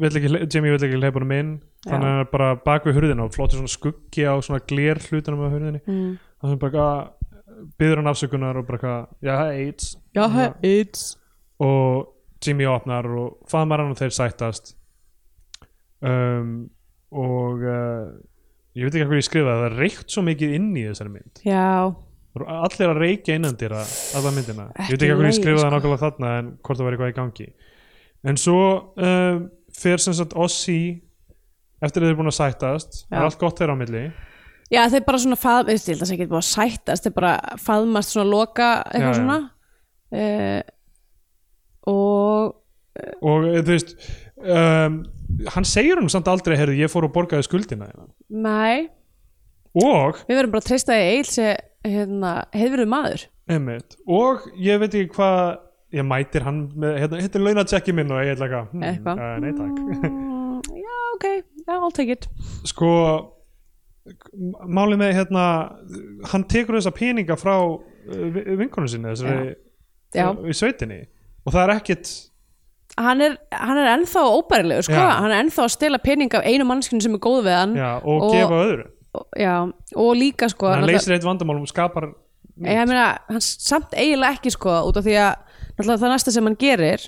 Speaker 2: vill ekki, Jimmy vill ekki leipa hann inn
Speaker 3: Já.
Speaker 2: þannig að hann er bara bak við hurðina og flottur svona skuggi á svona gler hlutunum á hurðinni mm. þannig að bara byður hann afsökunar og bara eitthvað, já, það er AIDS
Speaker 3: já, it's
Speaker 2: og Jimmy opnar og faðmar hann og þeir sættast um, og uh, ég veit ekki hvað ég skrifaði það er reykt svo mikið inn í þessari mynd
Speaker 3: já,
Speaker 2: Það voru allir að reykja innandýra alla myndina, ég
Speaker 3: Ekki
Speaker 2: veit ekki hvað ég
Speaker 3: meira,
Speaker 2: skrifaði það
Speaker 3: sko.
Speaker 2: nákvæmlega þarna en eh, hvort það var eitthvað í gangi en svo uh, fer sem sagt Ossi eftir að þeir eru búin að sættast það
Speaker 3: Já.
Speaker 2: er allt gott þeirra á milli
Speaker 3: Já, þeir bara svona faðm, ég held að það sé ekki búið að sættast, þeir bara faðmast svona loka eitthvað
Speaker 2: Já, já.
Speaker 3: svona uh, og
Speaker 2: og eh, þú veist um, hann segir hún samt aldrei heyrðu ég fór og borgaði skuldina þína."
Speaker 3: nei,
Speaker 2: og,
Speaker 3: við verðum bara að treysta í eil sem hérna, hefurðu maður
Speaker 2: einmitt, og ég veit ekki hvað ég mætir hann með, hérna, hérna er launatjekki minn og ég ætla eitthvað hmm,
Speaker 3: Eitthvað.
Speaker 2: eh, nei takk
Speaker 3: mm, Já, ok, já, I'll take it
Speaker 2: sko málið með hérna hann tekur þessa peninga frá uh, vi- vinkonu sinni þessari uh,
Speaker 3: Já,
Speaker 2: í sveitinni og það er ekkit
Speaker 3: hann er, hann er ennþá óbærilegu, sko,
Speaker 2: Já.
Speaker 3: hann er ennþá að stela pening af einu mannskinu sem er góð við hann
Speaker 2: já, og,
Speaker 3: Mhm. Og-
Speaker 2: gefa öðru
Speaker 3: já, og líka, sko
Speaker 2: hann
Speaker 3: náttúrulega-
Speaker 2: leysir eitt vandamálum og skapar
Speaker 3: Ég, ég meina, hann samt eiginlega ekki sko út af því að náttúrulega það næsta sem hann gerir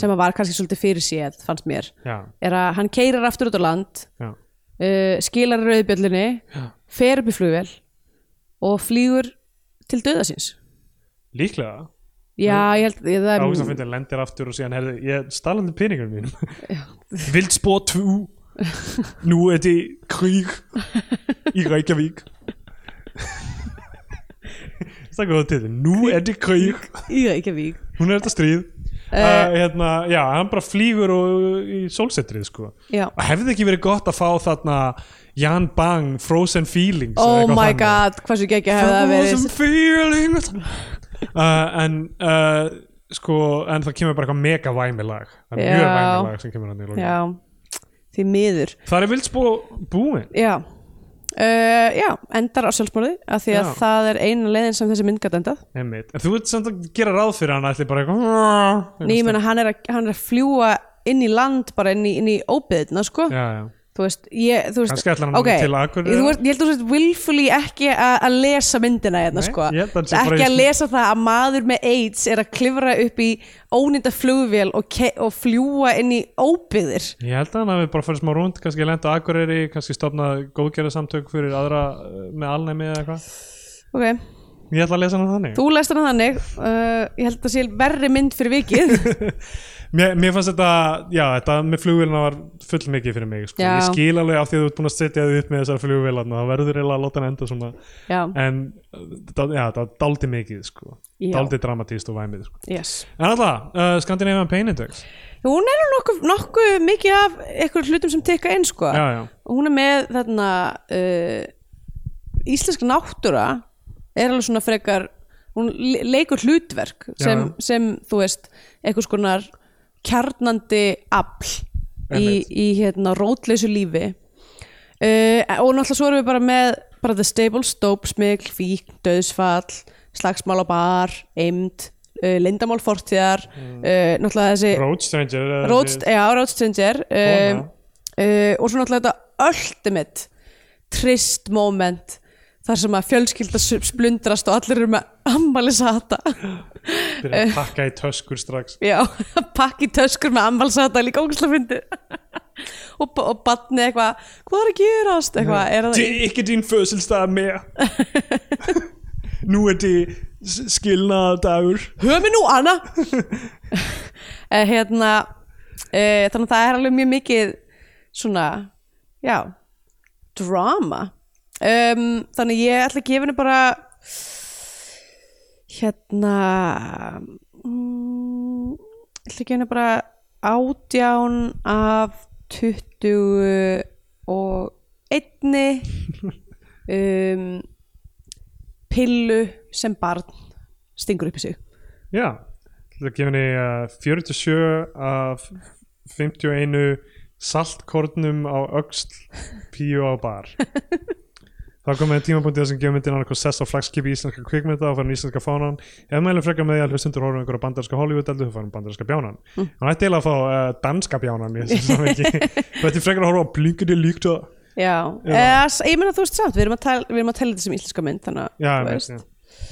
Speaker 3: sem að var kannski svolítið fyrir séð fannst mér,
Speaker 2: já,
Speaker 3: er að hann keirar aftur út á land,
Speaker 2: já,
Speaker 3: uh, skilar rauðbjöllunni, fer upp í flugvél og flýgur til döðasins.
Speaker 2: líklega
Speaker 3: Já, ég held ég, það
Speaker 2: Ágúst að
Speaker 3: er,
Speaker 2: finna lendir aftur og síðan herði, ég stalandi peningur mínum Vilt spór 2 Nú er þið krík í Reykjavík Það er góða til þið Nú er þið krík
Speaker 3: ég er ekki að vík.
Speaker 2: Hún er þetta stríð
Speaker 3: Eh.
Speaker 2: uh, hérna, Já, hann bara flýgur og í sólsetrið sko.
Speaker 3: Já.
Speaker 2: Og hefði ekki verið gott að fá þarna Jan Bang, Frozen Feelings eða
Speaker 3: Oh
Speaker 2: eitthvað
Speaker 3: my
Speaker 2: þannig.
Speaker 3: god, hversu geggja hefði það verið.
Speaker 2: Frozen feelings uh, En uh, sko En það kemur bara eitthvað mega væmi lag Það er mjög
Speaker 3: Já.
Speaker 2: væmi lag sem kemur hann í lókin
Speaker 3: Já, því miður.
Speaker 2: Það er vildsbó búin
Speaker 3: Já, uh, já endar á sjálfsmálið af því að
Speaker 2: Já.
Speaker 3: það er eina leiðin sem þessi mynd gæti endað.
Speaker 2: einmitt. En þú veit samt að gera ráð fyrir hann ætli bara eitthvað
Speaker 3: Nei, ég meina, hann er, að, hann er að fljúa inn í land, bara inn í, inn í óbyðna, sko.
Speaker 2: Já, já
Speaker 3: Þú veist, ég, þú veist...
Speaker 2: Kannski ætlar hann
Speaker 3: ok,
Speaker 2: til Akureyrar.
Speaker 3: Ég, þú veist, ég held að þú veist, willfully ekki a, að lesa myndina hérna,
Speaker 2: Nei,
Speaker 3: sko.
Speaker 2: ég held að hann sé bara í-
Speaker 3: Ekki að lesa það að maður með AIDS er að klifra upp í ónýnda flugvél og, ke- og fljúa inn í óbyðir.
Speaker 2: Ég held að hann hafi bara farið smá rúnd, kannski lent á Akureyri, kannski stopnað góðgerða fyrir aðra uh, með alnæmi eða eitthvað.
Speaker 3: Ok,
Speaker 2: Ég ætla að lesa hann þannig.
Speaker 3: þú lest hana þannig. Uh, ég held að það sé verri mynd fyrir vikið.
Speaker 2: Mér, mér fannst þetta, já, þetta með flugvélina var full mikið fyrir mig, sko.
Speaker 3: Já.
Speaker 2: Ég skil alveg af því að þú ert búin að setja þig upp með þessar flugvélana, það verður eiginlega að láta hann enda svona.
Speaker 3: Já,
Speaker 2: En, uh, þetta- já, það daldi mikið, sko.
Speaker 3: Já.
Speaker 2: Daldi dramatíst og væmið, sko.
Speaker 3: yes.
Speaker 2: En alltaf, uh, Scandinavian Pain Index.
Speaker 3: Hún er nú nokkuð nokku mikið af einhverjum hlutum sem tekka inn, sko.
Speaker 2: Já, já.
Speaker 3: og hún er með þarna uh, íslenska náttúra er alveg svona frekar hún le- leikur hlutverk sem,
Speaker 2: já.
Speaker 3: sem þú veist, einhvers konar kjarnandi afl í,
Speaker 2: Einmitt.
Speaker 3: í hérna rótleysu lífi uh, og náttúrulega svo erum við bara með bara the stable, stóp, smikl, fík, döðsfall slagsmál á bar, eimd uh, lindamál fortíðar
Speaker 2: Mm.
Speaker 3: uh, náttúrulega þessi
Speaker 2: Road Stranger. eh, eða
Speaker 3: Road,
Speaker 2: þessi-
Speaker 3: já, Road Stranger um,
Speaker 2: Kona.
Speaker 3: uh, og svo náttúrulega þetta ultimate trist moment þar sem að fjölskylda s- splundrast og allir eru með ammælisata
Speaker 2: Byrja
Speaker 3: eh.
Speaker 2: að pakka í töskur strax.
Speaker 3: já, pakki töskur með ammælisata líka ógæslega fyndi og, ba- og batni eitthvað hvað er að gerast eitthvað er það,
Speaker 2: er ekki din föðsilstað með. Nú er þið skilnaðadagur.
Speaker 3: höfum við nú Anna uh, hérna uh, þannig að það er alveg mjög mikið svona, já drama um, þannig að ég ætla að gefa henni bara hérna mm, ég ætla að gefa henni bara átján af 20 og einni um, pillu sem barn stingur upp í sig
Speaker 2: Já, það gefur henni uh, 47 af 51 saltkornum á öxl píu á bar Það komið tímapunktið þar sem gefur myndin annað sess á flagskipi íslenska kvikmynda og farin íslenska fánan ef mælum frekar með því að hlustundur horfum einhverja bandarska Hollywood eldu, farin bandarska bjánan mm. hann ætti eiginlega að fá uh, danska bjánan í þessu samhengi Þetta er frekar að horfa á blinkandi líkt og
Speaker 3: Já, eða, s- ég meina þú veist samt, við erum að tala, við erum að tala þetta sem íslenska mynd þannig að
Speaker 2: Já,
Speaker 3: þú
Speaker 2: með,
Speaker 3: veist,
Speaker 2: já.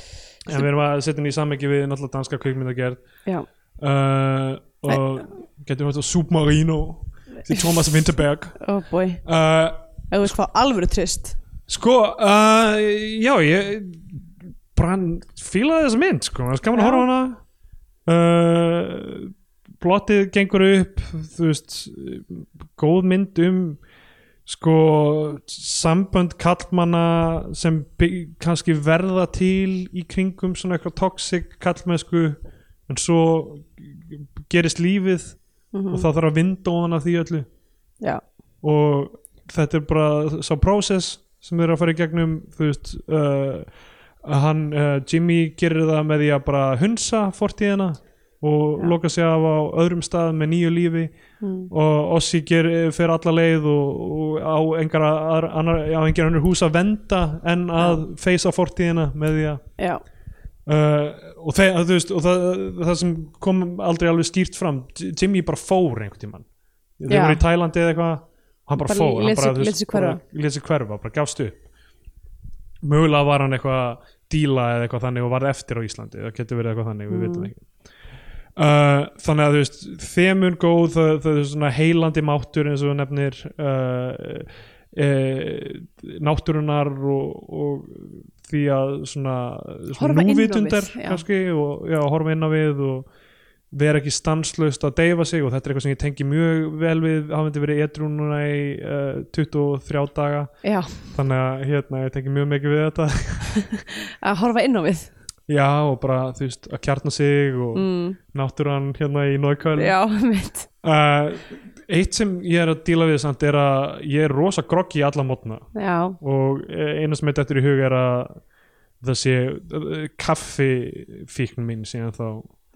Speaker 2: En við erum að setja henni í samhengi við náttúrulega danska kvikmyndagerð
Speaker 3: já.
Speaker 2: uh, og getum við þetta Submarino til Thomas Winterberg
Speaker 3: oh boy,
Speaker 2: uh,
Speaker 3: ef þú veist hvað alvöru trist
Speaker 2: sko uh, já ég bara hann fílaði þessa mynd sko, það er gaman að
Speaker 3: Já.
Speaker 2: horfa á hana uh, plottið gengur upp þú veist góð mynd um sko sambönd kallmanna sem bygg, kannski verða til í kringum svona eitthvað toxic kallmennsku en svo gerist lífið og það þarf að vinda ofan af því öllu
Speaker 3: já,
Speaker 2: og þetta er bara sá process sem þeir eru að fara í gegnum þú veist uh, hann, uh, Jimmy gerir það með því að bara hunsa fortíðina og
Speaker 3: Já.
Speaker 2: loka sig af á öðrum stað með nýju lífi og Ossi ger, fer alla leið og, og á engar aðra- annar, á engar annar hús að venda en að feysa fortíðina með því að
Speaker 3: já,
Speaker 2: Uh, og, þe þú veist, og það, það sem kom aldrei alveg skýrt fram J- Jimmy bara fór einhvern tímann þau
Speaker 3: Já.
Speaker 2: voru í Tælandi eða eitthvað og hann bara,
Speaker 3: Bara
Speaker 2: fór,
Speaker 3: lét
Speaker 2: hann bara,
Speaker 3: sig-
Speaker 2: þú
Speaker 3: lét sig hverfa.
Speaker 2: bara lét sig hverfa, bara gafst upp mögulega var hann eitthvað að díla eða eitthvað þannig og varð eftir á Íslandi það getur verið eitthvað þannig,
Speaker 3: Mm.
Speaker 2: við vitum ekki Uh, þannig að þú veist þemun góð, það, það er svona heilandi máttur eins og þú nefnir uh, uh, náttúrunar og, og því að svona,
Speaker 3: Horfa
Speaker 2: svona
Speaker 3: inn á við,
Speaker 2: núvitundar
Speaker 3: já.
Speaker 2: kannski og já, horfa inn á við og vera ekki stanslaust að deyfa sig og þetta er eitthvað sem ég tengi mjög vel við hafandi verið edrú núna í uh, 23 daga
Speaker 3: já
Speaker 2: þannig að hérna, ég tengi mjög mikið við þetta
Speaker 3: að horfa inn á við
Speaker 2: já og bara þú veist að kjarna sig og
Speaker 3: mm.
Speaker 2: náttúran hérna í Nóðköl
Speaker 3: já, mitt
Speaker 2: Uh, eitt sem ég er að díla við samt er að ég er rosa groggi í alla mótna
Speaker 3: já,
Speaker 2: og eh, eina sem er dettur í hug er að það sé eh, kaffifíkn mín síðan þá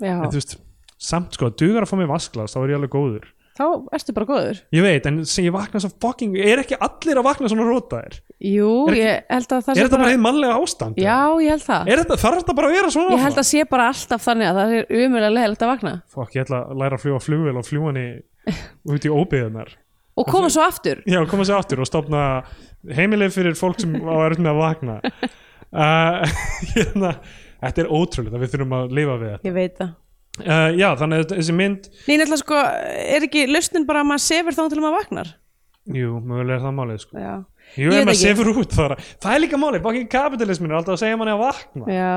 Speaker 3: já,
Speaker 2: en þú veist, samt sko, dugar að fá mig vasklas þá er ég alveg góður
Speaker 3: þá ertu bara góður
Speaker 2: ég veit, en sem ég vakna svo fucking er ekki allir að vakna svona rótaðir
Speaker 3: jú,
Speaker 2: Er ekki-
Speaker 3: ég held að það
Speaker 2: er þetta bara heið mannlega ástand
Speaker 3: já, ég held það
Speaker 2: Er þetta, þarf þetta bara að vera svona
Speaker 3: ég held að sé bara alltaf þannig að það er umjöðlega leðilegt að vakna
Speaker 2: Fokk, ég ætla að læra að fljúa flugvél og fljúa hann út í óbyðunar
Speaker 3: og koma svo aftur
Speaker 2: Já, koma sér aftur og stopna heimileg fyrir fólk sem á erfitt með að vakna uh, hérna, Þetta er ótrúlega að við þurfum að lifa við þetta
Speaker 3: ég veit það
Speaker 2: uh, Já, þannig að þessi mynd
Speaker 3: Nei, náttúrulega sko, er ekki lausnin bara að maður sefur þá til maður vaknar?
Speaker 2: Jú, mögulega er það málið sko
Speaker 3: Já,
Speaker 2: Jú, ef
Speaker 3: Ég veit
Speaker 2: maður
Speaker 3: ekki.
Speaker 2: sefur út þar Það er líka málið, bakið kapitalismin er alltaf að segja manni að vakna
Speaker 3: já,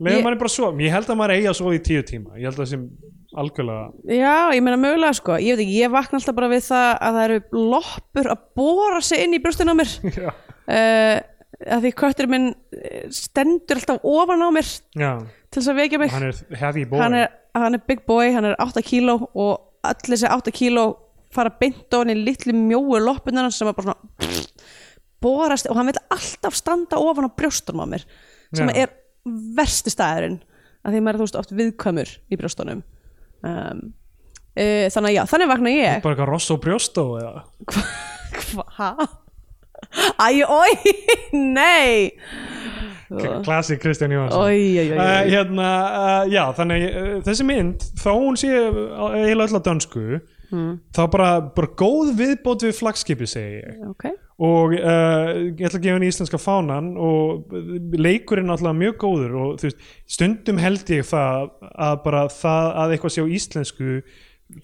Speaker 2: Leifum
Speaker 3: Ég-
Speaker 2: manni bara svo, ég held að maður eigi að sofa í tíu tíma Ég held að það sem algjörlega
Speaker 3: já, ég meina mögulega sko, ég veit ekki, ég vakna alltaf bara við það að það eru loppur að bóra sig inn í brjóstinu á mér
Speaker 2: Já,
Speaker 3: uh, að því köttur minn eh, stendur alltaf ofan á mér
Speaker 2: já
Speaker 3: til þess að vekja mig
Speaker 2: hann er heavy boy
Speaker 3: hann er, hann er big boy, hann er 8 kíló og allir þessi 8 kíló fara beint ofan í litlu mjóu loppunar hans sem er bara svona borast og hann vil alltaf standa ofan á brjóstunum á mér sem
Speaker 2: Já.
Speaker 3: er versti staðurinn að því maður er þú veist oft viðkvæmur í brjóstunum um, uh, þannig að já, þannig vakna ég
Speaker 2: Bara eitthvað ross og brjóstó eða
Speaker 3: hva? Æ, oi, nei
Speaker 2: Klasi Kristján Jóhansson
Speaker 3: Oj, oj, oj,
Speaker 2: Uh,
Speaker 3: oj.
Speaker 2: hérna, uh, já, þannig uh, þessi mynd, þá hún sé uh, eiginlega öll að dönsku þá bara, bara góð viðbót við flagskipi segi ég
Speaker 3: ok,
Speaker 2: og uh, ég ætla að gefa henni íslenska fánan og uh, leikurinn alltaf mjög góður og þú veist, stundum held ég það að bara það að eitthvað sé á íslensku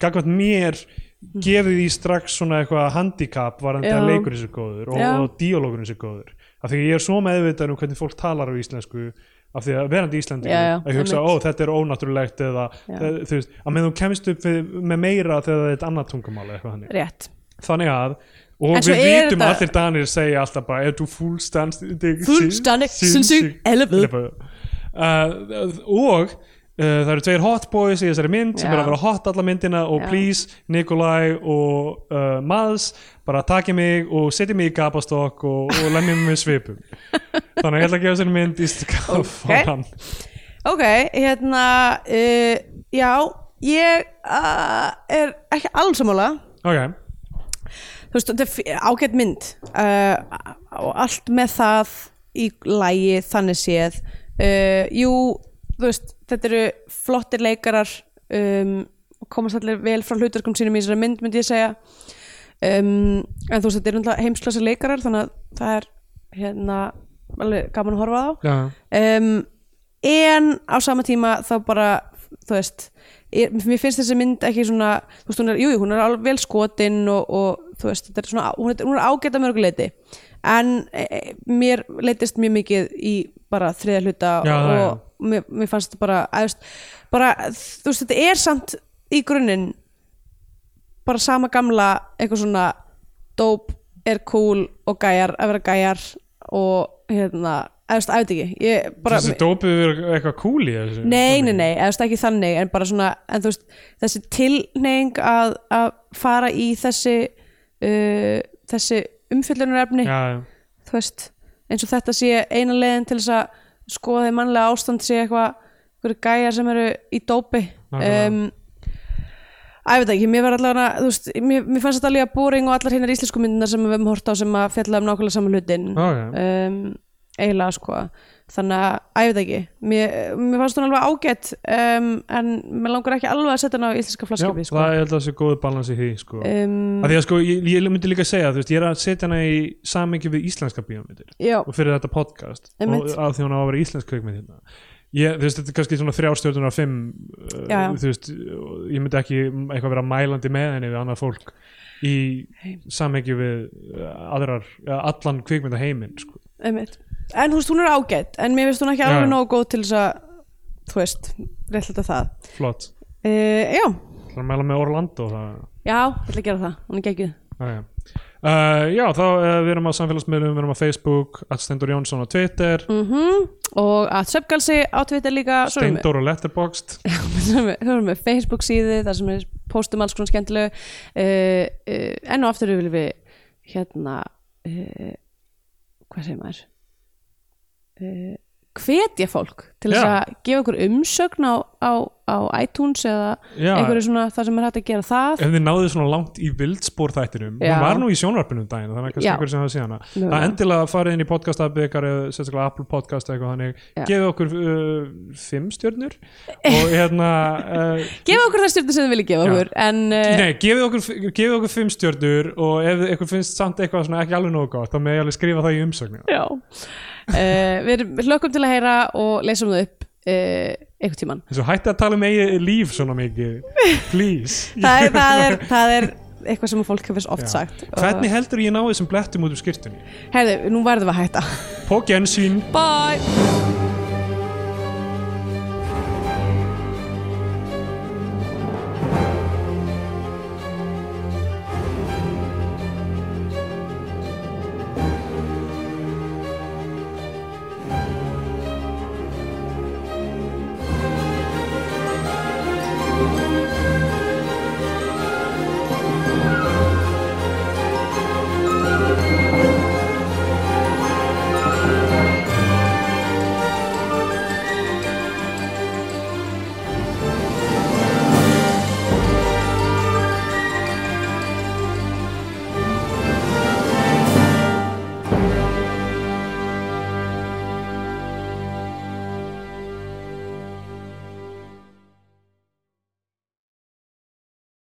Speaker 2: gagvart mér gefið því strax svona eitthvað handicap varandi
Speaker 3: Mm. Já.
Speaker 2: að leikurinn sé góður og,
Speaker 3: Já.
Speaker 2: og díalógurinn sé góður af því að ég er svo meðvitaður um hvernig fólk talar á íslensku af því að verandi íslendingur
Speaker 3: Já, já,
Speaker 2: að ég hugsa, ó,
Speaker 3: einmitt.
Speaker 2: þetta er ónáttúrulegt eða,
Speaker 3: Já.
Speaker 2: eða, þú veist, að meðan þú kemst upp við, með meira þegar það er eitt annað tungumál eða eitthvað þannig
Speaker 3: rétt
Speaker 2: þannig að og
Speaker 3: En svo
Speaker 2: við
Speaker 3: er
Speaker 2: vitum
Speaker 3: þetta-
Speaker 2: að allir danir segja alltaf bara er þú fullstandig
Speaker 3: Fullstændig sinnssyk ellefu."
Speaker 2: uh, og uh, það eru tveir hot boys í þessari mynd sem
Speaker 3: Já.
Speaker 2: er að vera hot alla myndina og
Speaker 3: Já.
Speaker 2: please Nikolai og uh, Mads bara takja mig og setja mig í gapastokk og, og lemja mig með svipum þannig að ég ætla að gefa þessari mynd í skafan
Speaker 3: Ok, hérna, uh, já, ég uh, er ekki alls samanlega,
Speaker 2: ok,
Speaker 3: þú veist, þetta er f- ágætt mynd uh, og allt með það í lægi þannig séð. Uh, jú, þú veist, þetta eru flottir leikarar, um, komast allir vel frá hlutverkum sínum í þessari mynd, myndi ég segja. Um, en þú veist, þetta eru náttúrulega heimsklassa leikarar, þannig að það er, hérna, alveg gaman að horfa á
Speaker 2: já,
Speaker 3: um, en á sama tíma þá bara þú veist, ég, mér finnst þessi mynd ekki svona, þú veist, hún er, jú, jú, hún er alveg vel skotin og, og þú veist, þetta er svona hún er, hún er ágæta mörguleiti en e, e, mér leitist mjög mikið í bara þriða hluta
Speaker 2: Já,
Speaker 3: og,
Speaker 2: já, já.
Speaker 3: Mér, mér fannst þetta bara, að, þú veist, bara þú veist, þetta er samt í grunninn bara sama gamla eitthvað svona dóp er cool og gæjar að vera gæjar og hérna, eða þú veist, ætti ekki ég bara,
Speaker 2: þessi dópið er eitthvað cool í þessu
Speaker 3: nei, nei, nei, eða þú veist ekki þannig en bara svona, en þú veist, þessi tilneying að, að fara í þessi uh, þessi umfyllunarefni
Speaker 2: já, já.
Speaker 3: þú veist, eins og þetta sé eina leiðin til þess að skoða því mannlega ástand sé eitthvað, einhverju gæjar sem eru í dópi
Speaker 2: Nákvæmlega.
Speaker 3: um, Æ, ég veit ekki, mér var allavega, þú veist, mér, mér fannst þetta líka boring og allar hinnar íslensku myndunar sem við höfum hort á sem að fjalla um nákvæmlega saman hlutin
Speaker 2: Ok.
Speaker 3: um, eiginlega, sko þannig að, æ, ég veit ekki mér, mér fannst hún alveg ágætt um, en mér langar ekki alveg að setja hana á íslenska
Speaker 2: Já,
Speaker 3: flaskjöpi, sko
Speaker 2: það er alltaf sér góðu balans í því sko.
Speaker 3: um,
Speaker 2: að því að sko, ég, ég myndi líka segja þú veist, ég er að setja hana í samengi við íslenska bíómyndir
Speaker 3: Já,
Speaker 2: og fyrir þetta podcast
Speaker 3: Einmitt.
Speaker 2: og að því hún á að vera íslensk kveikmynd hérna ég, þú veist, þetta er kannski svona þrjár stjórnur af fimm uh,
Speaker 3: Já, já.
Speaker 2: þú veist, og ég myndi ekki eitthvað vera mælandi með henni við annað fólk í samhengi við uh, aðrar, ja, allan kveikmynda heiminn sko.
Speaker 3: einmitt. En þú veist, hún er ágætt en mér finnst hún ekki
Speaker 2: Já,
Speaker 3: alveg
Speaker 2: já.
Speaker 3: nógu góð til þess að þú veist, réttlega það
Speaker 2: flott,
Speaker 3: uh, Já,
Speaker 2: það er að mæla með Orlando það
Speaker 3: já, ég ætla að gera það, hún er geggjuð
Speaker 2: Jæja. Uh, já, þá uh, við erum á samfélagsmiðlum, við erum á Facebook Atstendur Jónsson á Twitter
Speaker 3: mm Og að Svefgalsi á Twitter líka svo erum við-
Speaker 2: Steindór á Letterboxd
Speaker 3: svo erum við- svo erum við Facebook síðu þar sem við postum alls konar skemmtilegu uh, uh, Enn og aftur viljum við hérna uh, hvað segir maður uh, hvetja fólk til þess
Speaker 2: Já.
Speaker 3: að gefa okkur umsögn á, á, á iTunes eða
Speaker 2: Já.
Speaker 3: einhverju svona það sem er hægt að gera það
Speaker 2: ef þið náðu svona langt í vildspor þættinum
Speaker 3: Já.
Speaker 2: hún var nú í sjónvarpinu um daginn þannig að kannski
Speaker 3: Já.
Speaker 2: einhver sem hafa síðan
Speaker 3: Mögulega.
Speaker 2: það endilega farið inn í podcast að byggar eða sérstaklega Apple podcast eða eitthvað þannig
Speaker 3: Já.
Speaker 2: gefið okkur uh, fimm stjörnur og hérna uh,
Speaker 3: gefa okkur það stjórnum sem þið viljið gefa
Speaker 2: Já.
Speaker 3: okkur en uh,
Speaker 2: nei, gefið okkur, gefið okkur fimm stjörnur og ef ykkur finnst samt eitthvað svona ekki alveg nógu gott þá með ég alveg skrifa það í umsögnina
Speaker 3: já uh, við erum- við hlökkum til að heyra og leysum það upp uh, einhvern tíman
Speaker 2: eins og hætti að tala um eigi líf svona mikið please
Speaker 3: það er, það er, það er eitthvað sem fólk hefur oft
Speaker 2: Já.
Speaker 3: sagt
Speaker 2: hvernig heldur ég ná þessum blettum út úr skýrtunni
Speaker 3: herðu, nú verðum við að hætta
Speaker 2: på gensyn
Speaker 3: bye